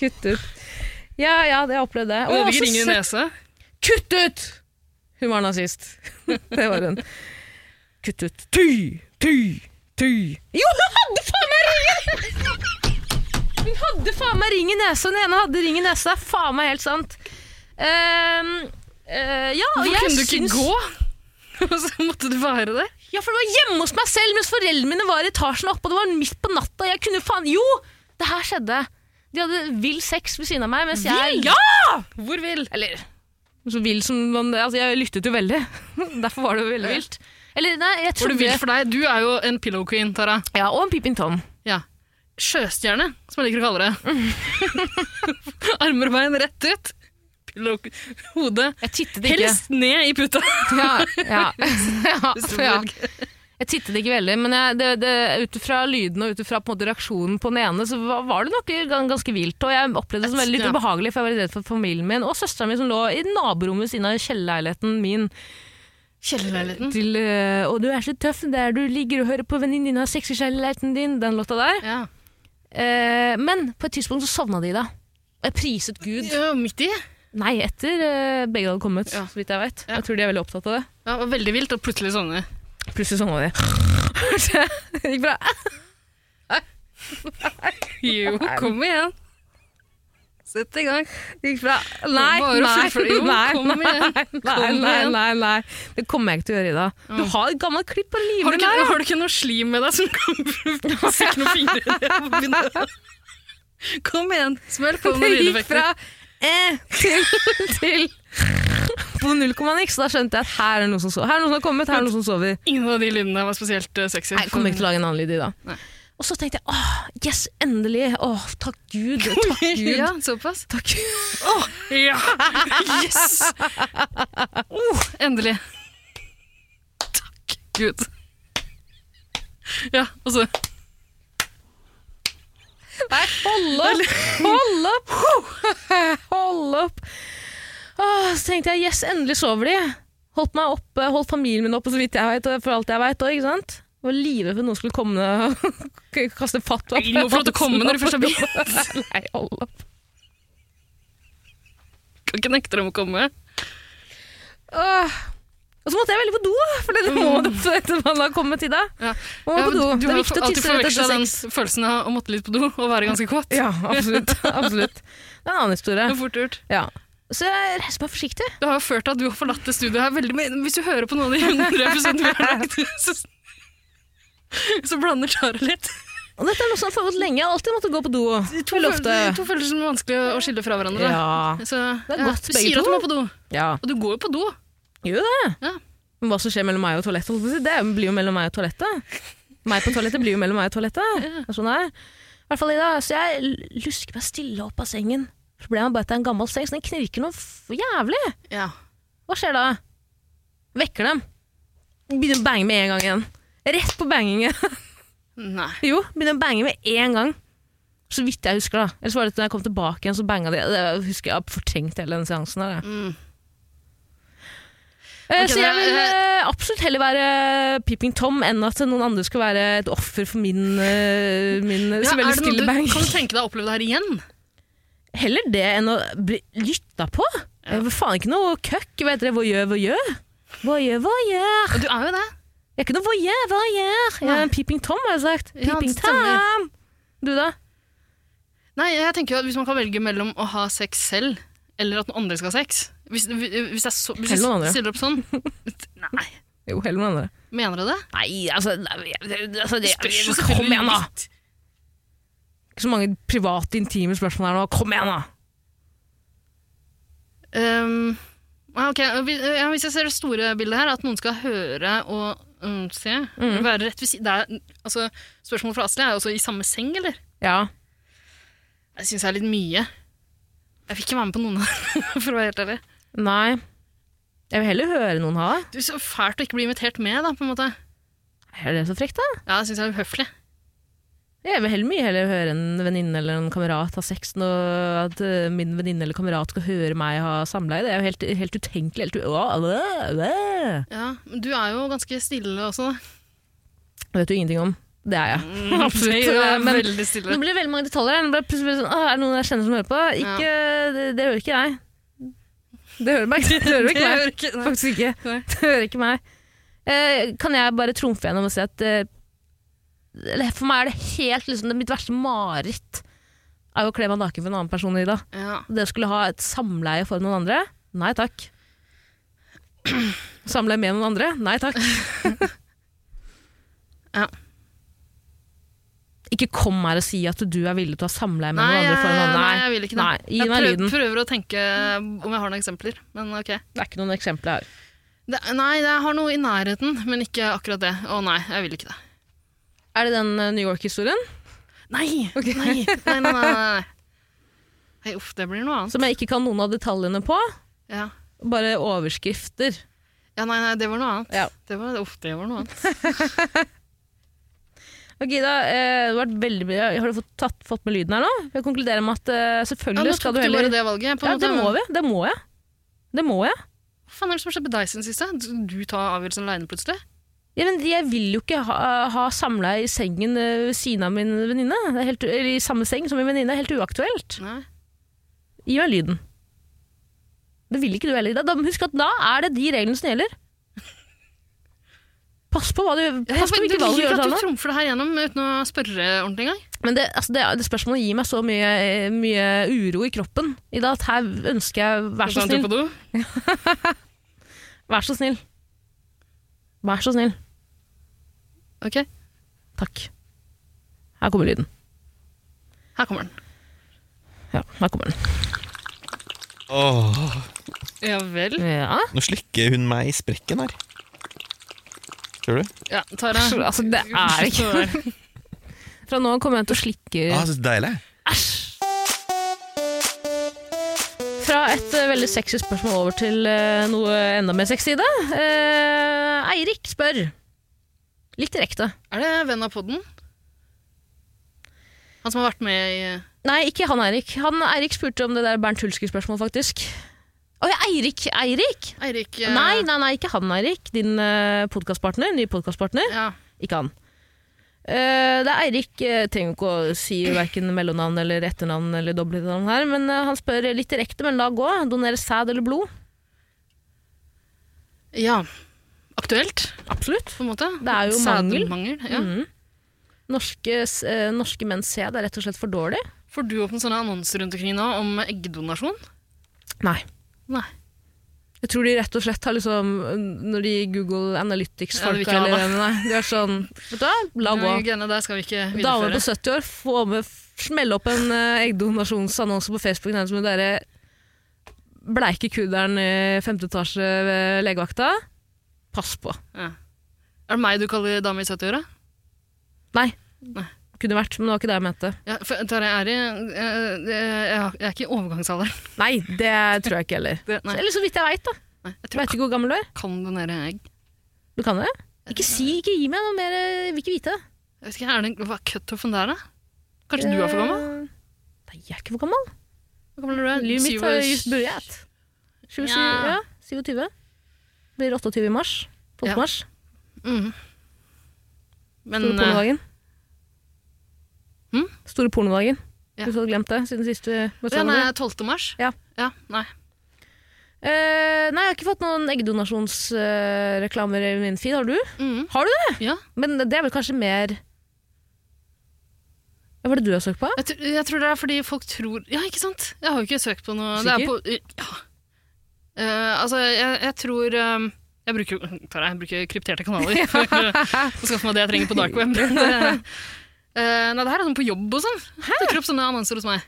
Speaker 2: Kutt ut. Ja, ja, det har jeg opplevd det.
Speaker 3: Og
Speaker 2: Og
Speaker 3: det
Speaker 2: også
Speaker 3: ringer i
Speaker 2: sett-
Speaker 3: nesa.
Speaker 2: Kutt ut! Hun var nazist. det var hun. Kutt ut. Ty, ty, ty. Jo, hun hadde faen meg ringen! Hun hadde faen meg ring i nesa. Den ene hadde ring i nesa. Det er faen meg helt sant. Ehm, eh, ja, og
Speaker 3: Hvorfor
Speaker 2: jeg
Speaker 3: kunne du ikke
Speaker 2: syns-
Speaker 3: gå? Og så måtte du være det?
Speaker 2: Ja, for det var hjemme hos meg selv mens foreldrene mine var i etasjen oppe, og det var midt på natta. Jeg kunne faen Jo! Det her skjedde. De hadde vill sex ved siden av meg mens jeg Ja!
Speaker 3: Hvor vil?
Speaker 2: Eller så vill som man Altså, jeg lyttet jo veldig. Derfor var det jo veldig vilt. Eller, nei, jeg
Speaker 3: Var det
Speaker 2: trodde
Speaker 3: vilt for deg? Du er jo en pillow queen, Tara.
Speaker 2: Ja, og en Pippin Tom.
Speaker 3: Ja. Sjøstjerne, som jeg liker å kalle det.
Speaker 2: Mm.
Speaker 3: Armer og bein rett ut. Pillow Hodet
Speaker 2: Jeg tittet ikke.
Speaker 3: helst ned i puta.
Speaker 2: Ja, ja. ja,
Speaker 3: Hvis du
Speaker 2: for ja.
Speaker 3: vil velge.
Speaker 2: Jeg tittet ikke veldig, men jeg, det, det, ut ifra lyden og ut ifra på en måte reaksjonen på den ene, så var, var det noe gan- ganske vilt. Og jeg opplevde det som veldig litt
Speaker 3: Ja.
Speaker 2: ubehagelig, for jeg var litt redd for familien min og søsteren min som lå i naborommet ved siden av kjellerleiligheten min.
Speaker 3: Kjellerleiligheten.
Speaker 2: Til, øh, og du er så tøff der du ligger og hører på venninnen din har sex i kjellerleiligheten din, den låta der.
Speaker 3: Ja.
Speaker 2: Eh, men på et tidspunkt så sovna de da. Og jeg priset Gud.
Speaker 3: ja, midt i.
Speaker 2: Nei, etter eh, begge hadde kommet,
Speaker 3: Ja.
Speaker 2: så vidt jeg vet.
Speaker 3: Ja.
Speaker 2: Jeg tror de er veldig opptatt av det.
Speaker 3: Ja, det var veldig vilt, og plutselig sovne.
Speaker 2: Plutselig sovna de. det gikk bra.
Speaker 3: Jo, kom igjen. Sett i gang.
Speaker 2: Det gikk bra. Nei,
Speaker 3: Bare å
Speaker 2: nei,
Speaker 3: fullføre. Jo,
Speaker 2: nei,
Speaker 3: kom igjen.
Speaker 2: nei, nei,
Speaker 3: Kom
Speaker 2: nei,
Speaker 3: igjen.
Speaker 2: nei, nei. Det kommer jeg ikke til å gjøre, Ida. Du har et gammelt klipp på
Speaker 3: Har du,
Speaker 2: livet
Speaker 3: ikke,
Speaker 2: der.
Speaker 3: har du ikke noe slim med deg som kan stikke noen fingre i det? og begynne- Kom igjen, smell på
Speaker 2: Det
Speaker 3: med
Speaker 2: gikk
Speaker 3: lydeffekter.
Speaker 2: fra eh, til, til på null komma niks. Da skjønte jeg at her er det noen som sover. Her er det noen som har kommet, her er det noen som sover.
Speaker 3: Ingen av de lydene var spesielt eh, sexy.
Speaker 2: Nei, jeg kommer ikke til å lage en annen lyd i
Speaker 3: Nei.
Speaker 2: dag. Og så tenkte jeg åh, yes, endelig. Åh, takk Gud. Takk Gud.
Speaker 3: Ja, såpass.
Speaker 2: Takk Gud.
Speaker 3: Ja! Yes! Oh, endelig. Takk Gud. Ja, og så
Speaker 2: Nei, hold opp! Hold opp! Hold opp! Åh, så tenkte jeg yes, endelig sover de. Holdt meg oppe, holdt familien min oppe, så vidt jeg vet, og for alt jeg vet òg. Var livredd for at noen skulle komme og kaste fatwa.
Speaker 3: Ingen må få lov til å komme når de først har
Speaker 2: begynt. Nei, hold opp.
Speaker 3: kan ikke nekte dem å komme.
Speaker 2: Åh. Og så måtte jeg veldig på do, da, for det må du for etter man har kommet til deg.
Speaker 3: Ja.
Speaker 2: Man må
Speaker 3: Ja,
Speaker 2: på do.
Speaker 3: men
Speaker 2: Det er
Speaker 3: har jo
Speaker 2: viktig å
Speaker 3: alltid
Speaker 2: tisse rett
Speaker 3: forvekslet
Speaker 2: etter sex.
Speaker 3: den følelsen av å måtte litt på do og være ganske kåt.
Speaker 2: Ja, absolutt. absolutt. Det er en annen historie.
Speaker 3: Det er fort gjort.
Speaker 2: Ja. Så jeg reiser meg forsiktig.
Speaker 3: Det har jo ført til at du har forlatt det studioet her veldig mye. Hvis du hører på noen av de 100 episodene vi har lagt, så, så blander Tara litt.
Speaker 2: Og dette er noe som har foregått lenge. Jeg har alltid måttet gå på do.
Speaker 3: To,
Speaker 2: Veldig ofte.
Speaker 3: følelser- to følelser som er vanskelig å skille fra hverandre.
Speaker 2: Ja.
Speaker 3: Så,
Speaker 2: Det er
Speaker 3: ja,
Speaker 2: godt,
Speaker 3: du
Speaker 2: begge
Speaker 3: sier at
Speaker 2: to.
Speaker 3: du må på do,
Speaker 2: ja.
Speaker 3: og du går jo på do.
Speaker 2: Gjør jo det.
Speaker 3: Ja.
Speaker 2: Men hva som skjer mellom meg og toalettet, holdt jeg på å si, det blir jo mellom meg og toalettet. Meg på toalettet blir jo mellom meg og toalettet. Det er Sånn det er. I hvert fall Ida, så jeg l- lusker meg stille opp av sengen. Problemet er bare at det er en gammel seng, så den knirker noe f jævlig.
Speaker 3: Ja.
Speaker 2: Hva skjer da? Vekker dem. Begynner å bange med en gang igjen. Rett på bangingen.
Speaker 3: Nei.
Speaker 2: Jo, begynner å bange med en gang. Så vidt jeg husker, da. Ellers var det at når jeg kom tilbake igjen, så banga de. Det husker jeg, jeg har fortrengt hele den seansen her. jeg.
Speaker 3: Mm.
Speaker 2: Eh,
Speaker 3: Ok,
Speaker 2: så jeg
Speaker 3: det er-
Speaker 2: vil eh, absolutt heller være Peeping Tom enn at noen andre skal være et offer for min, eh, min eh,
Speaker 3: Ja,
Speaker 2: så
Speaker 3: er
Speaker 2: veldig
Speaker 3: det noe
Speaker 2: stille
Speaker 3: du,
Speaker 2: bang.
Speaker 3: kan du tenke deg å oppleve det her igjen?
Speaker 2: Heller det enn å bli lytta på. Jeg vil faen ikke noe køkk. Hva heter det? Voyeur, voyeur? Voyeur, voyeur.
Speaker 3: Og du er jo det.
Speaker 2: Jeg er ikke noe voyeur, voyeur. Jeg er en Peeping Tom, har jeg sagt.
Speaker 3: Ja, det
Speaker 2: Peeping
Speaker 3: stemmer.
Speaker 2: Tom. Du da?
Speaker 3: Nei, jeg tenker jo at Hvis man kan velge mellom å ha sex selv, eller at noen andre skal ha sex Hvis, hvis jeg, så, hvis jeg
Speaker 2: Eller noen andre.
Speaker 3: stiller opp sånn Nei,
Speaker 2: Jo, heller noen andre.
Speaker 3: mener du det?
Speaker 2: Nei, altså, nei, altså det,
Speaker 3: spørs jo
Speaker 2: Kom
Speaker 3: selvfølgelig
Speaker 2: igjen, da! Ikke så mange private, intime spørsmål her nå. Kom igjen, da!
Speaker 3: Ehm, ja, ok, hvis, ja, hvis jeg ser det store bildet her, at noen skal høre og mm, se være rett ved si- det er- altså, Spørsmålet fra Asli er jo også i samme seng, eller?
Speaker 2: Ja.
Speaker 3: Jeg syns det er litt mye. Jeg fikk ikke være med på noen av dem, for å være helt ærlig.
Speaker 2: Nei. Jeg vil heller høre noen ha det.
Speaker 3: Du, Så fælt å ikke bli invitert med, da, på en måte.
Speaker 2: Er det så frekt, da?
Speaker 3: Ja, jeg syns jeg er uhøflig.
Speaker 2: Jeg vil heller mye heller høre en venninne eller en kamerat ha sex enn å- at eh, min venninne eller kamerat skal høre meg ha samleie. Det er jo helt, helt utenkelig. Helt u Åh, øh, øh.
Speaker 3: Ja, men du er jo ganske stille også, da.
Speaker 2: Det vet du ingenting om. Det er jeg.
Speaker 3: Absolutt. Det er
Speaker 2: Mm. Men-
Speaker 3: veldig stille.
Speaker 2: Nå blir det veldig mange detaljer. her. Nå ble det plutselig sånn, «Åh, er det noen jeg kjenner som hører på? Ikke, det, det hører ikke jeg. Det hører meg ikke. Det hører
Speaker 3: Det
Speaker 2: ikke
Speaker 3: hører
Speaker 2: meg.
Speaker 3: ikke- nei.
Speaker 2: Faktisk ikke.
Speaker 3: Nei.
Speaker 2: Det hører ikke meg. Eh, kan jeg bare trumfe gjennom og si at eh, eller For meg er det helt liksom, det mitt verste mareritt er jo å kle meg naken for en annen person, Ida.
Speaker 3: Ja.
Speaker 2: Det å skulle ha et samleie for noen andre? Nei takk. Samleie med noen andre? Nei takk.
Speaker 3: Ja.
Speaker 2: Ikke kom her og si at du er villig til å ha samleie med
Speaker 3: Nei,
Speaker 2: noen andre. For noen
Speaker 3: jeg,
Speaker 2: andre.
Speaker 3: nei, jeg vil ikke det.
Speaker 2: Nei, gi
Speaker 3: jeg
Speaker 2: meg
Speaker 3: prøv,
Speaker 2: lyden.
Speaker 3: prøver å tenke om jeg har noen eksempler, men ok.
Speaker 2: Det er ikke noen eksempler her.
Speaker 3: Det, nei, jeg har noe i nærheten, men ikke akkurat det. Å nei, jeg vil ikke det.
Speaker 2: Er det den eh, New York-historien
Speaker 3: Nei! Nei, nei, nei, nei, nei. nei. Hei, uff, det blir noe annet.
Speaker 2: som jeg ikke kan noen av detaljene på?
Speaker 3: Ja.
Speaker 2: Bare overskrifter.
Speaker 3: ja, nei, nei, det var noe annet.
Speaker 2: Ja.
Speaker 3: Det var, uff, det var noe annet.
Speaker 2: Ok, Ida, eh, det har, vært veldig, mye- har du fått, tatt, fått med lyden her nå? Jeg konkluderer med at eh,
Speaker 3: Ja, nå
Speaker 2: selvfølgelig skal
Speaker 3: tok
Speaker 2: du
Speaker 3: du
Speaker 2: heller
Speaker 3: bare det valget. På
Speaker 2: Ja,
Speaker 3: en
Speaker 2: det
Speaker 3: måte.
Speaker 2: må vi. Det må jeg. Det må jeg.
Speaker 3: Hva faen er det som har skjedd med deg siden siste? Du- Du tar avgjørelsen alene plutselig?
Speaker 2: Ja, men jeg vil jo ikke ha, ha samleie i sengen eh, ved siden av min venninne. Det er helt- Eller i samme seng som min venninne. Det er Helt uaktuelt.
Speaker 3: Nei.
Speaker 2: Gi meg lyden. Det vil ikke du heller. Da- Da, husk at da er det de reglene som gjelder. Pass på hva du Pass på hvilke valg du gjør.
Speaker 3: at du
Speaker 2: Sanna.
Speaker 3: trumfer det her gjennom uten å spørre ordentlig engang.
Speaker 2: Men det, altså det, det spørsmålet gir meg så mye, eh, mye uro i kroppen i dag at her ønsker jeg Vær så
Speaker 3: Ta en tur
Speaker 2: snill.
Speaker 3: på do.
Speaker 2: Vær så snill. Vær så snill.
Speaker 3: Ok,
Speaker 2: Takk. Her kommer lyden.
Speaker 3: her kommer den.
Speaker 2: Ja, her kommer den.
Speaker 6: Åh,
Speaker 3: Ja vel.
Speaker 2: Ja.
Speaker 6: nå slikker hun meg i sprekken her. Tror du?
Speaker 3: Ja, Tara.
Speaker 2: Altså, det er ikke Fra nå av kommer jeg til å slikke
Speaker 6: Ah, så deilig.
Speaker 2: Fra et eh, veldig sexy spørsmål over til eh, noe enda mer sexy i det. Eh, Eirik spør, litt direkte
Speaker 3: Er det venn av podden? Han som har vært med i eh,
Speaker 2: Nei, ikke han Eirik. Han Eirik spurte om det der Bernt Hulske-spørsmålet, faktisk. Å ja, Eirik! Eirik!
Speaker 3: Eirik eh,
Speaker 2: Nei, nei, nei, ikke han Eirik. Din uh, podkastpartner. Nye podkastpartner.
Speaker 3: Ja.
Speaker 2: Ikke han. Eh, det er Eirik. Jeg trenger ikke å si verken mellomnavn eller etternavn eller dobbeltnavn her, men eh, han spør litt direkte, men la gå. Donere sæd eller blod?
Speaker 3: ja. Aktuelt,
Speaker 2: Absolutt.
Speaker 3: på en måte.
Speaker 2: Det er jo mangel.
Speaker 3: Sædmangel, Ja.
Speaker 2: Mhm. Norske, s- eh, norske menns sæd er rett og slett for dårlig.
Speaker 3: Får du opp noen sånne annonser rundt omkring nå om eggdonasjon?
Speaker 2: Nei.
Speaker 3: Nei.
Speaker 2: Jeg tror de rett og slett har liksom Når de Google
Speaker 3: Ja, det vil
Speaker 2: Analytics-folka
Speaker 3: ikke ha
Speaker 2: eller nei, De er sånn Vet du hva, la
Speaker 3: Ja,
Speaker 2: gå.
Speaker 3: Greiene der skal vi ikke
Speaker 2: Damer
Speaker 3: videreføre.
Speaker 2: på 70 år, få med smelle opp en eh, eggdonasjonsannonse på Facebook nærmest med dere bleike kudderen i femte etasje ved legevakta. Pass på.
Speaker 3: Ja. Er det meg du kaller dame i 70-åra?
Speaker 2: Nei.
Speaker 3: Nei.
Speaker 2: Kunne vært, men det var ikke det jeg mente.
Speaker 3: Ja, for- Tara, jeg er, i, eh, eh, jeg har- jeg er ikke i overgangsalderen.
Speaker 2: Nei, det tror jeg ikke heller.
Speaker 3: Det- Nei,
Speaker 2: Eller så vidt jeg veit, da.
Speaker 3: nei, jeg
Speaker 2: Jeg
Speaker 3: tror
Speaker 2: vet ikke hvor gammel du er.
Speaker 3: jeg kan donere egg.
Speaker 2: Du kan det? Ikke si, ikke gi meg noe mer, eh, vil ikke vite.
Speaker 3: Jeg vet ikke, er det, Hva er cutoffen der, da? Kanskje du er for gammel?
Speaker 2: Eh, Nei, jeg er ikke for gammel.
Speaker 3: Hvor gammel er du?
Speaker 2: Livet mitt har just
Speaker 3: Syv-
Speaker 2: begynt. 27,
Speaker 3: Ja.
Speaker 2: ja. 27. Blir 28 i mars. 12.
Speaker 3: Ja.
Speaker 2: mars.
Speaker 3: Mhm. Men
Speaker 2: Store
Speaker 3: eh,
Speaker 2: pornodagen.
Speaker 3: Hm?
Speaker 2: Store pornodagen.
Speaker 3: Ja.
Speaker 2: Hvis du hadde glemt det siden sist vi møtte
Speaker 3: ja, nei,
Speaker 2: hverandre.
Speaker 3: 12. mars?
Speaker 2: Ja.
Speaker 3: ja nei.
Speaker 2: Eh, nei, jeg har ikke fått noen eggdonasjonsreklamer i min feed. Har du?
Speaker 3: Mhm.
Speaker 2: Har du det?
Speaker 3: Ja.
Speaker 2: Men det er vel kanskje mer Hva var det du har søkt på?
Speaker 3: Jeg, tr- jeg tror det er fordi folk tror Ja, ikke sant? Jeg har jo ikke søkt på noe det er
Speaker 2: Sikker?
Speaker 3: på, ja. Eh, altså, jeg, jeg tror eh, jeg bruker, jo- Tara, jeg bruker krypterte kanaler for å skaffe meg det jeg trenger på dark web. Det, eh, nei, det her er sånn på jobb og sånn. Det dukker opp sånne annonser hos meg.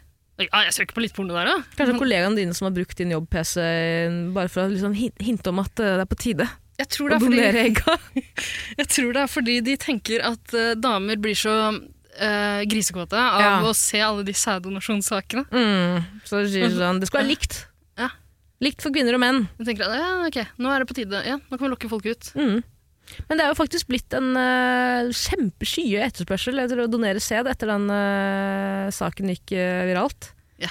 Speaker 3: Ja, jeg søker på litt porno der òg.
Speaker 2: Kanskje kollegaene dine som har brukt din jobb-PC bare for å liksom hin- hinte om at eh, det er på tide
Speaker 3: Jeg
Speaker 2: å
Speaker 3: tror, det er fordi,
Speaker 2: donere egga?
Speaker 3: jeg tror det er fordi de tenker at eh, damer blir så eh, grisekåte av
Speaker 2: Ja.
Speaker 3: å se alle de sæddonasjonssakene.
Speaker 2: Mm, så sier du sånn, det skal være likt.
Speaker 3: Ja.
Speaker 2: Likt for kvinner og menn.
Speaker 3: De tenker at ja, ok, nå er det på tide. Ja, nå kan vi lokke folk ut.
Speaker 2: Mm. Men det er jo faktisk blitt en uh, kjempeskye etterspørsel etter å donere sæd etter den eh, saken gikk eh, viralt.
Speaker 3: Ja.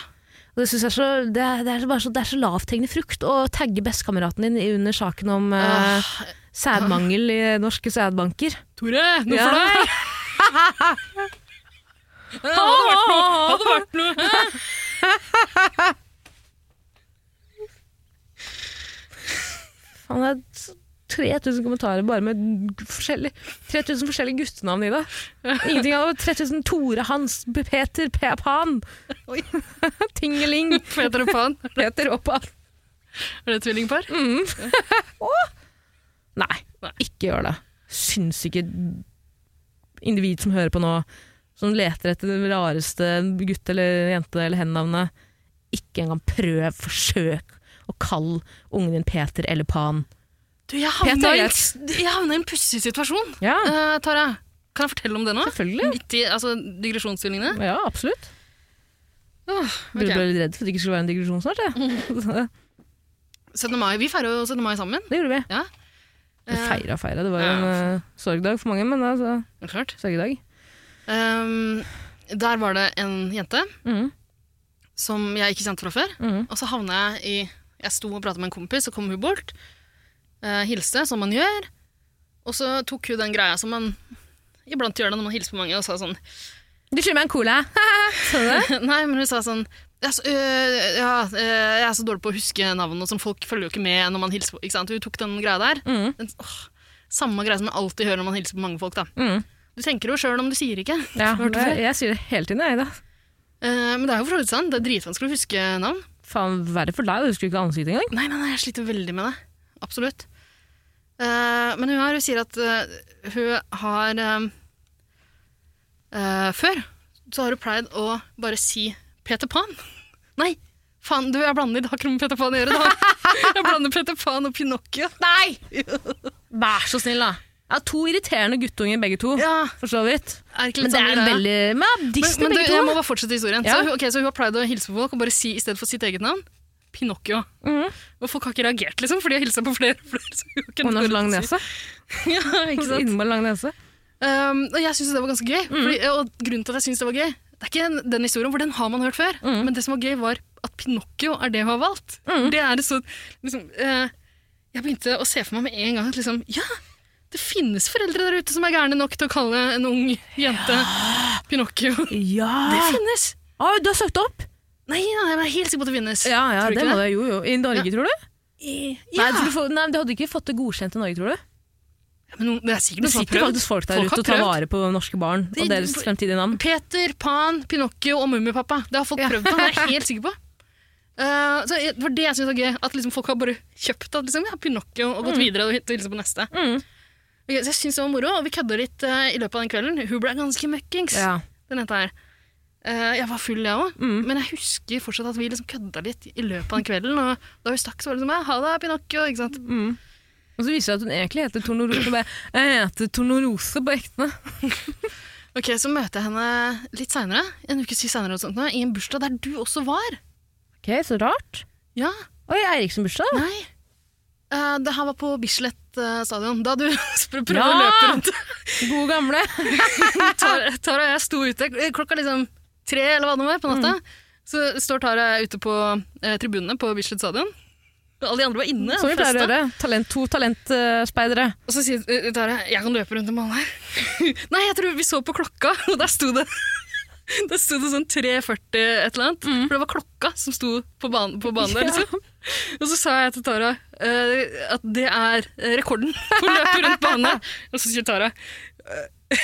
Speaker 2: Og det, synes jeg er så, det, er, det, er så bare så, det er så lavthengende frukt å tagge bestekameraten din i- under saken om eh,
Speaker 3: Ah,
Speaker 2: sædmangel i norske sædbanker.
Speaker 3: Tore, noe
Speaker 2: Ja.
Speaker 3: for deg! Hadde det vært noe.
Speaker 2: Han har 3000 kommentarer bare med forskjellige, 3000 forskjellige guttenavn i det. Ingenting av det. 3000 Tore, Hans, B- Peter, P. Pan.
Speaker 3: Oi.
Speaker 2: Tingeling,
Speaker 3: Peter og Pan.
Speaker 2: Peter og Pan.
Speaker 3: Er det tvillingpar?
Speaker 2: Mm. Nei, ikke gjør det. Sinnssyke individ som hører på nå, som leter etter det rareste gutt- eller jente- eller hen-navnet. Ikke engang prøv, forsøk å kalle ungen din Peter eller Pan.
Speaker 3: Du, jeg
Speaker 2: Peter
Speaker 3: havna i,
Speaker 2: Jets.
Speaker 3: jeg havna i en pussig situasjon.
Speaker 2: Ja,
Speaker 3: Eh, Tara, kan jeg fortelle om det nå?
Speaker 2: selvfølgelig.
Speaker 3: Midt i altså, digresjonsstillingene?
Speaker 2: Ja, absolutt.
Speaker 3: Ok.
Speaker 2: Burde være litt redd for at det ikke skulle være en digresjon snart. Ja.
Speaker 3: 17. mai, vi feirer jo 17. mai sammen.
Speaker 2: Det gjorde vi.
Speaker 3: Ja. Eh,
Speaker 2: Feira og feira. Det var jo en eh, sorgdag for mange, men altså,
Speaker 3: det er klart.
Speaker 2: sorgdag.
Speaker 3: Ehm, der var det en jente
Speaker 2: Mhm.
Speaker 3: som jeg ikke kjente fra før.
Speaker 2: Mhm.
Speaker 3: Og så havna jeg i Jeg sto og prata med en kompis, så kom hun bort. eh, hilste, som man gjør. Og så tok hun den greia som man iblant gjør det når man hilser på mange, og sa sånn
Speaker 2: Du skylder meg en cola! Så du det?
Speaker 3: Nei, men hun sa sånn jeg er, så, øh, ja, øh, jeg er så dårlig på å huske navn og sånn. Folk følger jo ikke med når man hilser på. Ikke sant? Hun tok den greia der.
Speaker 2: Mhm.
Speaker 3: Den, åh, samme greia som man alltid hører når man hilser på mange folk. Da.
Speaker 2: Mhm.
Speaker 3: Du tenker jo sjøl om du sier ikke.
Speaker 2: Ja,
Speaker 3: Hørte du
Speaker 2: jeg,
Speaker 3: det?
Speaker 2: jeg sier det hele tiden, jeg, da.
Speaker 3: Eh, men det er jo for så vidt sant. Det er dritvanskelig å huske navn.
Speaker 2: Faen, verre for deg, du husker jo ikke ansiktet engang.
Speaker 3: Nei, nei, nei, jeg sliter veldig med det. Absolutt. Eh, men hun her hun sier at eh, hun har eh, eh, Før så har hun pleid å bare si Peter Pan. Nei, faen, du, jeg blander. Det har ikke noe med Peter Pan å gjøre. det har- Jeg blander Peter Pan og Pinocchio.
Speaker 2: Nei! Vær så snill, da. Ja, to irriterende guttunger, begge to.
Speaker 3: Ja,
Speaker 2: For så vidt.
Speaker 3: er ikke
Speaker 2: Men sånn
Speaker 3: litt
Speaker 2: det
Speaker 3: samme
Speaker 2: er
Speaker 3: greia?
Speaker 2: veldig Men ja,
Speaker 3: Men,
Speaker 2: Disney,
Speaker 3: men du,
Speaker 2: begge
Speaker 3: jeg må
Speaker 2: to.
Speaker 3: bare fortsette historien.
Speaker 2: Ja.
Speaker 3: Så, hun- ok, så hun har pleid å hilse på folk og bare si i stedet for sitt eget navn Pinocchio. Og folk har ikke reagert, liksom, fordi jeg hilsa på flere og flere. Så
Speaker 2: Mhm.
Speaker 3: hun har ikke
Speaker 2: Hun har
Speaker 3: noe
Speaker 2: så lang
Speaker 3: å si.
Speaker 2: nese.
Speaker 3: ja, ikke sant?
Speaker 2: Innmari lang nese.
Speaker 3: Um, og jeg syntes det var ganske gøy.
Speaker 2: Mhm.
Speaker 3: Fordi, og grunnen til at jeg synes det var gøy, det er ikke den, den historien, for den har man hørt før.
Speaker 2: Mhm.
Speaker 3: Men det som var gøy, var at Pinocchio er det hun har valgt. Det er så, liksom, eh, jeg begynte å se for meg med en gang at liksom, ja, det finnes foreldre der ute som er gærne nok til å kalle en ung jente Pinocchio. Ah. Det
Speaker 2: Ja!
Speaker 3: finnes!
Speaker 2: Å, du har søkt opp?
Speaker 3: Nei, nei, jeg er helt sikker på at det finnes.
Speaker 2: Ja, ja,
Speaker 3: Tror du
Speaker 2: det
Speaker 3: ikke
Speaker 2: må
Speaker 3: det?
Speaker 2: det. Jo, jo. I Norge, tror du?
Speaker 3: Ja.
Speaker 2: Nei, du får, nei, du hadde ikke fått det godkjent i Norge, tror du?
Speaker 3: Men noen- det er
Speaker 2: Det
Speaker 3: sikkert noen som har
Speaker 2: sitter
Speaker 3: prøvd.
Speaker 2: faktisk folk der
Speaker 3: Folk har
Speaker 2: ute og tar
Speaker 3: prøvd.
Speaker 2: vare på norske barn
Speaker 3: De-
Speaker 2: og deres fremtidige navn.
Speaker 3: Peter, Pan, Pinocchio og Mummipappa. Det har folk prøvd på, det er jeg helt sikker på. Eh, så jeg- det var det jeg synes var gøy. At liksom folk har bare kjøpt at liksom, ja, Pinocchio og gått
Speaker 2: Mm.
Speaker 3: videre og hit- og hilser på neste. Ok, så jeg synes det var moro, og vi kødda litt eh, i løpet av den kvelden. Hun ble ganske møkkings,
Speaker 2: Ja. Mm.
Speaker 3: den jenta her. Eh, jeg var full, jeg òg, men jeg husker fortsatt at vi liksom kødda litt i løpet av den kvelden. Og da hun stakk, så var det liksom ja, ha det, Pinocchio. Ikke sant?
Speaker 2: Og så viser det seg at hun egentlig heter Tornorose. og bare, Jeg heter Tornorose på ekte.
Speaker 3: Ok, Så møter jeg henne litt seinere, en uke seinere, i en bursdag der du også var.
Speaker 2: Ok, så rart.
Speaker 3: Ja,
Speaker 2: Oi, Eiriksen-bursdag.
Speaker 3: Nei. Eh, det her var på Bislett eh, stadion. Da du spr- prøvde å
Speaker 2: Ja!
Speaker 3: løpe rundt.
Speaker 2: Gode gamle.
Speaker 3: Tara, Tara og jeg sto ute eh, klokka liksom tre eller hva det var på natta.
Speaker 2: Mm.
Speaker 3: Så står Tara ute på eh, tribunene på Bislett stadion. Alle de andre var inne.
Speaker 2: Som vi
Speaker 3: og
Speaker 2: pleier å
Speaker 3: festa.
Speaker 2: gjøre. Talent, to talentspeidere.
Speaker 3: Og så sier eh, Tara jeg kan løpe rundt en ball her. Nei, jeg tror vi så på klokka, og der sto det der sto det sånn 3.40 et eller annet. For det var klokka som sto på banen, på banen der.
Speaker 2: Ja.
Speaker 3: Liksom. Og så sa jeg til Tara eh, at det er eh, rekorden for å løpe rundt bane. Og så sier Tara eh,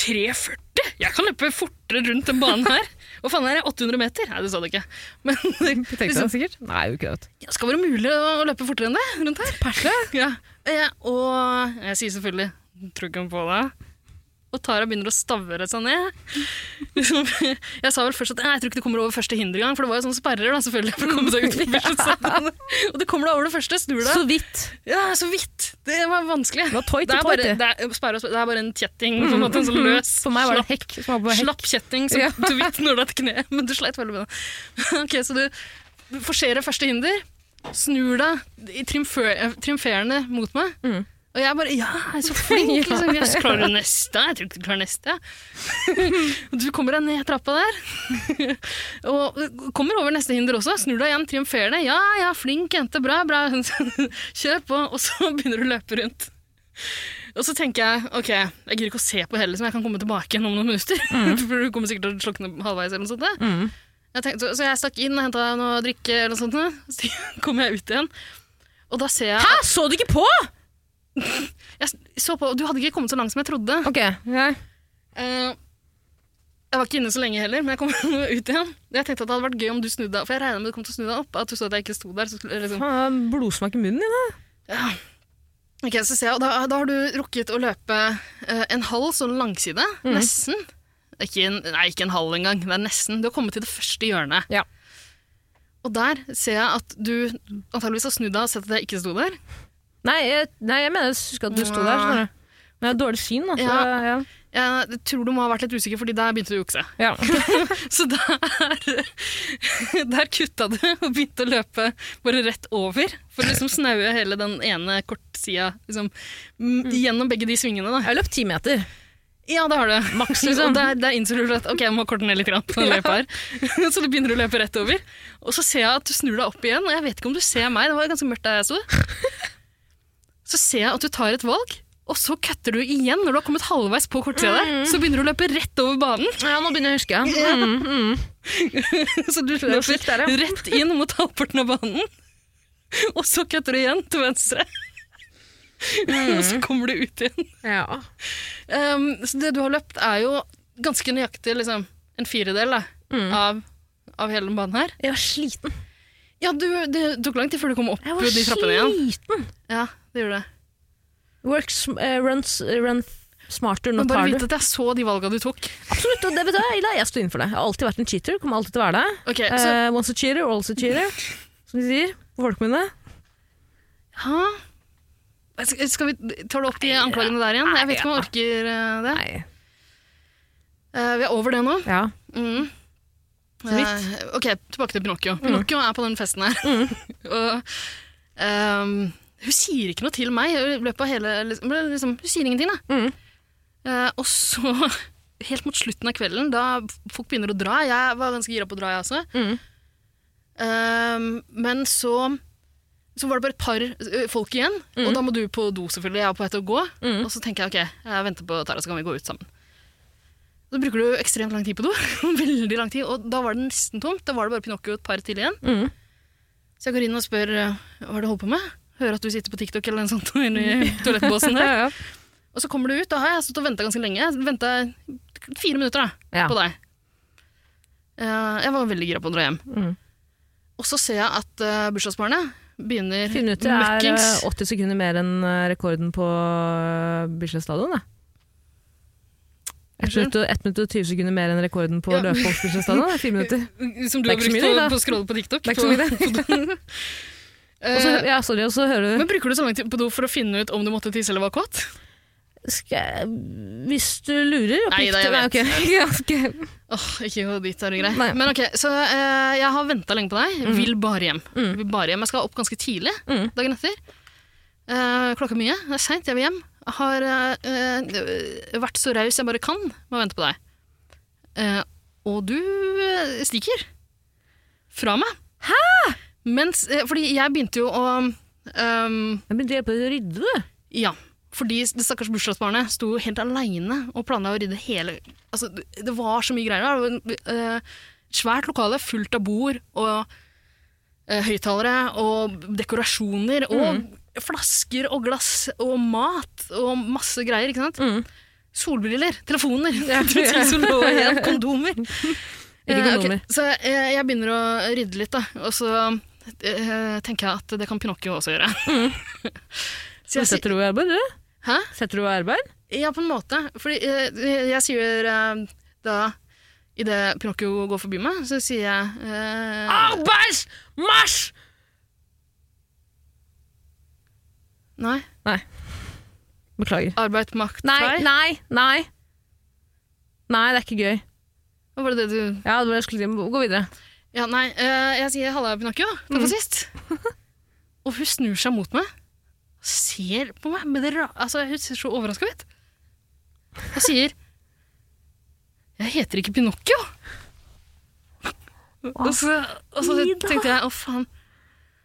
Speaker 3: 3.40? Jeg kan løpe fortere rundt den banen her. Hva faen er det? 800 meter? Nei, det sa du ikke. Men liksom,
Speaker 2: sikkert. Nei, jo ikke det.
Speaker 3: ja, skal være mulig å å løpe fortere enn det rundt her.
Speaker 2: Persle?
Speaker 3: Ja. Eh, og jeg sier selvfølgelig trykken på deg. Og Tara begynner å stavre seg ned. Liksom, Jeg sa vel først at «Nei, jeg tror ikke du kommer over første hindergang, for det var jo sånne sperrer da, selvfølgelig for å komme seg ut på Bislett. Og du kommer deg over det første, snur
Speaker 2: Så
Speaker 3: deg.
Speaker 2: vidt.
Speaker 3: Ja, så vidt! Det var vanskelig.
Speaker 2: Det var toit
Speaker 3: Det
Speaker 2: til
Speaker 3: er bare,
Speaker 2: toit.
Speaker 3: det er, sperre, og sperre, det er bare en kjetting, på en måte, en sånn løs,
Speaker 2: Mm. For meg var det
Speaker 3: slapp-
Speaker 2: hekk. som var på hekk.
Speaker 3: slapp kjetting som
Speaker 2: Ja.
Speaker 3: du vet når det er et kne, men du sleit veldig med det. Ok, så du du forserer første hinder, snur deg i triumfer- triumferende mot meg,
Speaker 2: Mm.
Speaker 3: og jeg bare, ja, jeg er så flink, liksom. Jeg så klarer du neste, jeg tror ikke du klarer neste. Og du kommer deg ned trappa der, og kommer over neste hinder også, snur deg igjen triumferende, ja, ja, flink jente, bra, bra, kjør på, og så begynner du å løpe rundt. Og så tenker jeg ok, jeg gidder ikke å se på heller, som jeg kan komme tilbake igjen om noen minutter. For du kommer sikkert til å slokne halvveis eller noe sånt. Jeg tenkte, så jeg stakk inn og henta noe å drikke, eller noe sånt, så kom jeg ut igjen. Og da ser jeg
Speaker 2: Hæ, Ah, så du ikke på?!
Speaker 3: Jeg så på, og du hadde ikke kommet så langt som jeg trodde.
Speaker 2: Ok, nei.
Speaker 3: Eh, jeg var ikke inne så lenge heller, men jeg kom ut igjen. Jeg tenkte at det hadde vært gøy om du snudde deg, for jeg regna med du kom til å snu deg opp. At du så at jeg ikke sto der. Så, skulle- liksom,
Speaker 2: Faen, det er blodsmak i munnen din, da.
Speaker 3: Ok, så ser jeg, og da, da har du rukket å løpe eh, en halv sånn langside, nesten. Ikke en, nei, ikke en halv engang, det er nesten. Du har kommet til det første hjørnet.
Speaker 2: Ja.
Speaker 3: Og der ser jeg at du antageligvis har snudd deg og sett at jeg ikke sto der.
Speaker 2: Nei, jeg, nei, jeg mener jeg husker at du sto der. skjønner du. Men jeg har dårlig syn, da. Så,
Speaker 3: Ja.
Speaker 2: ja.
Speaker 3: Jeg tror du må ha vært litt usikker, fordi der begynte du å jukse.
Speaker 2: Ja.
Speaker 3: Så der, der kutta du og begynte å løpe bare rett over, for å liksom snaue hele den ene kortsida liksom, m- gjennom begge de svingene. Da.
Speaker 2: Jeg har løpt ti meter.
Speaker 3: Ja, det har du.
Speaker 2: Maks, liksom.
Speaker 3: Og der, der innså du at ok, jeg må korte ned litt. Grann på den løypa her. Så du begynner å løpe rett over. Og så ser jeg at du snur deg opp igjen, og jeg vet ikke om du ser meg. Det var ganske mørkt der jeg sto. Så ser jeg at du tar et valg, og så kutter du igjen når du har kommet halvveis på kortsida der. Så begynner du å løpe rett over banen.
Speaker 2: Ja, Mm. nå begynner jeg å huske.
Speaker 3: Så du
Speaker 2: slikt er
Speaker 3: løper
Speaker 2: det.
Speaker 3: rett inn mot halvparten av banen. Og så kutter du igjen til venstre. Og så kommer du ut igjen.
Speaker 2: Ja.
Speaker 3: Um, så det du har løpt er jo ganske nøyaktig liksom, en firedel da, av, av hele den banen her.
Speaker 2: Jeg var sliten.
Speaker 3: Ja, du, det tok lang tid før du kom opp
Speaker 2: Jeg var
Speaker 3: de trappene igjen.
Speaker 2: sliten.
Speaker 3: Ja, det gjorde det.
Speaker 2: Work sm eh, run, s- eh, run f- smarter, nå
Speaker 3: Men bare
Speaker 2: tar
Speaker 3: vite
Speaker 2: du.
Speaker 3: at jeg så de valga du tok.
Speaker 2: Absolutt, og det vet du, Ida, jeg står innenfor det. Jeg har alltid vært en cheater, kommer alltid til å være det.
Speaker 3: Ok, så,
Speaker 2: Eh, once a cheater, always a cheater, som de sier på folkemunne.
Speaker 3: Hæ? Skal skal vi, tar du opp de anklagene der igjen? Jeg vet ikke om jeg orker eh, det.
Speaker 2: Nei.
Speaker 3: Eh, vi er over det nå.
Speaker 2: Ja.
Speaker 3: Mm.
Speaker 2: Så vidt.
Speaker 3: Eh, ok, tilbake til
Speaker 2: Mm.
Speaker 3: Pinocchio. Pinocchio er på den festen her. og ehm, hun sier ikke noe til meg i løpet av hele liksom, men liksom, Hun sier ingenting, da.
Speaker 2: Mm.
Speaker 3: Eh, og så, helt mot slutten av kvelden, da folk begynner å dra Jeg var ganske gira på å dra, jeg også.
Speaker 2: Mm.
Speaker 3: Ehm, men så så var det bare et par eh, folk igjen,
Speaker 2: Mm.
Speaker 3: og da må du på do, selvfølgelig. Jeg er på vei til å gå. Og så tenker jeg ok, jeg venter på Tara, så kan vi gå ut sammen. Så bruker du ekstremt lang tid på do. Veldig lang tid. Og da var det nesten tomt. Da var det bare Pinocchio og et par til igjen.
Speaker 2: Mhm.
Speaker 3: Så jeg går inn og spør eh, hva er det du holder på med. Hører at du sitter på TikTok eller noe sånt inne i toalettbåsen der.
Speaker 2: Ja, ja.
Speaker 3: Og så kommer du ut. Da har jeg stått og venta ganske lenge. Venta fire minutter da,
Speaker 2: Ja.
Speaker 3: på deg. Eh, jeg var veldig gira på å dra hjem.
Speaker 2: Mhm.
Speaker 3: Og så ser jeg at uh, bursdagsbarnet begynner
Speaker 2: Fire minutter er eh,
Speaker 3: møkkings.
Speaker 2: 80 sekunder mer enn eh, rekorden på eh, Bislett Stadion. da. Ett
Speaker 3: Unnskyld?
Speaker 2: minutt, og- ett minutt og 20 sekunder mer enn rekorden på
Speaker 3: Ja. Eh.
Speaker 2: løpet på Bislett Stadion. da. Fire minutter.
Speaker 3: Som
Speaker 2: Det er
Speaker 3: du har
Speaker 2: ikke så
Speaker 3: brukt
Speaker 2: mye,
Speaker 3: på,
Speaker 2: det, da.
Speaker 3: på å scrolle på TikTok.
Speaker 2: Det er ikke så mye, det. Og så,
Speaker 3: Eh,
Speaker 2: ja, sorry, og så hører du
Speaker 3: men bruker du så lang tid på do for å finne ut om du måtte tisse eller var kåt?
Speaker 2: skal jeg, Hvis du lurer
Speaker 3: Nei, da, jeg vet.
Speaker 2: ja, ok.
Speaker 3: Åh, ikke gå dit, er det greit.
Speaker 2: Nei.
Speaker 3: Men ok, så eh, jeg har venta lenge på deg. Vil bare hjem. Vil bare hjem. Jeg skal opp ganske tidlig
Speaker 2: Mm.
Speaker 3: dagen etter. Eh, klokka er mye, det er seint, jeg vil hjem. Jeg har eh, eh, vært så raus jeg bare kan med å vente på deg. Eh, og du eh, stikker fra meg. Hæ?! Mens, eh, fordi jeg begynte jo å ehm,
Speaker 2: Jeg begynte å hjelpe deg å rydde, du.
Speaker 3: Ja, fordi det stakkars bursdagsbarnet sto helt aleine og planla å rydde hele altså, det- Det var så mye greier. Det var eh, svært lokale fullt av bord og eh, høyttalere og dekorasjoner og
Speaker 2: Mm.
Speaker 3: flasker og glass og mat og masse greier, ikke sant?
Speaker 2: Mm.
Speaker 3: Solbriller, telefoner, ting som lå igjen, kondomer.
Speaker 2: Ikke
Speaker 3: Eh, ok,
Speaker 2: kondomer.
Speaker 3: Så eh, jeg begynner å rydde litt, da. Og så eh, tenker jeg at det kan Pinocchio også gjøre.
Speaker 2: Så
Speaker 3: så jeg,
Speaker 2: Mm.
Speaker 3: sier-
Speaker 2: setter du i arbeid, du?
Speaker 3: Hæ?
Speaker 2: Setter du i arbeid?
Speaker 3: Ja, på en måte. Fordi eh, jeg, jeg sier eh, da Idet Pinocchio går forbi meg, så sier jeg eh,
Speaker 2: Arbeidsmarsj!
Speaker 3: Nei.
Speaker 2: Beklager.
Speaker 3: Arbeid, makt,
Speaker 2: Nei,
Speaker 3: vei.
Speaker 2: nei, nei. Nei, det er ikke gøy.
Speaker 3: Hva var det det du
Speaker 2: Ja, det var det jeg skulle si. Gå videre.
Speaker 3: Ja, nei. eh, jeg sier halla, Pinocchio. Takk for sist. Og hun snur seg mot meg. Ser på meg med det ra... Altså, hun ser så overraska ut. Jeg sier Jeg heter ikke Pinocchio. Og så, og så
Speaker 2: Ida.
Speaker 3: tenkte jeg å faen.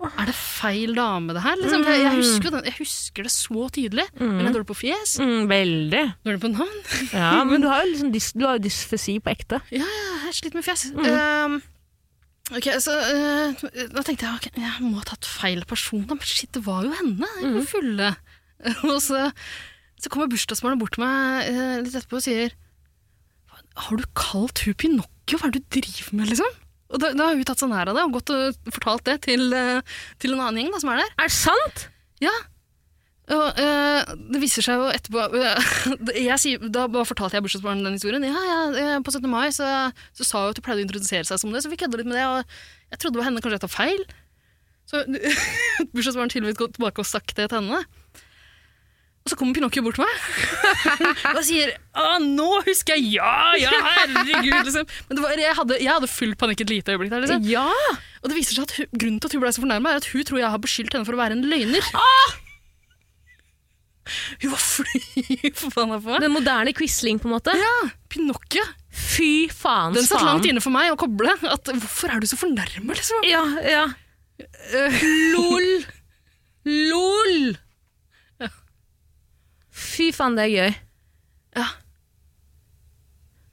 Speaker 3: Er det feil dame, det her? Liksom, jeg, jeg, husker jo den, jeg husker det så tydelig. Men jeg er dårlig på fjes.
Speaker 2: Mm, veldig.
Speaker 3: Dårlig på navn.
Speaker 2: Ja, men du har jo liksom dys, du har jo dysfesi på ekte.
Speaker 3: Ja, ja, jeg har slitt med fjes. Ehm, ok, så eh, Da tenkte jeg ok, jeg må ha tatt feil person, da. Men shit, det var jo henne! Jeg var fulle. og så, så kommer bursdagsbarnet bort til meg eh, litt etterpå og sier Har du kalt hun Pinocchio? Hva er det du driver med, liksom? Og da, da har hun tatt seg nær av det og gått og fortalt det til, eh, til en annen gjeng da, som er der.
Speaker 2: Er det sant?
Speaker 3: Ja. Og eh, det viser seg jo etterpå eh, jeg sier, Da bare fortalte jeg bursdagsbarnet den historien. Ja, ja, eh, På 17. mai så, så sa hun at hun pleide å introdusere seg som det, så vi kødda litt med det. Og jeg trodde det var henne, kanskje jeg tar feil. Så bursdagsbarnet tydeligvis gått tilbake og sagt det til henne. Og så kommer Pinocchio bort til meg og sier «Å, 'Nå husker jeg! Ja, ja, herregud!' liksom. Men det var, jeg, hadde, jeg hadde full panikk et lite øyeblikk der. liksom.
Speaker 2: Ja!
Speaker 3: Og det viser seg at hun, grunnen til at hun ble så fornærma, er at hun tror jeg har beskyldt henne for å være en løgner.
Speaker 2: Ah!
Speaker 3: Hun var fly forbanna på meg.
Speaker 2: Den moderne Quisling, på en måte.
Speaker 3: Ja, Pinocchio.
Speaker 2: Fy faen,
Speaker 3: Den satt langt
Speaker 2: faen.
Speaker 3: inne for meg å koble. At, hvorfor er du så fornærma, liksom?
Speaker 2: Ja, ja. Eh, LOL! LOL! Fy faen, det er gøy.
Speaker 3: Ja.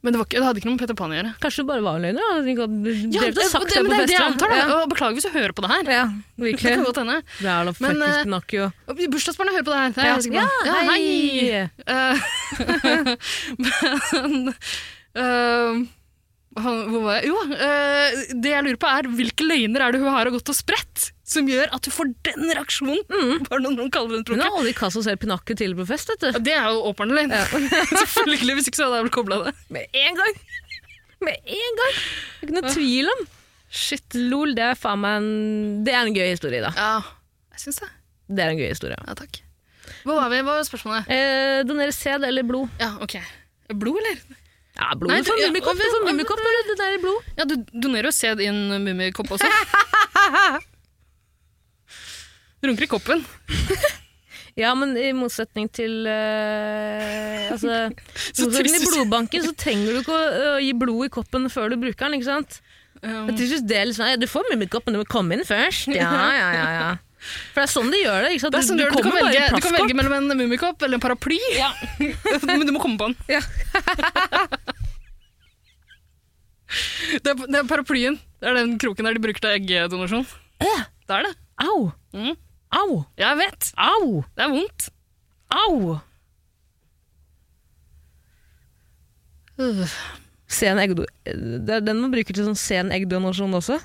Speaker 3: Men det, var ikke, det hadde ikke noe med Peter Pan å gjøre.
Speaker 2: Kanskje det bare var løgner? da? At du ikke hadde-
Speaker 3: Ja,
Speaker 2: dere
Speaker 3: det,
Speaker 2: hadde
Speaker 3: det,
Speaker 2: sagt
Speaker 3: men det er jo det jeg
Speaker 2: festen.
Speaker 3: antar, da.
Speaker 2: Ja.
Speaker 3: Og Beklager hvis du hører på det her.
Speaker 2: Ja,
Speaker 3: Det kan
Speaker 2: virkelig.
Speaker 3: godt hende.
Speaker 2: Jævla
Speaker 3: Men,
Speaker 2: fuckings
Speaker 3: eh,
Speaker 2: Pinocchio.
Speaker 3: Og Bursdagsbarnet hører på det her. Det er
Speaker 2: Ja.
Speaker 3: jeg helt sikker på.
Speaker 2: Ja, hei!
Speaker 3: Eh, men eh, han- Hvor var jeg? Jo, eh, det jeg lurer på er hvilke løgner er det hun har gått og spredt som gjør at hun får den reaksjonen? Bare når noen kaller henne
Speaker 2: Hun
Speaker 3: tråkka.
Speaker 2: har aldri kassa selv Pinocchio til på fest, vet
Speaker 3: Ja,
Speaker 2: du.
Speaker 3: det er jo åperne løgn. Selvfølgelig, hvis ikke så hadde jeg vel kobla det.
Speaker 2: Med en gang! Med en gang! Det er ikke noe tvil om.
Speaker 3: Shit.
Speaker 2: Lol, det er faen meg en Det er en gøy historie, da.
Speaker 3: Ja, jeg syns det.
Speaker 2: Det er en gøy historie.
Speaker 3: Ja, takk. Hvor var vi? Hva var spørsmålet?
Speaker 2: Eh, donere sæd eller blod?
Speaker 3: Ja, ok. Blod, eller?
Speaker 2: Ja, blod
Speaker 3: Nei,
Speaker 2: Nei, for
Speaker 3: du- ja,
Speaker 2: mummikopp. det er for
Speaker 3: men-
Speaker 2: mummikopp, eller det der i blod.
Speaker 3: Ja, du donerer jo sæd i en mummikopp også. Runker i koppen.
Speaker 2: Ja, men i motsetning til eh, Altså, i
Speaker 3: Så
Speaker 2: motsetning til
Speaker 3: trist.
Speaker 2: blodbanken så trenger du ikke å, å gi blod i koppen før du bruker den, ikke sant?
Speaker 3: Um,
Speaker 2: Jeg synes det er litt sånn, ja, Du får mummikopp, men du må komme inn først. Ja, ja, ja, ja. For det er sånn de gjør det. ikke sant?
Speaker 3: det er sånn du, gjør det. du, kan
Speaker 2: kommer bare i
Speaker 3: velge, du kan
Speaker 2: plastkopp.
Speaker 3: velge mellom en mummikopp eller en paraply, men du må komme på den.
Speaker 2: Ja.
Speaker 3: det, er, det er paraplyen. Det er den kroken der de bruker til eggdonasjon.
Speaker 2: Eh.
Speaker 3: Det er det.
Speaker 2: Au!
Speaker 3: Mm.
Speaker 2: Au!
Speaker 3: Jeg vet.
Speaker 2: Au!
Speaker 3: Det er vondt.
Speaker 2: Au! Sen eggdo... Det er den man bruker til sånn sen eggdonasjon også.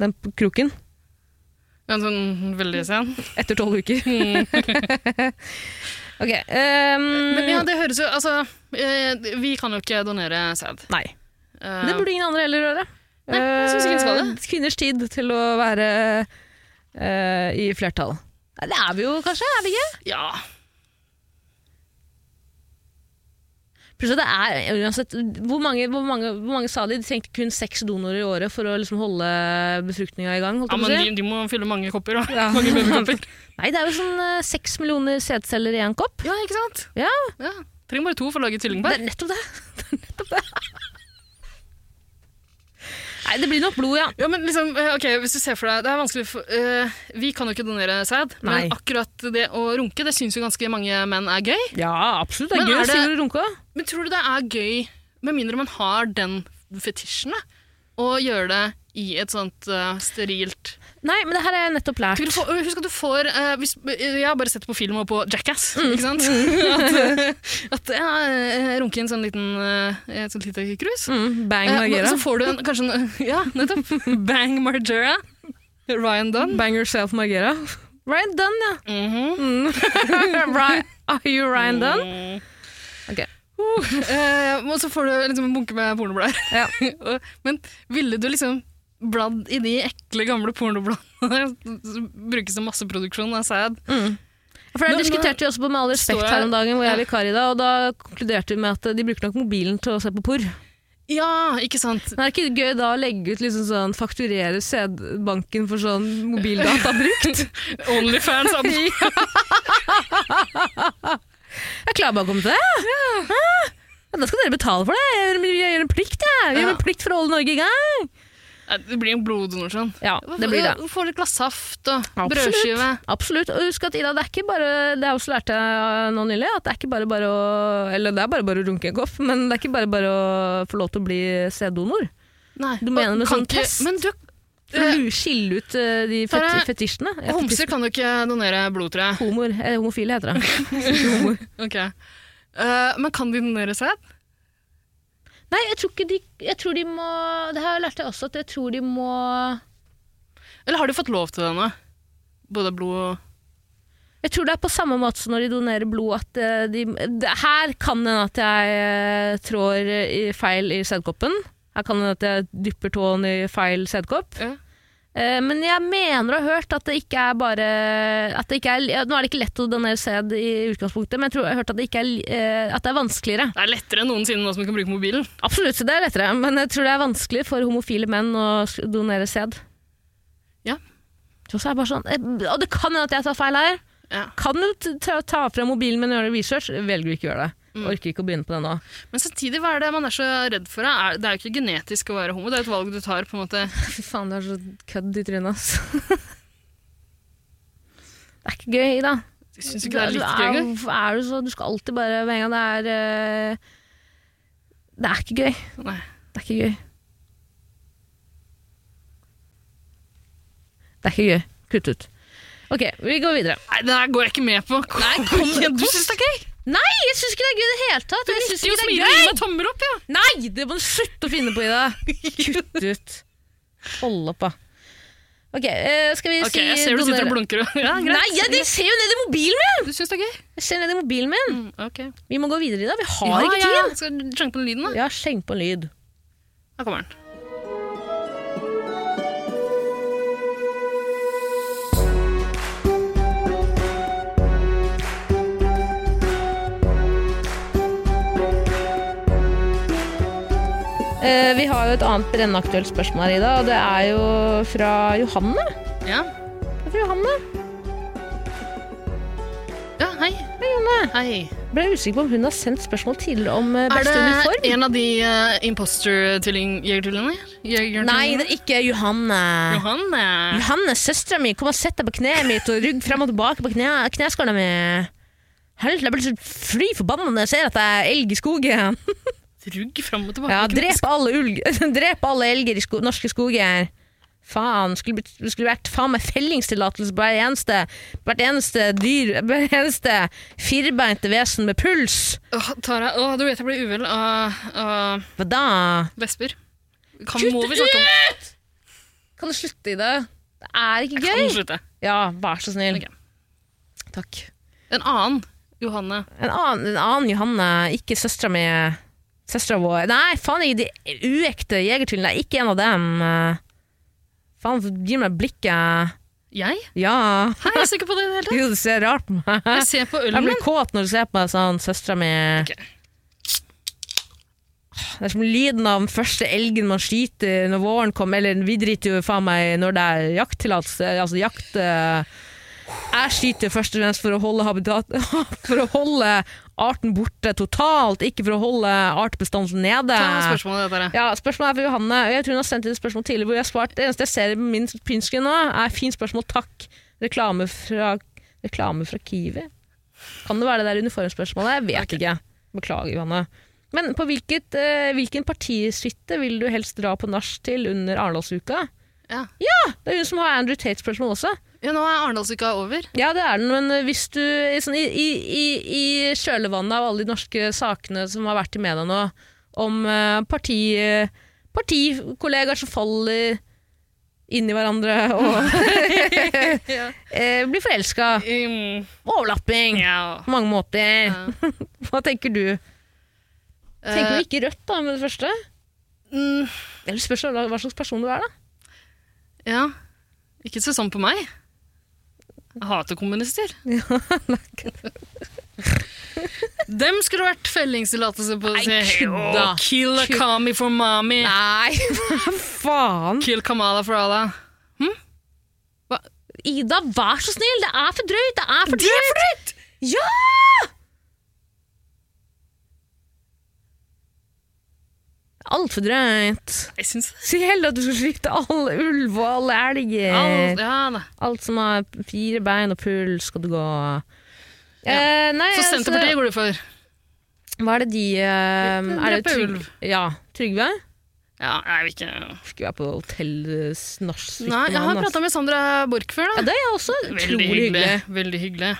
Speaker 2: Den p- kroken.
Speaker 3: En sånn veldig sen.
Speaker 2: Etter tolv uker. ok. ehm,
Speaker 3: Men ja, det høres jo Altså, eh, vi kan jo ikke donere sæd.
Speaker 2: Nei.
Speaker 3: Eh,
Speaker 2: Det burde ingen andre heller gjøre.
Speaker 3: Nei, jeg synes ikke den skal det.
Speaker 2: Eh, Kvinners tid til å være eh, i flertall. Nei, Det er vi jo kanskje, er vi ikke?
Speaker 3: Ja.
Speaker 2: Plutselig, det er, uansett, hvor, mange, hvor, mange, hvor mange sa de? De trengte kun seks donorer i året for å liksom holde befruktninga i gang. Holdt jeg
Speaker 3: ja,
Speaker 2: på
Speaker 3: men
Speaker 2: å
Speaker 3: de,
Speaker 2: si.
Speaker 3: de må fylle mange kopper, da.
Speaker 2: Ja.
Speaker 3: Mange babykopper.
Speaker 2: Nei, det er jo sånn eh, seks millioner sædceller i én kopp.
Speaker 3: Ja, ikke sant?
Speaker 2: Ja.
Speaker 3: Trenger bare to for å lage
Speaker 2: Det
Speaker 3: tvillingpar.
Speaker 2: er nettopp det. Det er nettopp det. Nei, det blir nok blod, ja.
Speaker 3: Ja, men liksom, eh, ok, hvis du ser for deg, det er vanskelig for, eh, Vi kan jo ikke donere sæd,
Speaker 2: Nei.
Speaker 3: men akkurat det å runke det syns jo ganske mange menn er gøy.
Speaker 2: Ja, absolutt.
Speaker 3: Men er det-
Speaker 2: stivere runke.
Speaker 3: Men tror du det er gøy, med mindre man har den fetisjen, da, å gjøre det i et sånt eh, sterilt
Speaker 2: Nei, men det her har jeg nettopp lært.
Speaker 3: Tenker du får- Husk at du får eh, hvis, Jeg har bare sett det på film og på Jackass,
Speaker 2: Mm.
Speaker 3: ikke sant? At, at ja, eh, runke i en sånn liten, eh, et sånt lite krus.
Speaker 2: Mm, bang
Speaker 3: Eh, men
Speaker 2: Margera.
Speaker 3: Så får du en, kanskje en Ja, nettopp.
Speaker 2: altså,
Speaker 3: Bang Margera. Ryan Dunn.
Speaker 2: Bang yourself, Margera. Ryan Dunn, ja.
Speaker 3: Mhm.
Speaker 2: Ryan, are you Ryan Dunn? Ok.
Speaker 3: Eh, og så får du liksom en bunke med pornoblader.
Speaker 2: Ja.
Speaker 3: Og- Men ville du liksom bladd i de ekle, gamle pornobladene som brukes til masseproduksjon av sæd?
Speaker 2: For det
Speaker 3: Nå- nå
Speaker 2: diskuterte vi også på Med all respekt
Speaker 3: står jeg-
Speaker 2: her om dagen, hvor jeg er
Speaker 3: Ja.
Speaker 2: vikar i dag, og da konkluderte vi med at de bruker nok mobilen til å se på porr. Men
Speaker 3: Ja, ikke sant?
Speaker 2: er det ikke gøy da å legge ut liksom sånn, fakturere sædbanken for sånn mobildata brukt?
Speaker 3: Onlyfans. ab-
Speaker 2: Jeg klarer bare å komme til det. Ja. Ja, da skal dere betale for det. Jeg gjør, jeg gjør en plikt, jeg. Vi gjør
Speaker 3: Ja.
Speaker 2: en plikt for å holde Norge i gang.
Speaker 3: Nei, Det blir en bloddonasjon.
Speaker 2: Ja, det blir det.
Speaker 3: Du får litt glass saft og
Speaker 2: Absolutt.
Speaker 3: brødskive.
Speaker 2: Absolutt. Og husk at Ida, det er ikke bare Det har jeg også lært deg nå nylig, at det er ikke bare bare å Eller det er bare bare å runke en kopp, men det er ikke bare bare å få lov til å bli sæddonor.
Speaker 3: Nei.
Speaker 2: Du mener
Speaker 3: og
Speaker 2: med
Speaker 3: kan
Speaker 2: sånn
Speaker 3: ikke-
Speaker 2: test?
Speaker 3: Men du,
Speaker 2: For å lu- skille ut eh, de fet
Speaker 3: Tara,
Speaker 2: fetisjene. Ja,
Speaker 3: homser
Speaker 2: fetisj-
Speaker 3: kan jo ikke donere blod, tror jeg.
Speaker 2: Homoer. eh, Homofile heter det.
Speaker 3: Ok. Eh, men kan de donere sæd?
Speaker 2: Nei, jeg tror ikke de Jeg tror de må Det her lærte jeg også, at jeg tror de må
Speaker 3: Eller har de fått lov til det nå? Både blod og
Speaker 2: Jeg tror det er på samme måte som når de donerer blod at eh, de det, Her kan det hende at jeg eh, trår i feil i sædkoppen. Her kan det hende at jeg dypper tåen i feil sædkopp.
Speaker 3: Ja.
Speaker 2: Eh, Men jeg mener å ha hørt at det ikke er bare at det ikke er, ja, Nå er det ikke lett å donere sæd i utgangspunktet, men jeg tror jeg har hørt at det, ikke er, eh, at det er vanskeligere.
Speaker 3: Det er lettere enn noensinne nå som vi kan bruke mobilen.
Speaker 2: Absolutt, det er lettere, men jeg tror det er vanskelig for homofile menn å s- donere sæd.
Speaker 3: Ja.
Speaker 2: Og så er det bare sånn eh, Og det kan hende at jeg tar feil her.
Speaker 3: Ja.
Speaker 2: Kan du t- ta, ta frem mobilen min og gjøre research? Velger du ikke å gjøre det. Orker ikke å begynne på det nå.
Speaker 3: Men samtidig, hva er det man er så redd for? da? Er, det er jo ikke genetisk å være homo, det er et valg du tar. på en måte.
Speaker 2: Fy faen, du er så kødd i trynet, ass. det er ikke gøy, Ida.
Speaker 3: Jeg synes ikke det er litt
Speaker 2: du,
Speaker 3: gøy. engang.
Speaker 2: jo- er du så, du skal alltid bare Med en gang det er eh, Det er ikke gøy.
Speaker 3: Nei.
Speaker 2: Det er ikke gøy. Det er ikke gøy. Kutt ut. Ok, vi går videre.
Speaker 3: Nei, det her går jeg ikke med på. Nei, kom igjen, Du syns det er gøy?
Speaker 2: Nei, jeg syns ikke det er gøy i det hele tatt!
Speaker 3: Du
Speaker 2: Jeg syns
Speaker 3: nikker og
Speaker 2: ikke det
Speaker 3: smiler
Speaker 2: er
Speaker 3: og
Speaker 2: gøy!
Speaker 3: gir meg tommer opp, ja.
Speaker 2: Nei, det må du slutte å finne på, Ida! Kutt ut. Hold opp, da. Ok, eh, skal vi
Speaker 3: Ok,
Speaker 2: si
Speaker 3: Jeg ser du sitter og
Speaker 2: donere-
Speaker 3: blunker. og- Ja, greit.
Speaker 2: Nei, jeg, jeg ser jo ned i mobilen min!
Speaker 3: Du syns det er gøy?
Speaker 2: Jeg ser ned i mobilen min.
Speaker 3: Mm, ok.
Speaker 2: Vi må gå videre, Ida. Vi har
Speaker 3: Ja,
Speaker 2: ikke
Speaker 3: ja,
Speaker 2: tid.
Speaker 3: Skal du sjanke på den lyden, da?
Speaker 2: Ja, skjenk på en lyd.
Speaker 3: Da kommer den.
Speaker 2: Eh, vi har jo et annet brennaktuelt spørsmål her, Ida. Og det er jo fra Johanne.
Speaker 3: Ja.
Speaker 2: Det er Fra Johanne.
Speaker 3: ja, hei.
Speaker 2: Hei, Johanne.
Speaker 3: Hei.
Speaker 2: Ble usikker på om hun har sendt spørsmål tidligere om eh,
Speaker 3: Er
Speaker 2: beste uniform.
Speaker 3: det en av de uh, imposter-jegertvillingene? Jeger
Speaker 2: Nei, det er ikke Johanne.
Speaker 3: Johanne.
Speaker 2: Johanne, søstera mi, kom og sett deg på kneet mitt og rugg frem og tilbake på kne, kneskåla mi. Helvete, jeg ble så fly forbanna når jeg ser at det er elg i skogen.
Speaker 3: Rugg fram og tilbake.
Speaker 2: Ja, drep alle, ulg, drep alle elger i sko, norske skoger. Faen, skulle, blitt- det skulle vært faen meg fellingstillatelse på hver eneste, hvert eneste dyr, hvert eneste firbeinte vesen med puls.
Speaker 3: Åh, Tara, åh, du vet jeg blir uvel av av
Speaker 2: Hva da?
Speaker 3: vesper. Kan,
Speaker 2: Kutt
Speaker 3: må vi snakke om
Speaker 2: Kan du slutte i det? Det er ikke
Speaker 3: Kan
Speaker 2: gøy.
Speaker 3: vi slutte?
Speaker 2: Ja, vær så snill.
Speaker 3: Ok.
Speaker 2: Takk.
Speaker 3: En annen Johanne.
Speaker 2: En annen, en annen Johanne, ikke søstera mi. Søstera vår Nei, faen, jeg, de uekte jegertvillingene er ikke en av dem. Eh, Faen, gi meg blikket.
Speaker 3: Jeg?
Speaker 2: Ja.
Speaker 3: Hei, jeg ser ikke på det i det hele tatt.
Speaker 2: Gud, du ser rart på meg.
Speaker 3: Jeg ser på ølen
Speaker 2: Jeg
Speaker 3: min.
Speaker 2: blir kåt når du ser på meg sånn, søstera mi.
Speaker 3: Ok.
Speaker 2: Det er som lyden av den første elgen man skyter når våren kommer, eller vi driter jo faen meg når det er jakttillatelse, altså jakt eh, Jeg skyter først og fremst for å holde habitat For å holde arten borte totalt, ikke for å holde artbestanden nede.
Speaker 3: Ta spørsmålet dette her.
Speaker 2: Ja, spørsmålet er fra Johanne. og Jeg tror hun har sendt inn et spørsmål tidligere hvor jeg har svart. Det eneste jeg ser i min pinsken nå, er 'fint spørsmål, takk'. Reklame fra, reklame fra Kiwi. Kan det være det der uniformspørsmålet? Jeg vet ikke. Beklager, Johanne. Men på hvilket, eh, hvilken partisuite vil du helst dra på nach til under Arendalsuka?
Speaker 3: Ja.
Speaker 2: Det er hun som har Andrew Tate-spørsmål også.
Speaker 3: Ja, nå er Arendalsuka over.
Speaker 2: Ja, det er den, men hvis du sånn, i, i, i, I kjølvannet av alle de norske sakene som har vært i media nå, om eh, parti, partikollegaer som faller inn i hverandre og
Speaker 3: Ja.
Speaker 2: eh, blir forelska.
Speaker 3: Um,
Speaker 2: Overlapping
Speaker 3: ja.
Speaker 2: på mange måter.
Speaker 3: Ja.
Speaker 2: Hva tenker du? Tenker
Speaker 3: Eh,
Speaker 2: du ikke rødt da, med det første?
Speaker 3: mm,
Speaker 2: Eller spørs hva hva slags person du er, da.
Speaker 3: ja. Ikke se sånn på meg. Jeg hater kommunister. Dem skulle det vært fellingstillatelse på.
Speaker 2: Nei,
Speaker 3: Se,
Speaker 2: kødda.
Speaker 3: «Åh, Kill
Speaker 2: Kødd.
Speaker 3: Akami for mami.
Speaker 2: Nei, hva faen?
Speaker 3: Kill Kamala for Allah.
Speaker 2: Ida, vær så snill! Det er for drøyt! Det er for drøyt! Ja! Altfor drøyt.
Speaker 3: Jeg syns det.
Speaker 2: Si heller at du skal skyte all ulv og alle elger.
Speaker 3: Alt, ja da.
Speaker 2: Alt som har fire bein og puls, skal du gå.
Speaker 3: Ja.
Speaker 2: Eh, nei,
Speaker 3: Så
Speaker 2: altså,
Speaker 3: Senterpartiet går du for.
Speaker 2: Hva er det de eh, er det
Speaker 3: Drepe
Speaker 2: Tryg-
Speaker 3: ulv.
Speaker 2: Ja. Trygve?
Speaker 3: Ja, jeg vil ikke
Speaker 2: Skulle være på hotell eh, snarsutten
Speaker 3: Nei, jeg
Speaker 2: han,
Speaker 3: har
Speaker 2: altså.
Speaker 3: prata med Sandra Borch før,
Speaker 2: Ja,
Speaker 3: da.
Speaker 2: det er jeg også. Utrolig
Speaker 3: Veldig
Speaker 2: hyggelig.
Speaker 3: hyggelig. Veldig hyggelig.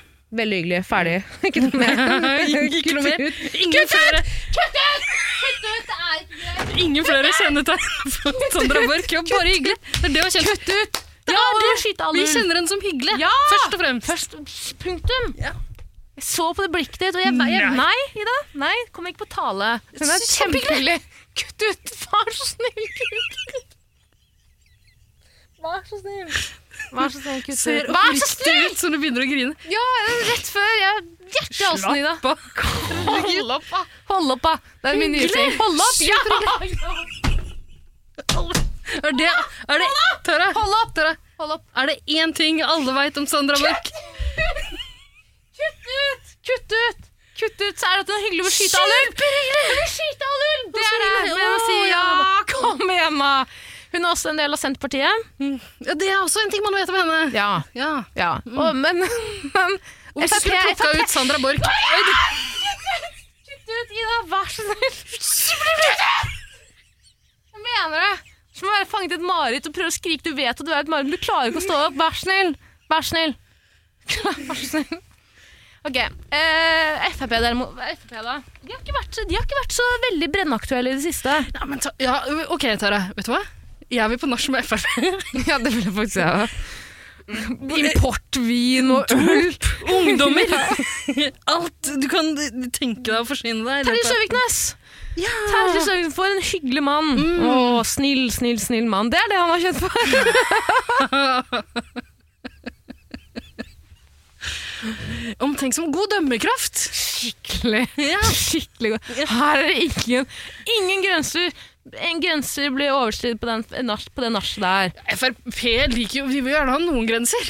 Speaker 2: Veldig hyggelig. Ferdig. Ikke noe mer.
Speaker 3: Ikke noe mer.
Speaker 2: Kutt ut.
Speaker 3: Ingen flere Ingen flere kjennetegn fra Sandra Borch. Ja, bare hyggelig. Det er det å kjenne. Kutt ut!
Speaker 2: Ja, det å skyte alle
Speaker 3: Vi
Speaker 2: ulv.
Speaker 3: kjenner henne som hyggelig,
Speaker 2: Ja!
Speaker 3: først og fremst.
Speaker 2: Først, punktum. Jeg så på det blikket ditt, og jeg, jeg Nei, Ida. Nei, kom ikke på tale. Hun er kjempehyggelig. Kutt ut. Vær så snill, kutt ut. Vær så snill. Vær så snill, kutt
Speaker 3: Ser
Speaker 2: ut. Vær så
Speaker 3: oppriktig ut som du begynner å grine.
Speaker 2: Ja, rett før. Jeg hjertet i halsen, Ida.
Speaker 3: Slapp av. Hold opp, da.
Speaker 2: Hold opp, da. Det er min nye ting. Hold opp. Ja!
Speaker 3: Er det, er det, Tara, hold opp, Tara. Hold opp. Er det én ting alle veit om Sandra Borch?
Speaker 2: Kutt ut! Kutt ut! Kutt ut, så er det at hun er hyggelig å beskytte alle ulv. Hun vil skyte alle ulv! Det er det
Speaker 3: hyggelig.
Speaker 2: jeg må si.
Speaker 3: Å,
Speaker 2: Ja,
Speaker 3: ja.
Speaker 2: kom igjen, da. Hun er også en del av Senterpartiet.
Speaker 3: Ja, det er også en ting man vet om henne.
Speaker 2: Ja.
Speaker 3: Ja.
Speaker 2: ja. Å, men, men
Speaker 3: Hvorfor
Speaker 2: Frp,
Speaker 3: plukka
Speaker 2: Frp.
Speaker 3: ut Sandra Borch?
Speaker 2: Kutt ut, Ida. Vær så snill. Jeg mener det. Som å være fanget i et mareritt og prøve å skrike. Du vet at du er et mareritt, men du klarer ikke å stå opp. Vær så snill. Vær så snill. Vær så snill. Ok. Eh, Frp, derimot. hva er FrP da? De har, ikke vært, de har ikke vært så veldig brennaktuelle i det siste.
Speaker 3: Ja, men ta, ja, ok, Tara. Vet du hva? Jeg vil på nach med Frp.
Speaker 2: Ja, det vil jeg faktisk gjøre. Importvin og øl.
Speaker 3: Ungdommer! Alt du kan tenke deg å forsyne
Speaker 2: Terje
Speaker 3: deg. i løpet av-
Speaker 2: Søviknes! Terje Søviknes, For en hyggelig mann. Å, snill, snill, snill mann. Det er det han har kjent for.
Speaker 3: Omtenksom. God dømmekraft.
Speaker 2: Skikkelig. Skikkelig god. Her er det ingen, ingen grenser. En grenser blir overskredet på, den- nach- på det nachet der.
Speaker 3: Frp liker jo Vi vil gjerne ha noen grenser.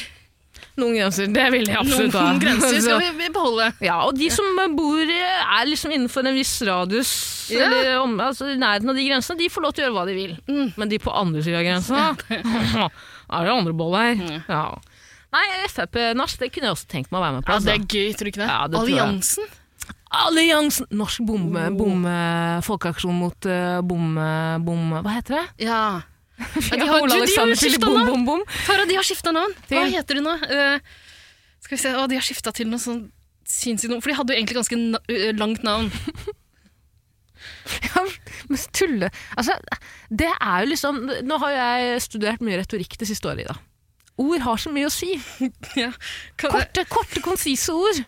Speaker 2: Noen grenser. Det vil jeg
Speaker 3: Noen,
Speaker 2: absolutt ha.
Speaker 3: noen grenser
Speaker 2: Så-
Speaker 3: skal vi- vi beholde.
Speaker 2: Ja, og de som bor eh, er liksom innenfor en viss radius
Speaker 3: Ja.
Speaker 2: eller om, altså, i nærheten av de grensene, de får lov til å gjøre hva de vil. Men de på andre siden av grensene, er det andre boll her. Ja. Nei, Frp-nach, det kunne jeg også tenkt meg å være med på.
Speaker 3: Ja, det
Speaker 2: Altså.
Speaker 3: er gøy, tror du ikke det?
Speaker 2: Ja, det tror jeg.
Speaker 3: Alliansen.
Speaker 2: Alliansen! Norsk bomme, bomme, folkeaksjon mot eh, bomme, bomme, hva heter det?
Speaker 3: Ja. Ja, de
Speaker 2: Ja,
Speaker 3: har,
Speaker 2: Ole
Speaker 3: du, de har
Speaker 2: Alexander Filip,
Speaker 3: skifta
Speaker 2: bom,
Speaker 3: navn.
Speaker 2: bom, bom.
Speaker 3: Tara, de har skifta navn. Hva
Speaker 2: Til?
Speaker 3: heter de nå? Eh, skal vi se, å, De har skifta til noe sånn sinnssykt navn. For de hadde jo egentlig ganske na eh, langt navn.
Speaker 2: Ja, men tulle. Altså, det er jo liksom, nå har jeg studert mye retorikk det siste året i dag. Ord har så mye å si.
Speaker 3: Ja. Kan,
Speaker 2: Korte, korte konsise ord.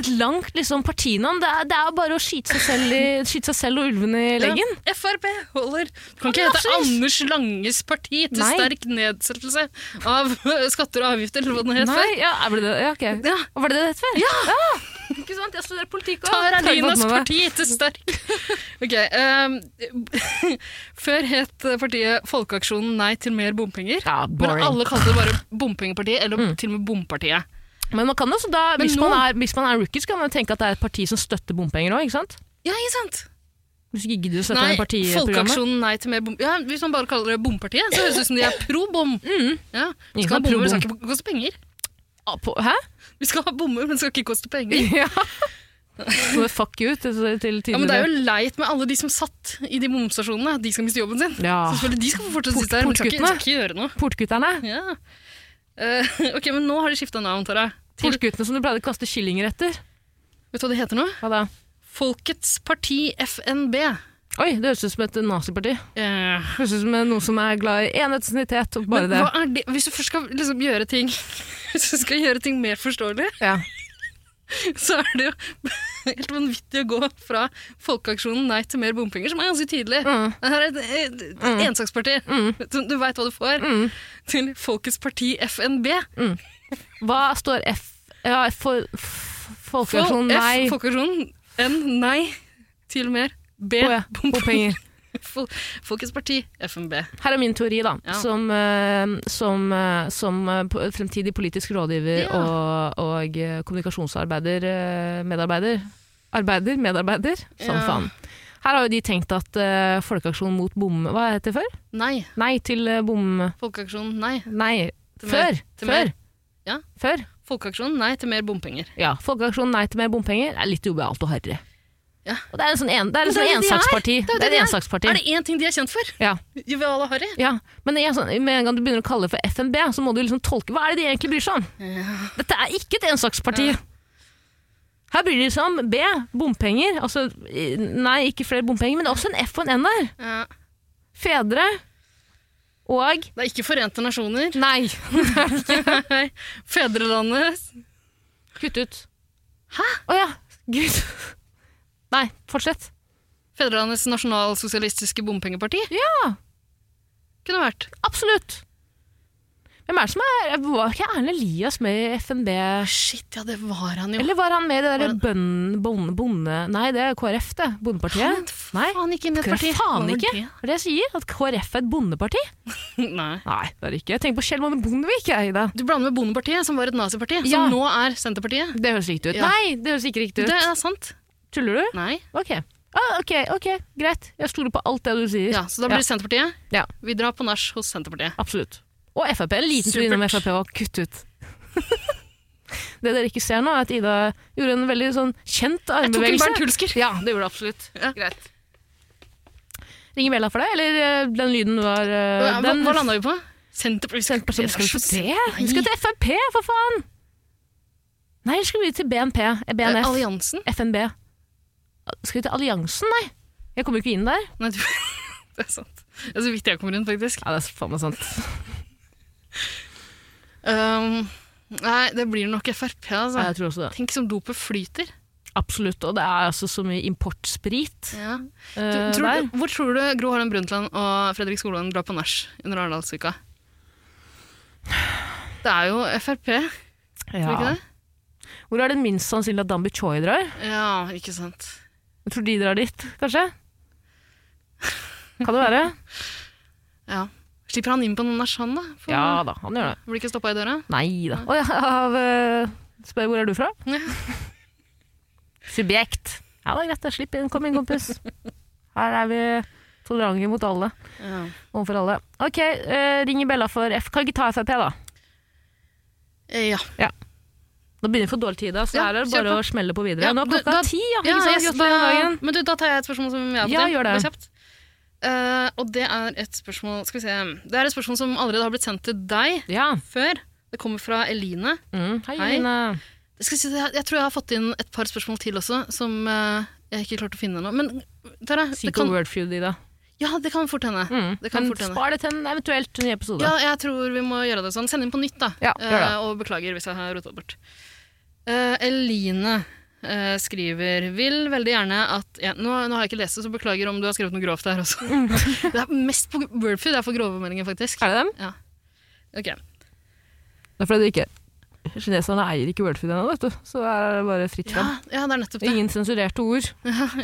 Speaker 2: Et langt liksom, partinavn. Det er, det er bare å skyte seg selv, i, skyte seg selv og ulvene i leggen.
Speaker 3: Ja, Frp holder. Du kan ikke
Speaker 2: Ja,
Speaker 3: hete
Speaker 2: precis.
Speaker 3: Anders Langes parti til
Speaker 2: Nei.
Speaker 3: sterk nedsettelse av skatter og avgifter, eller hva den het
Speaker 2: Nei,
Speaker 3: før.
Speaker 2: ja, er det det? Ja, ok.
Speaker 3: Ja.
Speaker 2: Var det det det het før? Ja! Ikke sant? Jeg studerer politikk også.
Speaker 3: Tara
Speaker 2: Tar
Speaker 3: Linas
Speaker 2: godt med meg.
Speaker 3: parti til sterk. Ok, ehm, Før het partiet Folkeaksjonen Nei til mer bompenger.
Speaker 2: Ja,
Speaker 3: Men
Speaker 2: boring. Mm.
Speaker 3: alle kalte det bare Bompengepartiet, eller til og med Bompartiet.
Speaker 2: Men man kan også da,
Speaker 3: Men
Speaker 2: hvis,
Speaker 3: nå-
Speaker 2: man er, hvis man er rookie, så kan man tenke at det er et parti som støtter bompenger òg, ikke sant?
Speaker 3: Ja, ikke sant?
Speaker 2: Hvis ikke gidder å støtte
Speaker 3: Nei,
Speaker 2: det partiprogrammet.
Speaker 3: Folkeaksjonen Nei til mer bom... Ja, hvis man bare kaller det Bompartiet, så høres det ut som de er pro bom. Ja, vi
Speaker 2: Mm. Ingen
Speaker 3: skal
Speaker 2: er
Speaker 3: ha bommer,
Speaker 2: pro-bom.
Speaker 3: men det skal ikke koste penger.
Speaker 2: Ah, på- Hæ?
Speaker 3: Vi skal ha bommer, men det skal ikke koste penger.
Speaker 2: Ja. Så fuck you til, til
Speaker 3: Ja, men Det
Speaker 2: tidligere.
Speaker 3: er jo leit med alle de som satt i de bomstasjonene. De skal miste jobben sin.
Speaker 2: Ja.
Speaker 3: Så selvfølgelig, De skal få fortsette å sitte der, men de skal ikke, de skal ikke gjøre noe.
Speaker 2: Portgutterne.
Speaker 3: Ja. Eh, ok, men nå har de skifta navn, Tara. Til,
Speaker 2: Portguttene som du pleide å kaste kyllinger etter.
Speaker 3: vet du hva det heter nå?
Speaker 2: Hva da?
Speaker 3: Folkets Parti FNB.
Speaker 2: Oi, det høres ut som et naziparti.
Speaker 3: Eh,
Speaker 2: Høres ut som noen som er glad i enhetsenhet og bare
Speaker 3: men
Speaker 2: det.
Speaker 3: hva er det? Hvis du først skal liksom gjøre ting Hvis du skal gjøre ting mer forståelig,
Speaker 2: Ja.
Speaker 3: så er det jo helt vanvittig å gå fra folkeaksjonen Nei til mer bompenger, som er ganske tydelig.
Speaker 2: Mm.
Speaker 3: Det her er et, et, et ensaksparti. Du, du veit hva du får. Til Folkets Parti FNB.
Speaker 2: Hva står F ja, for, f-
Speaker 3: Fol-
Speaker 2: Folkeaksjon
Speaker 3: F,
Speaker 2: Nei
Speaker 3: folkeaksjonen. N, nei til mer. B,
Speaker 2: på ja, bompenger.
Speaker 3: Fol- Folkets Parti, FNB.
Speaker 2: Her er min teori, da.
Speaker 3: Ja.
Speaker 2: Som, eh, som, eh, som eh, po- fremtidig politisk rådgiver
Speaker 3: Ja.
Speaker 2: og, og eh, kommunikasjonsarbeider eh, Medarbeider. Arbeider, medarbeider, samme
Speaker 3: Ja.
Speaker 2: faen. Her har jo de tenkt at eh, folkeaksjon mot bom... Hva het det før?
Speaker 3: Nei.
Speaker 2: Nei til eh, bom...
Speaker 3: Folkeaksjon, nei.
Speaker 2: Nei,
Speaker 3: Til
Speaker 2: før!
Speaker 3: mer- til
Speaker 2: før!
Speaker 3: mer. Ja.
Speaker 2: Før.
Speaker 3: Folkeaksjon, nei til mer bompenger.
Speaker 2: Ja, Folkeaksjonen Nei til mer bompenger er litt jobbalt og harry.
Speaker 3: Ja.
Speaker 2: Og det er en sånn en, det er en
Speaker 3: Men det
Speaker 2: sånn
Speaker 3: er jo det de er.
Speaker 2: ensaksparti.
Speaker 3: Det er jo
Speaker 2: Det
Speaker 3: det
Speaker 2: er
Speaker 3: de
Speaker 2: en
Speaker 3: er.
Speaker 2: ensaksparti.
Speaker 3: Er det én ting de er kjent for?
Speaker 2: Ja,
Speaker 3: Joviala Harry?
Speaker 2: ja. Men det er sånn, med en gang du begynner å kalle det for FNB, så må du liksom tolke Hva er det de egentlig bryr seg om? Dette er ikke et ensaksparti.
Speaker 3: Ja.
Speaker 2: Her bryr de seg om B, bompenger. Altså, i- nei, ikke flere bompenger, men det er også en F og en N der.
Speaker 3: Ja.
Speaker 2: Fedre og
Speaker 3: Det er ikke Forente nasjoner.
Speaker 2: Nei.
Speaker 3: Fedrelandet.
Speaker 2: Kutt ut. Hæ? Å ja. Gud. Nei, fortsett.
Speaker 3: Fedrelandets nasjonalsosialistiske bompengeparti.
Speaker 2: Ja.
Speaker 3: Kunne vært.
Speaker 2: Absolutt. Hvem er det som er Var ikke Erlend Elias med i FNB?
Speaker 3: Shit, ja, det var han jo.
Speaker 2: Eller var han med i det
Speaker 3: Var
Speaker 2: derre
Speaker 3: han-
Speaker 2: bonde, bonde, bonde... Nei, det er KrF, det.
Speaker 3: Han
Speaker 2: Bondepartiet. Nei,
Speaker 3: faen ikke inn i et
Speaker 2: KrF
Speaker 3: parti.
Speaker 2: faen
Speaker 3: Hva var
Speaker 2: ikke.
Speaker 3: det?
Speaker 2: Det er det jeg sier. At KrF er et bondeparti?
Speaker 3: Nei.
Speaker 2: Nei, det er det ikke. Tenk på Kjell Magne Bondevik, jeg, Ida.
Speaker 3: Du blander med Bondepartiet, som var et naziparti,
Speaker 2: Ja.
Speaker 3: som nå er Senterpartiet.
Speaker 2: Det høres riktig ut.
Speaker 3: Ja.
Speaker 2: Nei, det høres ikke riktig
Speaker 3: Det
Speaker 2: ut.
Speaker 3: er sant.
Speaker 2: Tuller du?
Speaker 3: Nei.
Speaker 2: Ok. Ah, ok, ok, greit. Jeg stoler på alt det du sier.
Speaker 3: Ja, så da blir det Senterpartiet.
Speaker 2: Ja.
Speaker 3: Vi drar på nach hos Senterpartiet.
Speaker 2: Absolutt. Og Frp. En liten tur innom
Speaker 3: Supert.
Speaker 2: Frp og kutt ut. det dere ikke ser nå, er at Ida gjorde en veldig sånn kjent
Speaker 3: Jeg tok en
Speaker 2: armbevegelse.
Speaker 3: Bernt Hulsker.
Speaker 2: Ja, det gjorde du absolutt.
Speaker 3: Ja.
Speaker 2: Greit. Ringer bjella for deg, eller eh, den lyden var eh,
Speaker 3: Hva, hva,
Speaker 2: den,
Speaker 3: hva landa vi på? Senterpartiet.
Speaker 2: Senterpartiet skal jo
Speaker 3: Vær så
Speaker 2: til det? Vi skal til Frp, for faen! Nei, eller skal vi til BNP? eh,
Speaker 3: snill.
Speaker 2: BNF?
Speaker 3: Alliansen?
Speaker 2: FNB? Skal vi til Alliansen, nei? Jeg kommer jo ikke inn der.
Speaker 3: Nei, du, det er sant. Det er så vidt jeg kommer inn, faktisk.
Speaker 2: Ja, det er faen meg sant.
Speaker 3: Um, nei, det blir nok Frp, altså.
Speaker 2: Ja, jeg tror også det.
Speaker 3: Tenk som dopet flyter.
Speaker 2: Absolutt. Og det er altså så mye importsprit
Speaker 3: Ja.
Speaker 2: eh,
Speaker 3: Du, tror,
Speaker 2: der.
Speaker 3: du- hvor tror du Gro Harlem Brundtland og Fredrik Skolvang drar på nach under Arendalsuka? Det er jo Frp, tror du ikke det?
Speaker 2: Hvor er det minst sannsynlig at Dambi Choi drar?
Speaker 3: Ja, ikke sant.
Speaker 2: Jeg tror de drar dit, kanskje? Kan det være?
Speaker 3: Ja. Slipper han inn på noen nach, han da? For-
Speaker 2: Ja da, han gjør det.
Speaker 3: Blir ikke stoppa i døra?
Speaker 2: Nei da. Å ja, av, eh, spør hvor er du fra?
Speaker 3: Ja.
Speaker 2: Subjekt. Ja, det er greit. da. Slipp inn. Kom inn, kompis. Her er vi tolerante mot alle.
Speaker 3: Ja.
Speaker 2: Overfor alle. OK, eh, ringer Bella for F. Kan ikke ta Frp, da.
Speaker 3: Eh, ja.
Speaker 2: Nå begynner vi å få dårlig tid, da, så
Speaker 3: Ja,
Speaker 2: her er det
Speaker 3: kjør
Speaker 2: bare
Speaker 3: på.
Speaker 2: å smelle på videre.
Speaker 3: Ja,
Speaker 2: Nå er
Speaker 3: du-
Speaker 2: klokka
Speaker 3: da-
Speaker 2: ti, ja.
Speaker 3: Ja,
Speaker 2: Ikke sant?
Speaker 3: jeg-
Speaker 2: Gratulerer med dagen.
Speaker 3: Men du, da tar jeg et spørsmål som jeg har fått
Speaker 2: Ja,
Speaker 3: inn.
Speaker 2: gjør det.
Speaker 3: Bare kjapt. Eh, og det er et spørsmål Skal vi se. Det er et spørsmål som allerede har blitt sendt til deg
Speaker 2: Ja.
Speaker 3: før. Det kommer fra Eline.
Speaker 2: Mm. Hei,
Speaker 3: Hei.
Speaker 2: Line.
Speaker 3: Jeg, skal si, det, jeg, jeg tror jeg har fått inn et par spørsmål til også, som eh, jeg ikke klarte å finne nå. Men Tara, det
Speaker 2: Psycho
Speaker 3: kan,
Speaker 2: wordfeud, Ida.
Speaker 3: ja, det kan fort hende.
Speaker 2: Mm.
Speaker 3: Det kan
Speaker 2: Men
Speaker 3: fort hende.
Speaker 2: spar det til en eventuelt ny episode.
Speaker 3: Ja, jeg tror vi må gjøre det sånn. Send inn på nytt, da.
Speaker 2: Ja, gjør det.
Speaker 3: Eh, og beklager hvis jeg har rota bort. Eh, Eline eh, skriver Vil veldig gjerne at jeg, nå, nå har jeg ikke lest det, så beklager om du har skrevet noe grovt her også. det er mest på Wordfeed, det er for grove meldinger, faktisk.
Speaker 2: Mm. Er det dem?
Speaker 3: Ok.
Speaker 2: Det er fordi du ikke Kineserne eier ikke Wordfood ennå, vet du. Så er det bare fritt
Speaker 3: Ja,
Speaker 2: fram.
Speaker 3: ja, det er nettopp det.
Speaker 2: Ingen sensurerte ord.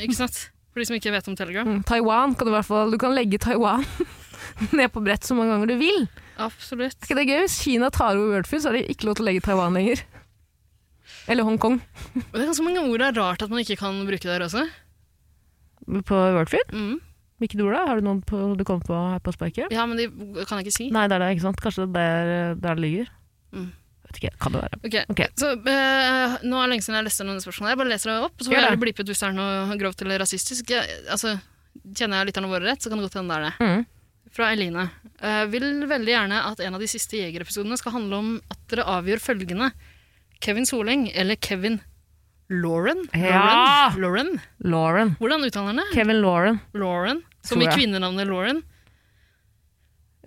Speaker 3: ikke sant? For de som ikke vet om Telegram.
Speaker 2: Mm, Taiwan kan du i hvert fall Du kan legge Taiwan ned på brett så mange ganger du vil. Er
Speaker 3: Absolutt.
Speaker 2: ikke det gøy? Hvis Kina tar over Wordfood, så er det ikke lov til å legge Taiwan lenger. Eller Hongkong
Speaker 3: Og det er ganske mange ord det er rart at man ikke kan bruke der også.
Speaker 2: på Wordfood.
Speaker 3: Mm.
Speaker 2: Hvilket ord da? Har du noen på, du kom på her på sparket?
Speaker 3: Ja, men de kan jeg ikke si.
Speaker 2: Nei, det er det, ikke sant? Kanskje det er der, der det ligger?
Speaker 3: Mm.
Speaker 2: Vet ikke, kan det være.
Speaker 3: Ok,
Speaker 2: Ok.
Speaker 3: så eh, Nå er det lenge siden jeg leste noen spørsmål. Jeg bare leser det opp, så får
Speaker 2: Gjør det.
Speaker 3: jeg blippe ut hvis det er noe grovt eller rasistisk. Jeg, altså, Kjenner jeg lytterne våre rett, så kan det godt hende det er det.
Speaker 2: Mm.
Speaker 3: Fra Eline. Eh, vil veldig gjerne at en av de siste Jeger-episodene skal handle om at dere avgjør følgende. Kevin Soleng eller Kevin Lauren?
Speaker 2: Ja!
Speaker 3: Lauren? Lauren?
Speaker 2: Lauren.
Speaker 3: Hvordan uttaler han det?
Speaker 2: Kevin Lauren.
Speaker 3: Lauren? Som
Speaker 2: Tror
Speaker 3: i
Speaker 2: jeg.
Speaker 3: kvinnenavnet Lauren?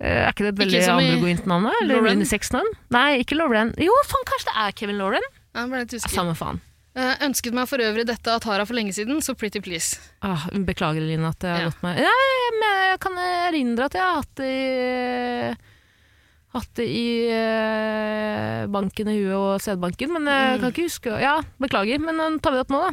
Speaker 2: Eh, Er ikke det et
Speaker 3: Ikke
Speaker 2: veldig
Speaker 3: som i
Speaker 2: androgynt navn? da? Eller
Speaker 3: Lauren?
Speaker 2: unisex-navn? Nei, ikke Lauren. Jo, faen, kanskje det er Kevin Lauren?
Speaker 3: Jeg ble litt usikker.
Speaker 2: Samme faen.
Speaker 3: Eh, ønsket meg for øvrig dette av Tara for lenge siden, så pretty please.
Speaker 2: Ah, beklager, Lina, at jeg har
Speaker 3: Ja.
Speaker 2: gått meg Nei, men jeg kan erindre at jeg har hatt det i Hatt det i eh, banken i huet og sædbanken, men
Speaker 3: Mm.
Speaker 2: jeg kan ikke huske Ja, beklager, men eh, tar vi det opp nå, da?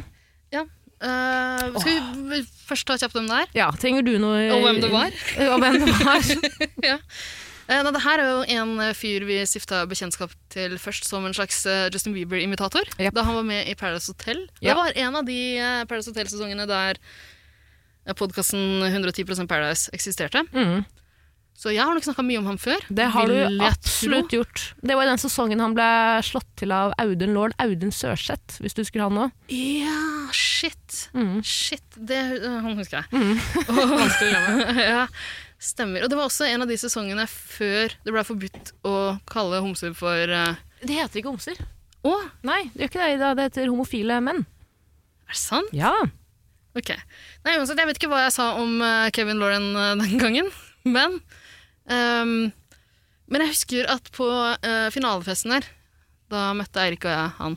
Speaker 3: Eh, skal vi først ta kjapt om det her?
Speaker 2: Ja, trenger du noe
Speaker 3: Og hvem det var?
Speaker 2: Eh, Og hvem det var.
Speaker 3: Eh, Nei, det her er jo en eh, fyr vi stifta bekjentskap til først som en slags eh, Justin Bieber-imitator.
Speaker 2: Yep.
Speaker 3: Da han var med i Paradise Hotel.
Speaker 2: Ja.
Speaker 3: Det var en av de eh, Paradise Hotel-sesongene der podkasten 110 Paradise eksisterte.
Speaker 2: Mhm.
Speaker 3: Så jeg har nok snakka mye om ham før.
Speaker 2: Det har
Speaker 3: vil jeg
Speaker 2: du
Speaker 3: tro.
Speaker 2: absolutt gjort. Det var i den sesongen han ble slått til av Audun lord Audun Sørseth, hvis du husker han nå.
Speaker 3: Ja, shit.
Speaker 2: Mhm.
Speaker 3: Shit. Det, øh, han husker jeg. Mm. Vanskelig å glemme. ja, stemmer. Og det var også en av de sesongene før det ble forbudt å kalle homser for øh,
Speaker 2: Det heter ikke homser.
Speaker 3: Å,
Speaker 2: Nei, det gjør ikke det, Ida. Det heter homofile menn.
Speaker 3: er det sant?
Speaker 2: Ja.
Speaker 3: Ok. Nei, uansett, jeg vet ikke hva jeg sa om øh, Kevin Lauren øh, den gangen, men øhm, Men jeg husker at på øh, finalefesten der, da møtte Eirik og jeg han.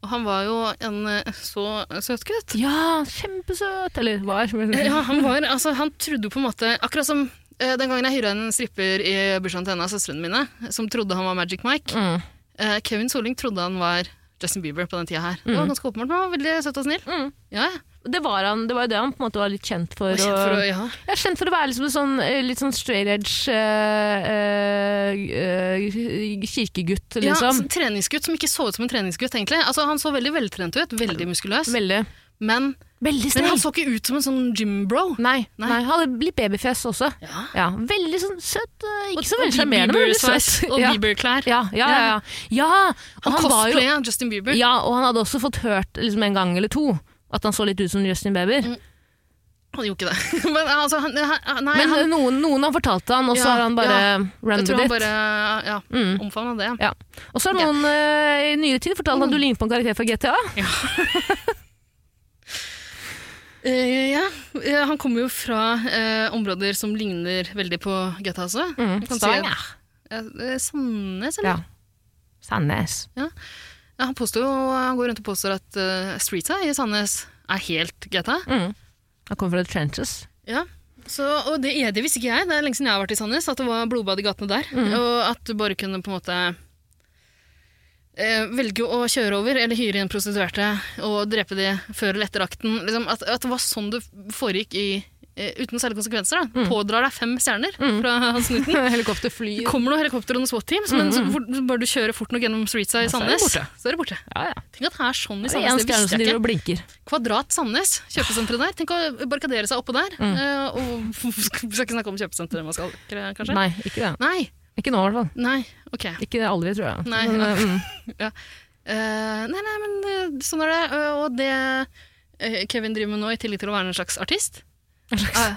Speaker 3: Og han var jo en øh, så søt gutt.
Speaker 2: Ja, kjempesøt! Eller hva?
Speaker 3: Ja, han var, altså, han trodde jo på en måte Akkurat som eh, den gangen jeg hyra en stripper i bursdagen til en av søstrene mine, som trodde han var Magic Mike.
Speaker 2: Mm.
Speaker 3: Eh, Kevin Soling trodde han var Justin Bieber på den tida her. Det var ganske åpenbart, men han var veldig søt og snill.
Speaker 2: Mm.
Speaker 3: Ja, ja.
Speaker 2: Det var han, det var jo det han på en måte var litt kjent for.
Speaker 3: Og kjent for å,
Speaker 2: og-
Speaker 3: ja.
Speaker 2: Ja, kjent for å være liksom en sånn, eh, litt sånn straight edge eh, eh, eh, kirkegutt,
Speaker 3: ja
Speaker 2: liksom.
Speaker 3: sånn treningsgutt som ikke så ut som en treningsgutt, egentlig. Altså, han så veldig veltrent ut, veldig muskuløs,
Speaker 2: Veldig.
Speaker 3: men,
Speaker 2: Veldig
Speaker 3: men
Speaker 2: Mm. snill!
Speaker 3: han så ikke ut som en sånn gymbro.
Speaker 2: Nei,
Speaker 3: Nei.
Speaker 2: nei. han hadde litt babyfjes også.
Speaker 3: Ja.
Speaker 2: Ja, veldig sånn søt. eh,
Speaker 3: Og-
Speaker 2: Ikke så
Speaker 3: og
Speaker 2: veldig sjarmerende, men veldig
Speaker 3: Bieber-sveis
Speaker 2: søt.
Speaker 3: Og
Speaker 2: Ja.
Speaker 3: Bieber-klær.
Speaker 2: Ja, ja, ja, ja. ja og
Speaker 3: Han,
Speaker 2: han var jo
Speaker 3: cosplaya Justin Bieber.
Speaker 2: Ja, og han hadde også fått hørt liksom, en gang eller to at han så litt ut som Justin Bieber.
Speaker 3: Han gjorde ikke det. Men altså, han, han, Mm, nei,
Speaker 2: Men eh,
Speaker 3: han,
Speaker 2: noen, noen har fortalt det han, og så
Speaker 3: Ja,
Speaker 2: har han bare
Speaker 3: ja.
Speaker 2: run
Speaker 3: Jeg tror
Speaker 2: with
Speaker 3: han
Speaker 2: it.
Speaker 3: bare ja,
Speaker 2: Mm.
Speaker 3: omfavna det.
Speaker 2: Ja. Og så har noen eh, i nyere tid fortalt
Speaker 3: Mm.
Speaker 2: at du ligner på en karakter fra GTA.
Speaker 3: Eh, ja. Eh, Han kommer jo fra eh, områder som ligner veldig på GTA også. Man kan si
Speaker 2: Mm.
Speaker 3: at-
Speaker 2: Stavanger.
Speaker 3: Eh, eh, Sandnes,
Speaker 2: Ja.
Speaker 3: eller?
Speaker 2: Sandnes.
Speaker 3: Ja. han, påstår, jo- han går rundt og påstår at eh, streetsa i Sandnes er helt GTA.
Speaker 2: Mm. Han kommer fra The Trenches.
Speaker 3: Ja. Så, og det er det visste ikke jeg. Det er lenge siden jeg har vært i Sandnes. At det var blodbad i gatene der.
Speaker 2: Mm.
Speaker 3: Og at du bare kunne på en måte eh, velge å kjøre over eller hyre inn prostituerte og drepe de før eller etter akten. Liksom, at, at det var sånn det foregikk i eh, uten særlige konsekvenser. Da.
Speaker 2: Mm.
Speaker 3: Pådrar deg fem stjerner fra snuten.
Speaker 2: Helikopterfly.
Speaker 3: Kommer noen helikopter og noen SWAT-team, så- men så fort, så bare du kjører fort nok gjennom streetsa i
Speaker 2: Mm. så er det
Speaker 3: Sandnes,
Speaker 2: borte.
Speaker 3: så er det borte.
Speaker 2: Ja, ja.
Speaker 3: Tenk at det er sånn i
Speaker 2: Det er en
Speaker 3: Sandnes, det
Speaker 2: stjerne som
Speaker 3: visste jeg
Speaker 2: driver
Speaker 3: ikke.
Speaker 2: og blinker.
Speaker 3: Kvadrat Sandnes, kjøpesenteret der. Tenk å barrikadere seg oppå der.
Speaker 2: Mm.
Speaker 3: eh, Og vi skal ikke snakke om kjøpesenteret man skal, kanskje?
Speaker 2: Nei, ikke det.
Speaker 3: Nei.
Speaker 2: Ikke nå i hvert fall.
Speaker 3: Nei, ok.
Speaker 2: Ikke det aldri, tror jeg.
Speaker 3: Nei.
Speaker 2: Men, eh, mm.
Speaker 3: Eh, nei, nei, men eh, sånn er det. Eh, og det eh, Kevin driver med nå, i tillegg til å være en slags artist Eh,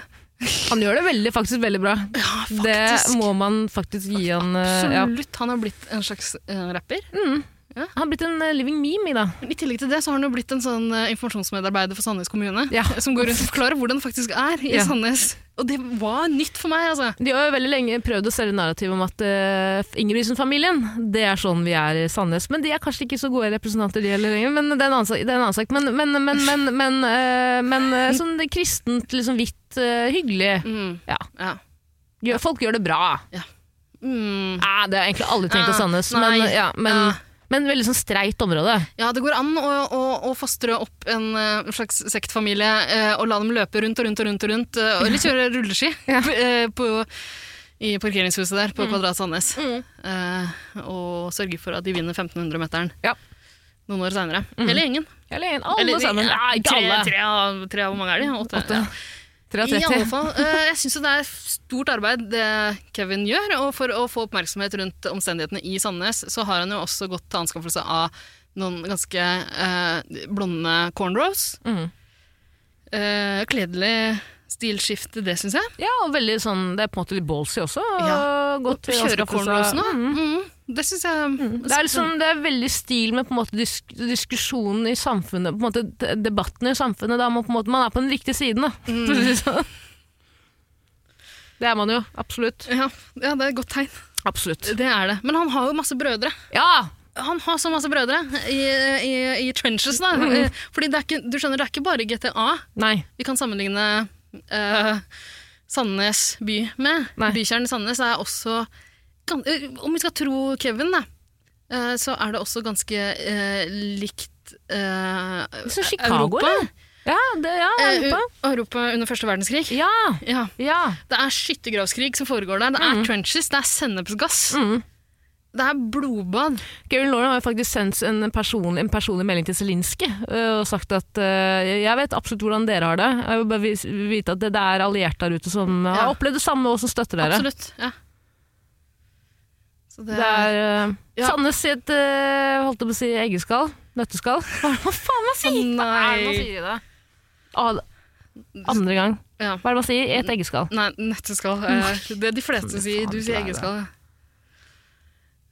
Speaker 2: Han gjør det veldig, faktisk veldig bra.
Speaker 3: Ja, faktisk.
Speaker 2: Det må man faktisk gi han eh, ja.
Speaker 3: Absolutt. Han har blitt en slags eh, rapper.
Speaker 2: Han har blitt en eh, living meme, Ida.
Speaker 3: Men I tillegg til det så har han jo blitt en sånn eh, informasjonsmedarbeider for Sandnes kommune.
Speaker 2: Ja.
Speaker 3: Som går rundt og forklarer hvordan det faktisk er i
Speaker 2: Ja.
Speaker 3: Sandnes. Og det var nytt for meg, altså.
Speaker 2: De har jo veldig lenge prøvd å selge narrativ om at uh, Ingebrigtsen-familien, det er sånn vi er i Sandnes. Men de er kanskje ikke så gode representanter, de heller lenger. Men det er en annen sak. Det er en annen sak. Men, men, men, men, men, eh, men eh, sånn det kristent, liksom hvitt, eh, hyggelig.
Speaker 3: Mm.
Speaker 2: Ja.
Speaker 3: Ja.
Speaker 2: Gjør, folk gjør det bra.
Speaker 3: Mm.
Speaker 2: Nei, det har jeg egentlig aldri tenkt
Speaker 3: Ah,
Speaker 2: av Sandnes.
Speaker 3: nei.
Speaker 2: Men, ja, men,
Speaker 3: Ah.
Speaker 2: men veldig sånn streit område.
Speaker 3: Ja, det går an å, å, å fostre opp en eh, slags sektfamilie eh, og la dem løpe rundt og rundt og rundt og rundt, eh, og eller kjøre rulleski eh, på, i parkeringshuset der på Kvadrat Sandnes. Eh, og sørge for at de vinner 1500-meteren
Speaker 2: Ja.
Speaker 3: noen år seinere. Eller gjengen.
Speaker 2: Eller en, alle
Speaker 3: Eller,
Speaker 2: sammen.
Speaker 3: Ja,
Speaker 2: Nei, ikke
Speaker 3: Mm. tre,
Speaker 2: alle.
Speaker 3: Tre, av, tre av hvor mange er de? Åtte.
Speaker 2: Åtte.
Speaker 3: Ja. I
Speaker 2: 33.
Speaker 3: alle fall, eh, jeg syns det er stort arbeid det Kevin gjør. Og for å få oppmerksomhet rundt omstendighetene i Sandnes, så har han jo også gått til anskaffelse av noen ganske eh, blonde cornrows.
Speaker 2: Mhm.
Speaker 3: Eh, kledelig stilskifte, det syns jeg.
Speaker 2: Ja, og veldig sånn, det er på en måte litt ballsy også. og
Speaker 3: Ja.
Speaker 2: godt
Speaker 3: Kjøre
Speaker 2: anskaffelse. Mm.
Speaker 3: cornrows nå. Mhm. Det syns jeg
Speaker 2: Det er, liksom, det er veldig stil med på en måte disk diskusjonen i samfunnet, på en måte de- debatten i samfunnet. Da man, på en måte, man er på den riktige siden, da. for å si
Speaker 3: Mm.
Speaker 2: det sånn. Det er man jo, absolutt.
Speaker 3: ja, ja, det er et godt tegn.
Speaker 2: Absolutt.
Speaker 3: Det er det. Men han har jo masse brødre.
Speaker 2: Ja!
Speaker 3: han har så masse brødre i, i, i trenches, da.
Speaker 2: Mm.
Speaker 3: Fordi det er ikke, du skjønner, det er ikke bare GTA
Speaker 2: Nei.
Speaker 3: vi kan sammenligne eh, Sandnes by med.
Speaker 2: Nei.
Speaker 3: Bykjernen i Sandnes er også gan- eh, Om vi skal tro Kevin, da, eh, så er det også ganske eh, likt eh,
Speaker 2: Så Chicago, eller? Ja, det, ja,
Speaker 3: Eh,
Speaker 2: Europa.
Speaker 3: u- Europa under første verdenskrig.
Speaker 2: Ja,
Speaker 3: Ja.
Speaker 2: ja.
Speaker 3: Det er skyttergravskrig som foregår der. Det er trenches, det er sennepsgass.
Speaker 2: Mm.
Speaker 3: Det er blodbad.
Speaker 2: Gary Lauren har jo faktisk sendt en, person, en personlig melding til Zelinski øh, og sagt at øh, jeg vet absolutt hvordan dere har det. Jeg vil bare vis- vite at det, det er allierte der ute som har
Speaker 3: Ja.
Speaker 2: opplevd det samme og som støtter dere.
Speaker 3: Absolutt. Ja. Så det, eh,
Speaker 2: Det er øh,
Speaker 3: Ja.
Speaker 2: Sandnes sitt øh, holdt jeg på å si eggeskall. Nøtteskall. Hva er det man faen man sier? Hva
Speaker 3: Å,
Speaker 2: er det man
Speaker 3: nei.
Speaker 2: sier i det? Ah, andre gang.
Speaker 3: Ja.
Speaker 2: Hva er det man sier? Et eggeskall.
Speaker 3: Nei, nøtteskall. eh, Det er de fleste sier. Du sier eggeskall. ja.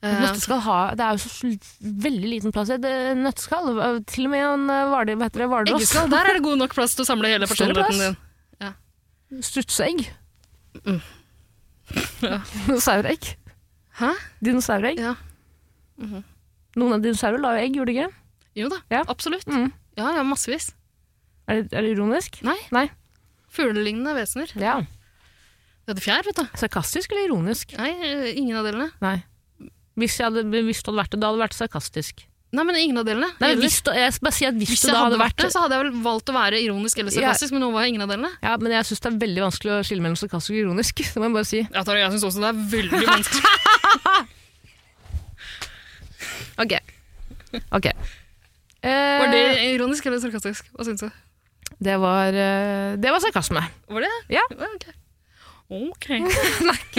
Speaker 3: Eh,
Speaker 2: Nøtteskall har, det er jo så sl- veldig liten plass i et øh, nøtteskall. Øh, Til og med en øh, varde, hva heter det, hvalross.
Speaker 3: Eggeskall, der er det god nok plass til å samle hele
Speaker 2: Større plass.
Speaker 3: personligheten din.
Speaker 2: Strutseegg.
Speaker 3: Mm. Ja.
Speaker 2: Dinosauregg.
Speaker 3: Hæ?
Speaker 2: Dinosauregg.
Speaker 3: Ja.
Speaker 2: Noen av dinosaurer la jo egg, gjorde de ikke?
Speaker 3: Jo da,
Speaker 2: Ja.
Speaker 3: absolutt.
Speaker 2: Mm.
Speaker 3: Ja, ja, massevis.
Speaker 2: Er det, er det ironisk?
Speaker 3: Nei.
Speaker 2: Nei.
Speaker 3: Fuglelignende vesener.
Speaker 2: Ja.
Speaker 3: De hadde fjær, vet du.
Speaker 2: Sarkastisk eller ironisk?
Speaker 3: Nei, eh, ingen av delene.
Speaker 2: Nei. Hvis, jeg hadde, hvis det hadde vært det, da hadde det vært sarkastisk.
Speaker 3: Nei, men ingen av delene.
Speaker 2: Nei, men
Speaker 3: Eller-
Speaker 2: hvis det, jeg skal bare si at hvis,
Speaker 3: hvis
Speaker 2: det
Speaker 3: jeg
Speaker 2: da
Speaker 3: hadde vært det, så hadde jeg vel valgt å være ironisk eller
Speaker 2: Ja.
Speaker 3: sarkastisk, men nå var jeg ingen av delene.
Speaker 2: Ja, men jeg syns det er veldig vanskelig å skille mellom sarkastisk og ironisk. Det må jeg bare si.
Speaker 3: Jeg, tar- jeg syns også det er veldig vanskelig.
Speaker 2: Ok. Ok. Eh,
Speaker 3: Var det ironisk eller sarkastisk? Hva syns du?
Speaker 2: det var, eh, det var sarkasme.
Speaker 3: Var det?
Speaker 2: Ja.
Speaker 3: Ok. Ok.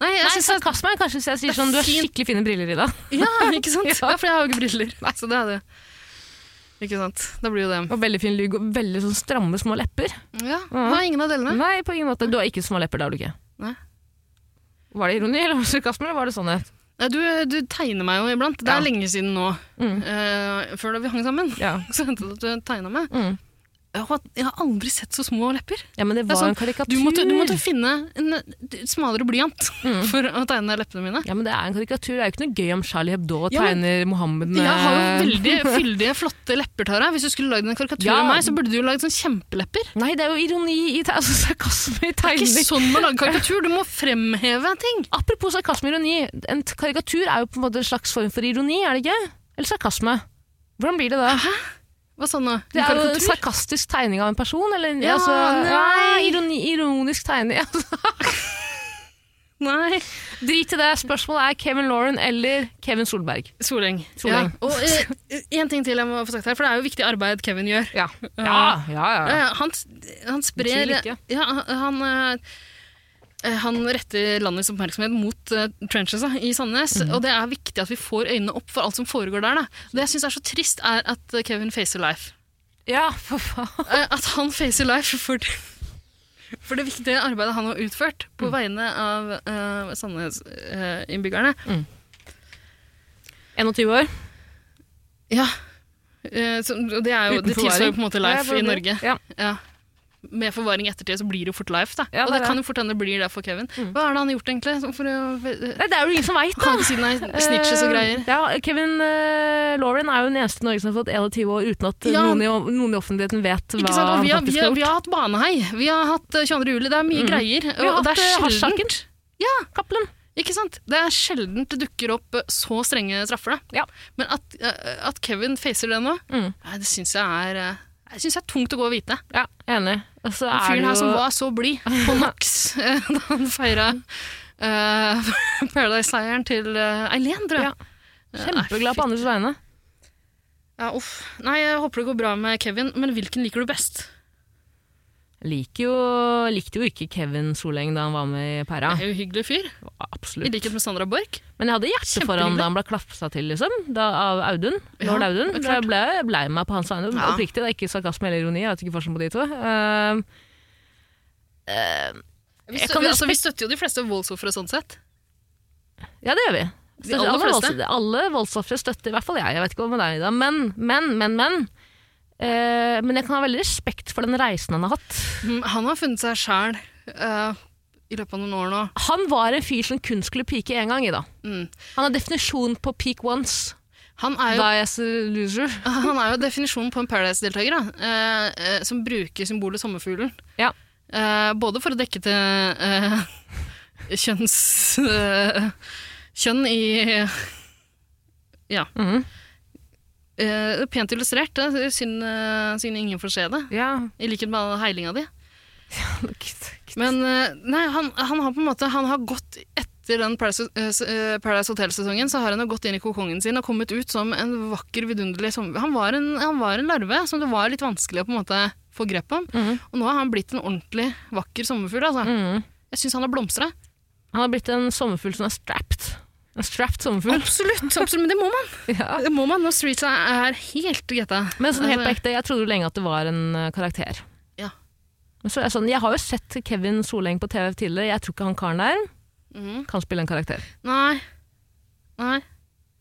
Speaker 3: Nei, jeg
Speaker 2: Nei,
Speaker 3: syns
Speaker 2: sarkasme er kanskje hvis jeg sier sånn Du har
Speaker 3: fint.
Speaker 2: skikkelig fine briller, Ida.
Speaker 3: Ja, ikke sant? Ja, for jeg har jo ikke briller. Så det er det. Ikke sant. Da blir jo det
Speaker 2: Og veldig fin lugg og veldig sånn stramme små lepper.
Speaker 3: Ja, hva er ingen av delene?
Speaker 2: Nei, på ingen måte. Du har ikke små lepper, det har du ikke.
Speaker 3: Nei.
Speaker 2: Var det ironi eller var det sarkasme, eller var det sannhet?
Speaker 3: Nei, Du, du tegner meg jo iblant. Det
Speaker 2: Ja.
Speaker 3: er lenge siden nå.
Speaker 2: Mm.
Speaker 3: Eh, før da vi hang sammen,
Speaker 2: Ja.
Speaker 3: så hendte det at du tegna meg.
Speaker 2: Mm.
Speaker 3: Jeg har, jeg har aldri sett så små lepper.
Speaker 2: ja, men det
Speaker 3: Det er
Speaker 2: var
Speaker 3: sånn,
Speaker 2: en karikatur.
Speaker 3: Du måtte, du måtte finne en smalere blyant
Speaker 2: Mm.
Speaker 3: for å tegne leppene mine.
Speaker 2: Ja, men det er en karikatur. Det er jo ikke noe gøy om Charlie Hebdo
Speaker 3: Ja, men-
Speaker 2: tegner Mohammed med
Speaker 3: Jeg har jo veldig fyldige, flotte lepper, Tara. Hvis du skulle lagd en karikatur
Speaker 2: Ja.
Speaker 3: av meg, så burde du jo lagd sånn kjempelepper.
Speaker 2: Nei, det er jo ironi i te- altså, sarkasme i
Speaker 3: Det er ikke
Speaker 2: tegning.
Speaker 3: sånn man lager karikatur. Du må fremheve ting.
Speaker 2: Apropos sarkasme og ironi. En t- karikatur er jo på en måte en slags form for ironi, er det ikke? Eller sarkasme? Hvordan blir det da?
Speaker 3: Hva sa du nå?
Speaker 2: Det er jo en
Speaker 3: Karikatur?
Speaker 2: sarkastisk tegning av en person, eller
Speaker 3: Ja,
Speaker 2: altså,
Speaker 3: nei.
Speaker 2: ja, ironi, ironisk tegning. Altså,
Speaker 3: Nei.
Speaker 2: Drit i det. Spørsmålet er Kevin Lauren eller Kevin Solberg.
Speaker 3: Soleng.
Speaker 2: Soleng.
Speaker 3: Ja. Og eh, en ting til jeg må få sagt her, for det er jo viktig arbeid Kevin gjør.
Speaker 2: Ja, ja, ja.
Speaker 3: Ja,
Speaker 2: ja.
Speaker 3: ja, han, han sprer
Speaker 2: Betyr lykke.
Speaker 3: ja, han, eh, han retter landets oppmerksomhet mot eh, trenches da, i Sandnes,
Speaker 2: Mhm.
Speaker 3: og det er viktig at vi får øynene opp for alt som foregår der. Da. Det jeg syns er så trist, er at eh, Kevin facer life.
Speaker 2: ja for faen.
Speaker 3: Eh, At han facer life for, for det viktige arbeidet han har utført
Speaker 2: Mm.
Speaker 3: på vegne av eh, uh, Sandnes-innbyggerne.
Speaker 2: 21 år.
Speaker 3: ja. Eh, så, og det, er jo, det
Speaker 2: Uten forvaring.
Speaker 3: tilsvarer jo på en måte
Speaker 2: Ja,
Speaker 3: life
Speaker 2: for-
Speaker 3: i Norge.
Speaker 2: Ja.
Speaker 3: Ja. Med forvaring i ettertid så blir det jo fort life. da.
Speaker 2: Ja, det
Speaker 3: og det
Speaker 2: er
Speaker 3: kan jo fort hende det blir det for Kevin. Hva er det han har gjort, egentlig? sånn For å,
Speaker 2: Nei, det er jo ingen som veit, da.
Speaker 3: han ved siden av snitches og greier.
Speaker 2: Eh, Ja, Kevin eh, Lauren er jo den eneste i Norge som har fått 21 år uten at eh,
Speaker 3: Ja.
Speaker 2: noen, i, noen i offentligheten vet hva
Speaker 3: Ikke sant? Og
Speaker 2: han
Speaker 3: vi, har, vi,
Speaker 2: faktisk
Speaker 3: har,
Speaker 2: har gjort.
Speaker 3: vi
Speaker 2: Mm.
Speaker 3: har hatt banehei, vi har hatt eh, 22. juli, det er mye greier.
Speaker 2: Vi har
Speaker 3: og det
Speaker 2: hatt eh,
Speaker 3: er sjelden,
Speaker 2: hasjsaken. Ja. Cappelen.
Speaker 3: ikke sant? Det er sjelden det dukker opp eh, så strenge straffer. da.
Speaker 2: Ja.
Speaker 3: Men at, eh, at Kevin facer det nå,
Speaker 2: Mm.
Speaker 3: nei, det syns jeg er eh, jeg synes det er tungt å gå og vite.
Speaker 2: Ja, enig. Og så
Speaker 3: Den
Speaker 2: er det
Speaker 3: fyren
Speaker 2: jo
Speaker 3: her som var så blid på Max eh, da han feira Paradise-seieren til eh, Eileen, tror jeg.
Speaker 2: Ja. kjempeglad på andres vegne.
Speaker 3: Ja, uff. Nei, jeg håper det går bra med Kevin, men hvilken liker du best?
Speaker 2: Liker jo, likte jo ikke Kevin Soleng da han var med i Pæra.
Speaker 3: Jeg er jo en hyggelig fyr,
Speaker 2: Absolutt.
Speaker 3: i likhet med Sandra Borch.
Speaker 2: Men jeg hadde hjerte for han
Speaker 3: Kjempehyggelig.
Speaker 2: da han ble klapsa til, liksom. Da, av Audun.
Speaker 3: Ja,
Speaker 2: Lord Audun.
Speaker 3: det er
Speaker 2: Da
Speaker 3: klart.
Speaker 2: ble jeg blei meg på hans vegne.
Speaker 3: Ja.
Speaker 2: Oppriktig, det er ikke sarkasme eller ironi. Jeg vet ikke forskjellen på de to. Ehm,
Speaker 3: Vi,
Speaker 2: Jeg
Speaker 3: stø
Speaker 2: kan
Speaker 3: vi, altså, vi
Speaker 2: respekt-
Speaker 3: støtter jo de fleste voldsofre sånn sett.
Speaker 2: ja, det gjør vi.
Speaker 3: De aller
Speaker 2: alle,
Speaker 3: fleste.
Speaker 2: volds- alle voldsofre støtter i hvert fall jeg. Jeg vet ikke om det er i dag. Men, men, men. Men, Eh, men jeg kan ha veldig respekt for den reisen han har hatt.
Speaker 3: Mm, Han har funnet seg sjæl eh, i løpet av noen år nå.
Speaker 2: Han var en fyr som kun skulle peake én gang, Ida.
Speaker 3: Mm.
Speaker 2: Han er definisjonen på peak once.
Speaker 3: Han er jo,
Speaker 2: Die as a loser.
Speaker 3: han er jo definisjonen på en Paradise-deltaker, da, eh, eh, som bruker symbolet sommerfuglen.
Speaker 2: Ja.
Speaker 3: Eh, både for å dekke til eh, kjønns... eh, kjønn i
Speaker 2: Mhm.
Speaker 3: eh, Pent illustrert. Det er synd, eh, synd ingen får se det.
Speaker 2: Ja.
Speaker 3: I likhet med all heilinga di. Men eh, nei, han, han har på en måte han har gått et, etter den Paradise, eh, Paradise Hotel-sesongen så har han jo gått inn i kokongen sin og kommet ut som en vakker, vidunderlig som, han, var en, han var en larve som det var litt vanskelig å på en måte få grep om. Og nå har han blitt en ordentlig vakker sommerfugl. Altså. Jeg syns han har blomstra.
Speaker 2: Han har blitt en sommerfugl som er strapped. En strapped sommerfugl.
Speaker 3: Absolutt, absolutt, men det må man.
Speaker 2: Ja.
Speaker 3: Det må man når streets er helt getta.
Speaker 2: Men sånn helt på
Speaker 3: Altså,
Speaker 2: ekte, jeg trodde jo lenge at det var en eh, karakter.
Speaker 3: Ja.
Speaker 2: Men så er jeg sånn, jeg har jo sett Kevin Soleng på TV tidligere, jeg tror ikke han karen der
Speaker 3: Mhm.
Speaker 2: kan spille en karakter.
Speaker 3: Nei. Nei.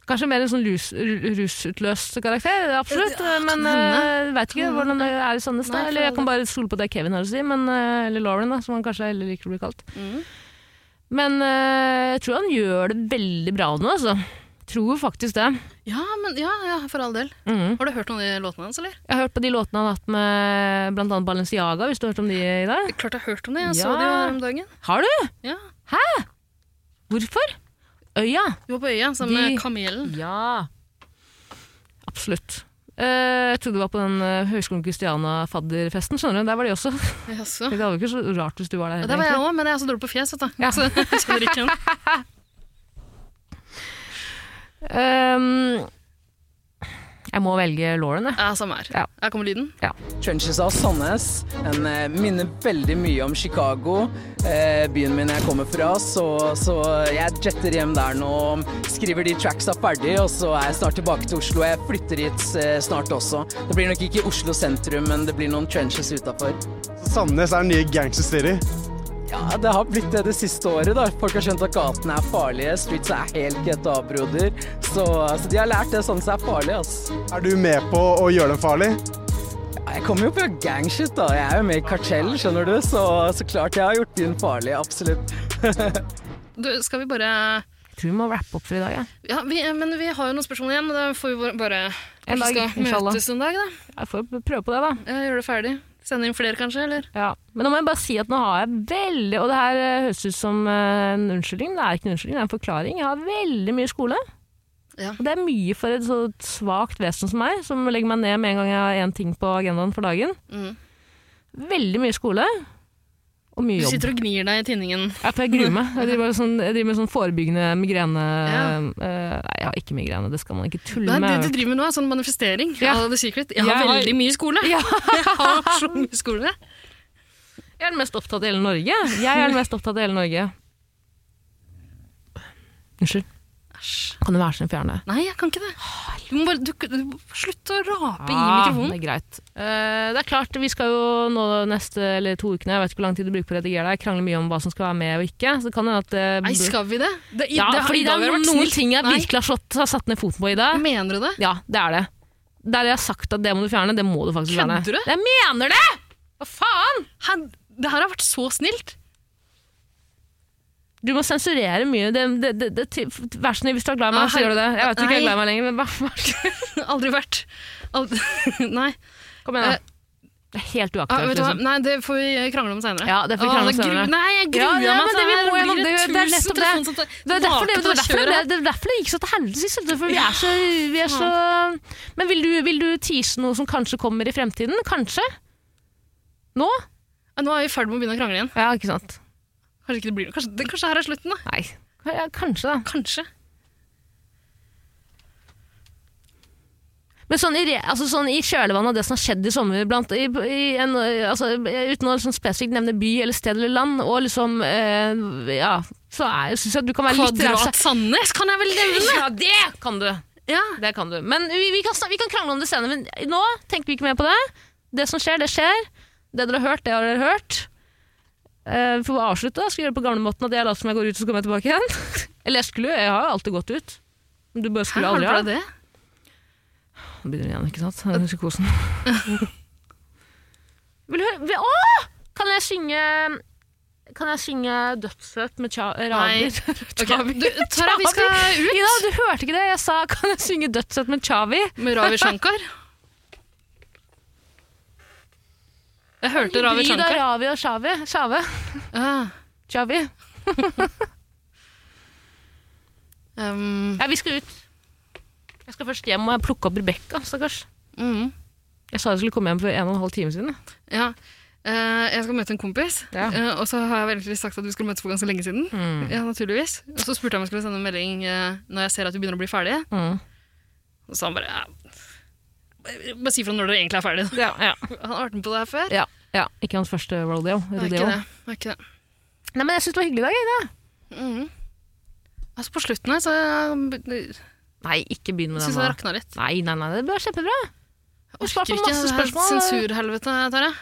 Speaker 2: Kanskje mer en sånn lus, ru- rusutløst karakter, absolutt. Men eh, jeg vet ikke hvordan det er i Sandnes. da.
Speaker 3: Nei, for
Speaker 2: Eller jeg
Speaker 3: all
Speaker 2: kan bare stole på det Kevin har å si, men, eh, eller Lauren, da, som han kanskje heller liker å bli kalt.
Speaker 3: Mhm.
Speaker 2: Men eh, jeg tror han gjør det veldig bra nå, altså. Tror faktisk det.
Speaker 3: Ja, men ja, ja, for all del.
Speaker 2: Mhm.
Speaker 3: Har du hørt noen av de låtene hans, eller?
Speaker 2: Jeg har hørt på de låtene han har hatt med blant annet Balenciaga, hvis du har hørt om de i dag.
Speaker 3: Klart jeg har hørt om det. Jeg
Speaker 2: Ja.
Speaker 3: så det jo her om dagen.
Speaker 2: Har du?
Speaker 3: Ja.
Speaker 2: Hvorfor? Øya.
Speaker 3: Vi var på øya sammen
Speaker 2: De-
Speaker 3: med kamelen.
Speaker 2: Ja. Absolutt. Eh, jeg trodde det var på den eh, Høgskolen Kristiana-fadderfesten, skjønner du. Der var de også.
Speaker 3: Jaså.
Speaker 2: Det hadde jo ikke så rart hvis du var der.
Speaker 3: Ja,
Speaker 2: heller,
Speaker 3: der var jeg òg, men jeg er så dårlig på fjes. vet du.
Speaker 2: Ja.
Speaker 3: Så jeg kjenner ikke igjen.
Speaker 2: egentlig. Ehm, jeg må velge Lauren, jeg.
Speaker 3: Ja, samme her.
Speaker 2: Ja.
Speaker 3: Her kommer lyden.
Speaker 7: Trenches av Sandnes. Den eh, minner veldig mye om Chicago, eh, byen min jeg kommer fra. Så, så jeg jetter hjem der nå, skriver de tracksa ferdig, og så er jeg snart tilbake til Oslo. Jeg flytter hit eh, snart også. Det blir nok ikke Oslo sentrum, men det blir noen trenches utafor.
Speaker 8: Sandnes er den nye Gangster City.
Speaker 7: Ja, det har blitt det det siste året, da. Folk har skjønt at gatene er farlige. Streets er helt GTA, broder. Så, så de har lært det sånn som er farlig, ass.
Speaker 8: Er du med på å gjøre dem farlig?
Speaker 7: Ja, Jeg kommer jo fra gangshit, da. Jeg er jo med i kartell, skjønner du. Så, så klart jeg har gjort byen farlig, absolutt.
Speaker 3: Du, skal vi bare
Speaker 2: Jeg tror vi må rappe opp for i dag, jeg.
Speaker 3: Ja, vi, men vi har jo noen spørsmål igjen. Da får vi bare
Speaker 2: En
Speaker 3: Kanskje
Speaker 2: dag,
Speaker 3: skal
Speaker 2: inshallah.
Speaker 3: møtes en dag, da.
Speaker 2: Jeg får prøve på det, da.
Speaker 3: Ja, Gjøre det ferdig. Sende inn flere, kanskje? eller?
Speaker 2: Ja. Men nå må jeg bare si at nå har jeg veldig Og det her eh, høres ut som eh, en unnskyldning, men det er ikke en unnskyldning, det er en forklaring. Jeg har veldig mye skole.
Speaker 3: Ja.
Speaker 2: Og det er mye for et så svakt vesen som meg, som legger meg ned med en gang jeg har én ting på agendaen for dagen.
Speaker 3: Mhm.
Speaker 2: Veldig mye skole. Og mye
Speaker 3: Du
Speaker 2: jobb.
Speaker 3: sitter og gnir deg i tinningen.
Speaker 2: Ja, for jeg gruer meg. Jeg driver, med sånn, jeg driver med sånn forebyggende migrene...
Speaker 3: Ja.
Speaker 2: eh, nei, jeg har ikke migrene, det skal man ikke tulle
Speaker 3: Nei, det du
Speaker 2: med.
Speaker 3: driver med nå, er sånn manifestering
Speaker 2: Ja.
Speaker 3: av The Secret. Jeg har
Speaker 2: Jeg har-
Speaker 3: veldig mye skole!
Speaker 2: Ja.
Speaker 3: Jeg har så mye skole.
Speaker 2: Jeg er den mest opptatt i hele Norge. Jeg er den mest opptatt i hele Norge. Unnskyld. Kan du være så snill å fjerne det?
Speaker 3: Nei, jeg kan ikke det. Du må bare, du, du, slutt å rape i
Speaker 2: Ah,
Speaker 3: mikrofonen.
Speaker 2: Det er greit. Eh, det er klart, vi skal jo nå neste eller to ukene, jeg vet ikke hvor lang tid du bruker på å redigere deg, krangle mye om hva som skal være med og ikke. Så det kan hende at eh,
Speaker 3: Nei, skal vi det? det, i-
Speaker 2: ja,
Speaker 3: det har-
Speaker 2: fordi
Speaker 3: i
Speaker 2: det
Speaker 3: dag
Speaker 2: er
Speaker 3: har
Speaker 2: noen
Speaker 3: vært snilt.
Speaker 2: ting jeg
Speaker 3: Nei,
Speaker 2: virkelig har, slått, har satt ned foten på i dag.
Speaker 3: Mener du det?
Speaker 2: Ja, det er det. Der jeg har sagt at det må du fjerne, det må du faktisk fjerne.
Speaker 3: Kødder du?
Speaker 2: Jeg mener det! Hva faen?
Speaker 3: Hæ, det her har vært så snilt.
Speaker 2: Du må sensurere mye. Det, det, det, det, til- vær så snill, hvis du er glad i meg,
Speaker 3: Nei,
Speaker 2: så gjør du det. Jeg vet ikke jeg er
Speaker 3: nei.
Speaker 2: glad i meg lenger, men vær vær så snill.
Speaker 3: Aldri vært. Aldri. Nei.
Speaker 2: Kom igjen, da. Det er helt
Speaker 3: Ja, vet
Speaker 2: uaktuelt.
Speaker 3: du hva?
Speaker 2: Liksom.
Speaker 3: Nei, det får vi eh, krangle om Ah, seinere.
Speaker 2: Ja, det får vi krangle om senere.
Speaker 3: Nei, jeg gruer
Speaker 2: Ja, ja,
Speaker 3: meg
Speaker 2: men
Speaker 3: til
Speaker 2: det vi
Speaker 3: her
Speaker 2: må gjennom,
Speaker 3: blir
Speaker 2: det- det er
Speaker 3: tusen
Speaker 2: nettopp det.
Speaker 3: telefonsamtaler.
Speaker 2: Det er derfor det, det,
Speaker 3: Vake
Speaker 2: er
Speaker 3: på
Speaker 2: derfor det,
Speaker 3: kjøret.
Speaker 2: det, er derfor det gikk så til helvete sist, vet du, for vi er så, vi er så Men vil du, vil du tease noe som kanskje kommer i fremtiden? Kanskje? Nå?
Speaker 3: Ja, Nå er vi i ferd med å begynne å krangle igjen.
Speaker 2: Ja, ikke sant.
Speaker 3: Kanskje ikke det blir noe. Kanskje, det- kanskje her er slutten, da.
Speaker 2: Nei. Ja, kanskje, da.
Speaker 3: Kanskje.
Speaker 2: Men sånn i, re- altså sånn i kjølvannet av det som har skjedd i sommer, blant, i, i en, altså, uten å liksom spesifikt nevne by eller sted eller land, og liksom eh, Ja, så er- syns jeg at du kan være litt
Speaker 3: Kvadrat
Speaker 2: raus.
Speaker 3: Sandnes kan jeg vel nevne!
Speaker 2: Ja, det kan du!
Speaker 3: Ja.
Speaker 2: Det kan du. Men vi, vi, kan, snak- vi kan krangle om det senere, men nå tenker vi ikke mer på det. Det som skjer, det skjer. Det dere har hørt, det har dere hørt. Eh, vi får bare avslutte. da. Skal vi gjøre det på gamlemåten at jeg later som jeg går ut, så kommer jeg tilbake igjen? eller jeg skulle, jeg har jo alltid gått ut. Men Du bare
Speaker 3: Hæ,
Speaker 2: skulle
Speaker 3: har du
Speaker 2: aldri ha
Speaker 3: prøvd det?
Speaker 2: nå begynner den igjen, ikke sant? Den psykosen. Vil du høre vil, Åh! Kan jeg synge Kan jeg synge Dødsfødt med Cha-
Speaker 3: Nei.
Speaker 2: Ravi?
Speaker 3: Ok, du, Tara, vi skal ut
Speaker 2: Ida, du hørte ikke det? Jeg sa kan jeg synge Dødsfødt med Chavi?
Speaker 3: med Ravi Shankar. Jeg hørte Ravi
Speaker 2: Hybrid av
Speaker 3: Shankar.
Speaker 2: Ravi og Chavi. Chave.
Speaker 3: Ah,
Speaker 2: Chavi.
Speaker 3: um,
Speaker 2: Ja, vi skal ut. Jeg skal først hjem og plukke opp Rebekka, stakkars.
Speaker 3: mm,
Speaker 2: Jeg sa jeg skulle komme hjem for en og en halv time siden.
Speaker 3: ja. Eh, jeg skal møte en kompis,
Speaker 2: Ja. Mm.
Speaker 3: eh, og så har jeg veldig sagt at vi skulle møtes for ganske lenge siden. Ja, naturligvis. Og så spurte jeg om jeg skulle sende en melding eh, når jeg ser at vi begynner å bli ferdige.
Speaker 2: Mm.
Speaker 3: Og så han bare ja, bare- Bare si fra når dere egentlig er ferdige.
Speaker 2: Ja, ja.
Speaker 3: Han har vært med på det her før.
Speaker 2: ja, ja. Ikke hans første rodeo.
Speaker 3: Det er
Speaker 2: rodeo.
Speaker 3: ikke det. det, er ikke det.
Speaker 2: Nei, men jeg syns det var hyggelig i dag. Jeg, da.
Speaker 3: Mhm. Altså På slutten her så jeg
Speaker 2: Nei, ikke begynn med
Speaker 3: syns
Speaker 2: den.
Speaker 3: jeg det
Speaker 2: nå.
Speaker 3: rakna litt.
Speaker 2: Nei, nei, nei, det blir kjempebra. Du
Speaker 3: Jeg
Speaker 2: svarte
Speaker 3: orker
Speaker 2: på
Speaker 3: ikke
Speaker 2: masse
Speaker 3: det her
Speaker 2: spørsmål.
Speaker 3: sensurhelvete, Tarjei.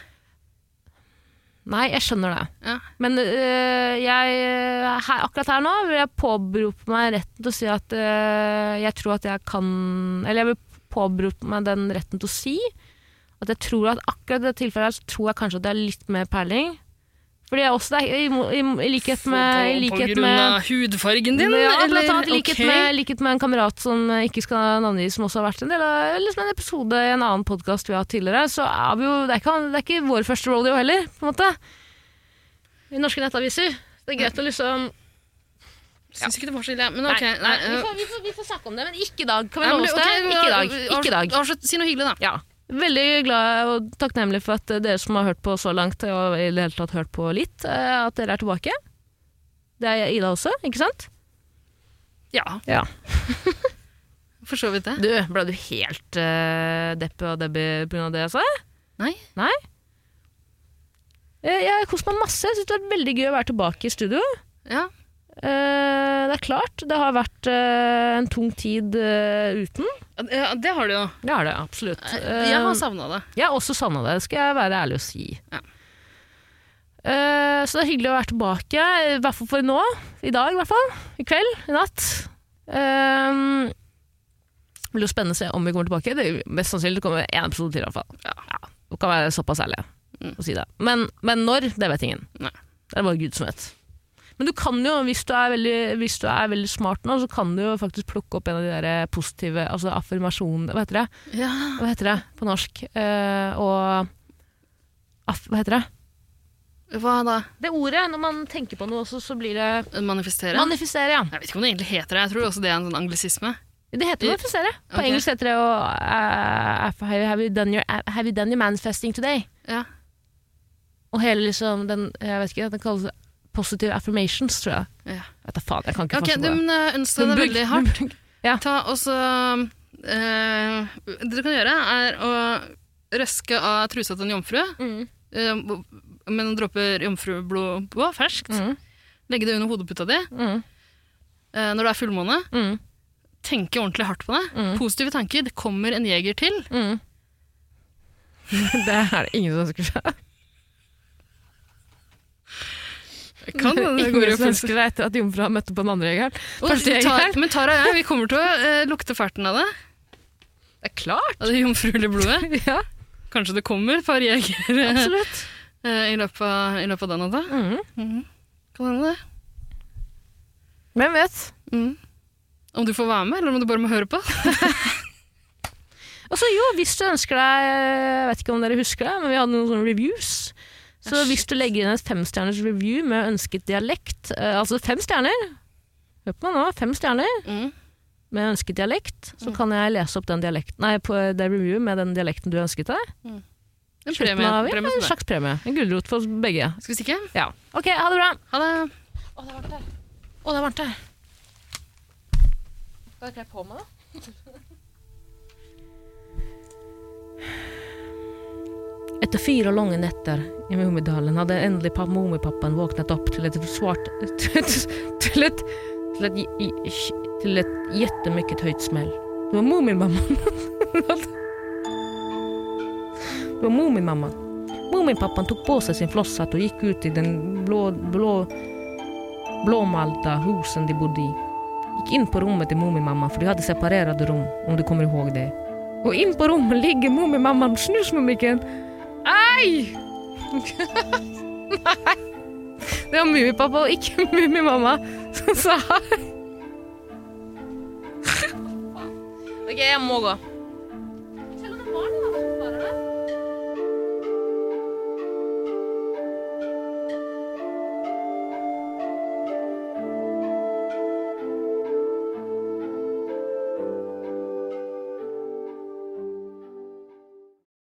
Speaker 2: Nei, jeg skjønner det.
Speaker 3: Ja.
Speaker 2: Men øh, jeg, øh, her, akkurat her nå vil jeg påberope meg retten til å si at øh, jeg tror at jeg kan Eller jeg vil påberope meg den retten til å si at jeg tror at akkurat i det tilfellet her så tror jeg kanskje at jeg har litt mer peiling. Fordi jeg også, det er, i, mo- i, i likhet med, i
Speaker 3: på
Speaker 2: likhet
Speaker 3: grunn
Speaker 2: med
Speaker 3: av hudfargen din,
Speaker 2: ja,
Speaker 3: eller?
Speaker 2: blant annet likhet,
Speaker 3: Ok.
Speaker 2: med, likhet med en kamerat som eh, ikke skal navngis, som også har vært en del av liksom en episode i en annen podkast vi har hatt tidligere. Så er vi jo, det, er ikke, det er ikke vår første rodeo heller, på en måte. I norske nettaviser. Det er greit å liksom
Speaker 3: Syns ikke det var så ille. Men ok.
Speaker 2: Nei,
Speaker 3: nei,
Speaker 2: nei, vi,
Speaker 3: øh,
Speaker 2: får, vi, får, vi får snakke om det, men ikke i dag. Kan vi
Speaker 3: nei, men
Speaker 2: love oss det?
Speaker 3: ok,
Speaker 2: Ikke i dag. Ikke i dag.
Speaker 3: avslutt- Avslutt, si noe hyggelig, da.
Speaker 2: Ja. Veldig glad og takknemlig for at eh, dere som har hørt på så langt, og i det hele tatt hørt på litt, eh, at dere er tilbake. Det er Ida også, ikke sant?
Speaker 3: Ja,
Speaker 2: Ja.
Speaker 3: for så vidt det.
Speaker 2: Du, ble du helt uh, deppe og debbie pga. det jeg sa?
Speaker 3: Nei.
Speaker 2: Nei? Eh, Jeg, jeg har kost meg masse. Jeg synes det har vært veldig gøy å være tilbake i studio.
Speaker 3: Ja.
Speaker 2: Eh, det er klart, det har vært eh, en tung tid eh, uten.
Speaker 3: Ja, det har du jo.
Speaker 2: Det har det absolutt.
Speaker 3: Eh,
Speaker 2: Eh,
Speaker 3: Jeg har savna det.
Speaker 2: Jeg har også savna det, skal jeg være ærlig og si.
Speaker 3: Ja.
Speaker 2: Eh, så det er hyggelig å være tilbake, i hvert fall for nå. I dag, i hvert fall. I kveld. I natt. Eh, det blir jo spennende å se om vi kommer tilbake. Det er jo mest sannsynlig det kommer én episode til, i hvert fall.
Speaker 3: Ja. Mm.
Speaker 2: det kan være såpass ærlig å si det. Men, men når, det vet ingen.
Speaker 3: Nei.
Speaker 2: Det er bare Gud som vet. Men du kan jo, hvis du, er veldig, hvis du er veldig smart nå, så kan du jo faktisk plukke opp en av de der positive altså affirmasjonene Hva heter det?
Speaker 3: Ja.
Speaker 2: hva heter det på norsk? Eh, og aff, Hva heter det?
Speaker 3: Hva da?
Speaker 2: Det ordet, når man tenker på noe også, så blir det
Speaker 3: Manifestere?
Speaker 2: Manifestere, ja.
Speaker 3: jeg vet ikke om det egentlig heter det. Jeg tror også det er en sånn anglisisme.
Speaker 2: Det heter manifestere. På
Speaker 3: Ok.
Speaker 2: engelsk heter det å eh, aff, have, have, you done your, have you done your manifesting today?
Speaker 3: Ja.
Speaker 2: Og hele liksom den Jeg vet ikke, den kalles positive affirmations, tror jeg.
Speaker 3: Ja.
Speaker 2: Vet da faen, jeg kan ikke
Speaker 3: Ok,
Speaker 2: passe på
Speaker 3: du,
Speaker 2: det.
Speaker 3: men jeg ønsker deg
Speaker 2: Humbug,
Speaker 3: veldig hardt.
Speaker 2: Ja.
Speaker 3: Ta og så eh, Det du kan gjøre, er å røske av trusa til en jomfru
Speaker 2: Mm.
Speaker 3: eh, med noen dråper jomfrublod på, ferskt.
Speaker 2: Mhm.
Speaker 3: Legge det under hodeputa di
Speaker 2: Mm,
Speaker 3: eh, når det er fullmåne.
Speaker 2: mm,
Speaker 3: Tenke ordentlig hardt på det.
Speaker 2: Mhm.
Speaker 3: Positive tanker. Det kommer en jeger til.
Speaker 2: mm. det er det ingen som ønsker seg.
Speaker 3: Kan det går
Speaker 2: Ingen
Speaker 3: jo
Speaker 2: som ønsker seg etter at jomfrua møtte på den andre jegeren. Første jegeren.
Speaker 3: Men Tara og jeg vi kommer til å eh, lukte ferten av det.
Speaker 2: Det er klart!
Speaker 3: Av det jomfruelige blodet.
Speaker 2: Ja,
Speaker 3: Kanskje det kommer et par jegere eh,
Speaker 2: absolutt.
Speaker 3: i løpet av, i løpet av den natta.
Speaker 2: Mhm.
Speaker 3: Kan hende det.
Speaker 2: Hvem vet?
Speaker 3: Mm. Om du får være med, eller om du bare må høre på.
Speaker 2: Og så jo, hvis du ønsker deg Jeg vet ikke om dere husker det, men vi hadde noen sånne reviews. Så
Speaker 3: Ah, shit.
Speaker 2: hvis du legger inn et femstjerners review med ønsket dialekt eh, Altså fem stjerner! Hør på meg nå. Fem stjerner
Speaker 3: Mm.
Speaker 2: med ønsket dialekt. Så kan jeg lese opp den dialekten Nei, på det reviewet med den dialekten du ønsket deg.
Speaker 3: En
Speaker 2: Slutten
Speaker 3: premie,
Speaker 2: av- ja,
Speaker 3: premie til
Speaker 2: En
Speaker 3: deg.
Speaker 2: slags premie. En gulrot for oss begge.
Speaker 3: Skal vi stikke?
Speaker 2: Ja. OK, ha det bra.
Speaker 3: Ha det.
Speaker 2: Å, det er varmt her. Skal jeg kle på meg, da? Etter fire lange netter i Mummidalen hadde endelig pa- Mummipappaen våknet opp til et svart Til et Til et, til et, i- i- til et jättemycket høyt smell. Det var Mummimammaen. Det var Mummimammaen. Mummipappan tok på seg sin flosshatt og gikk ut i den blå, blå blåmalta husen de bodde i. Gikk inn på rommet til Mumimamma, for de hadde separerte rom, om du kommer ihåg det. Og inn på rommet ligger Mumimamma med snusmummikken. Ai! Nei. Det var Mummipappa og ikke Mummimamma som sa hei. OK, jeg må gå.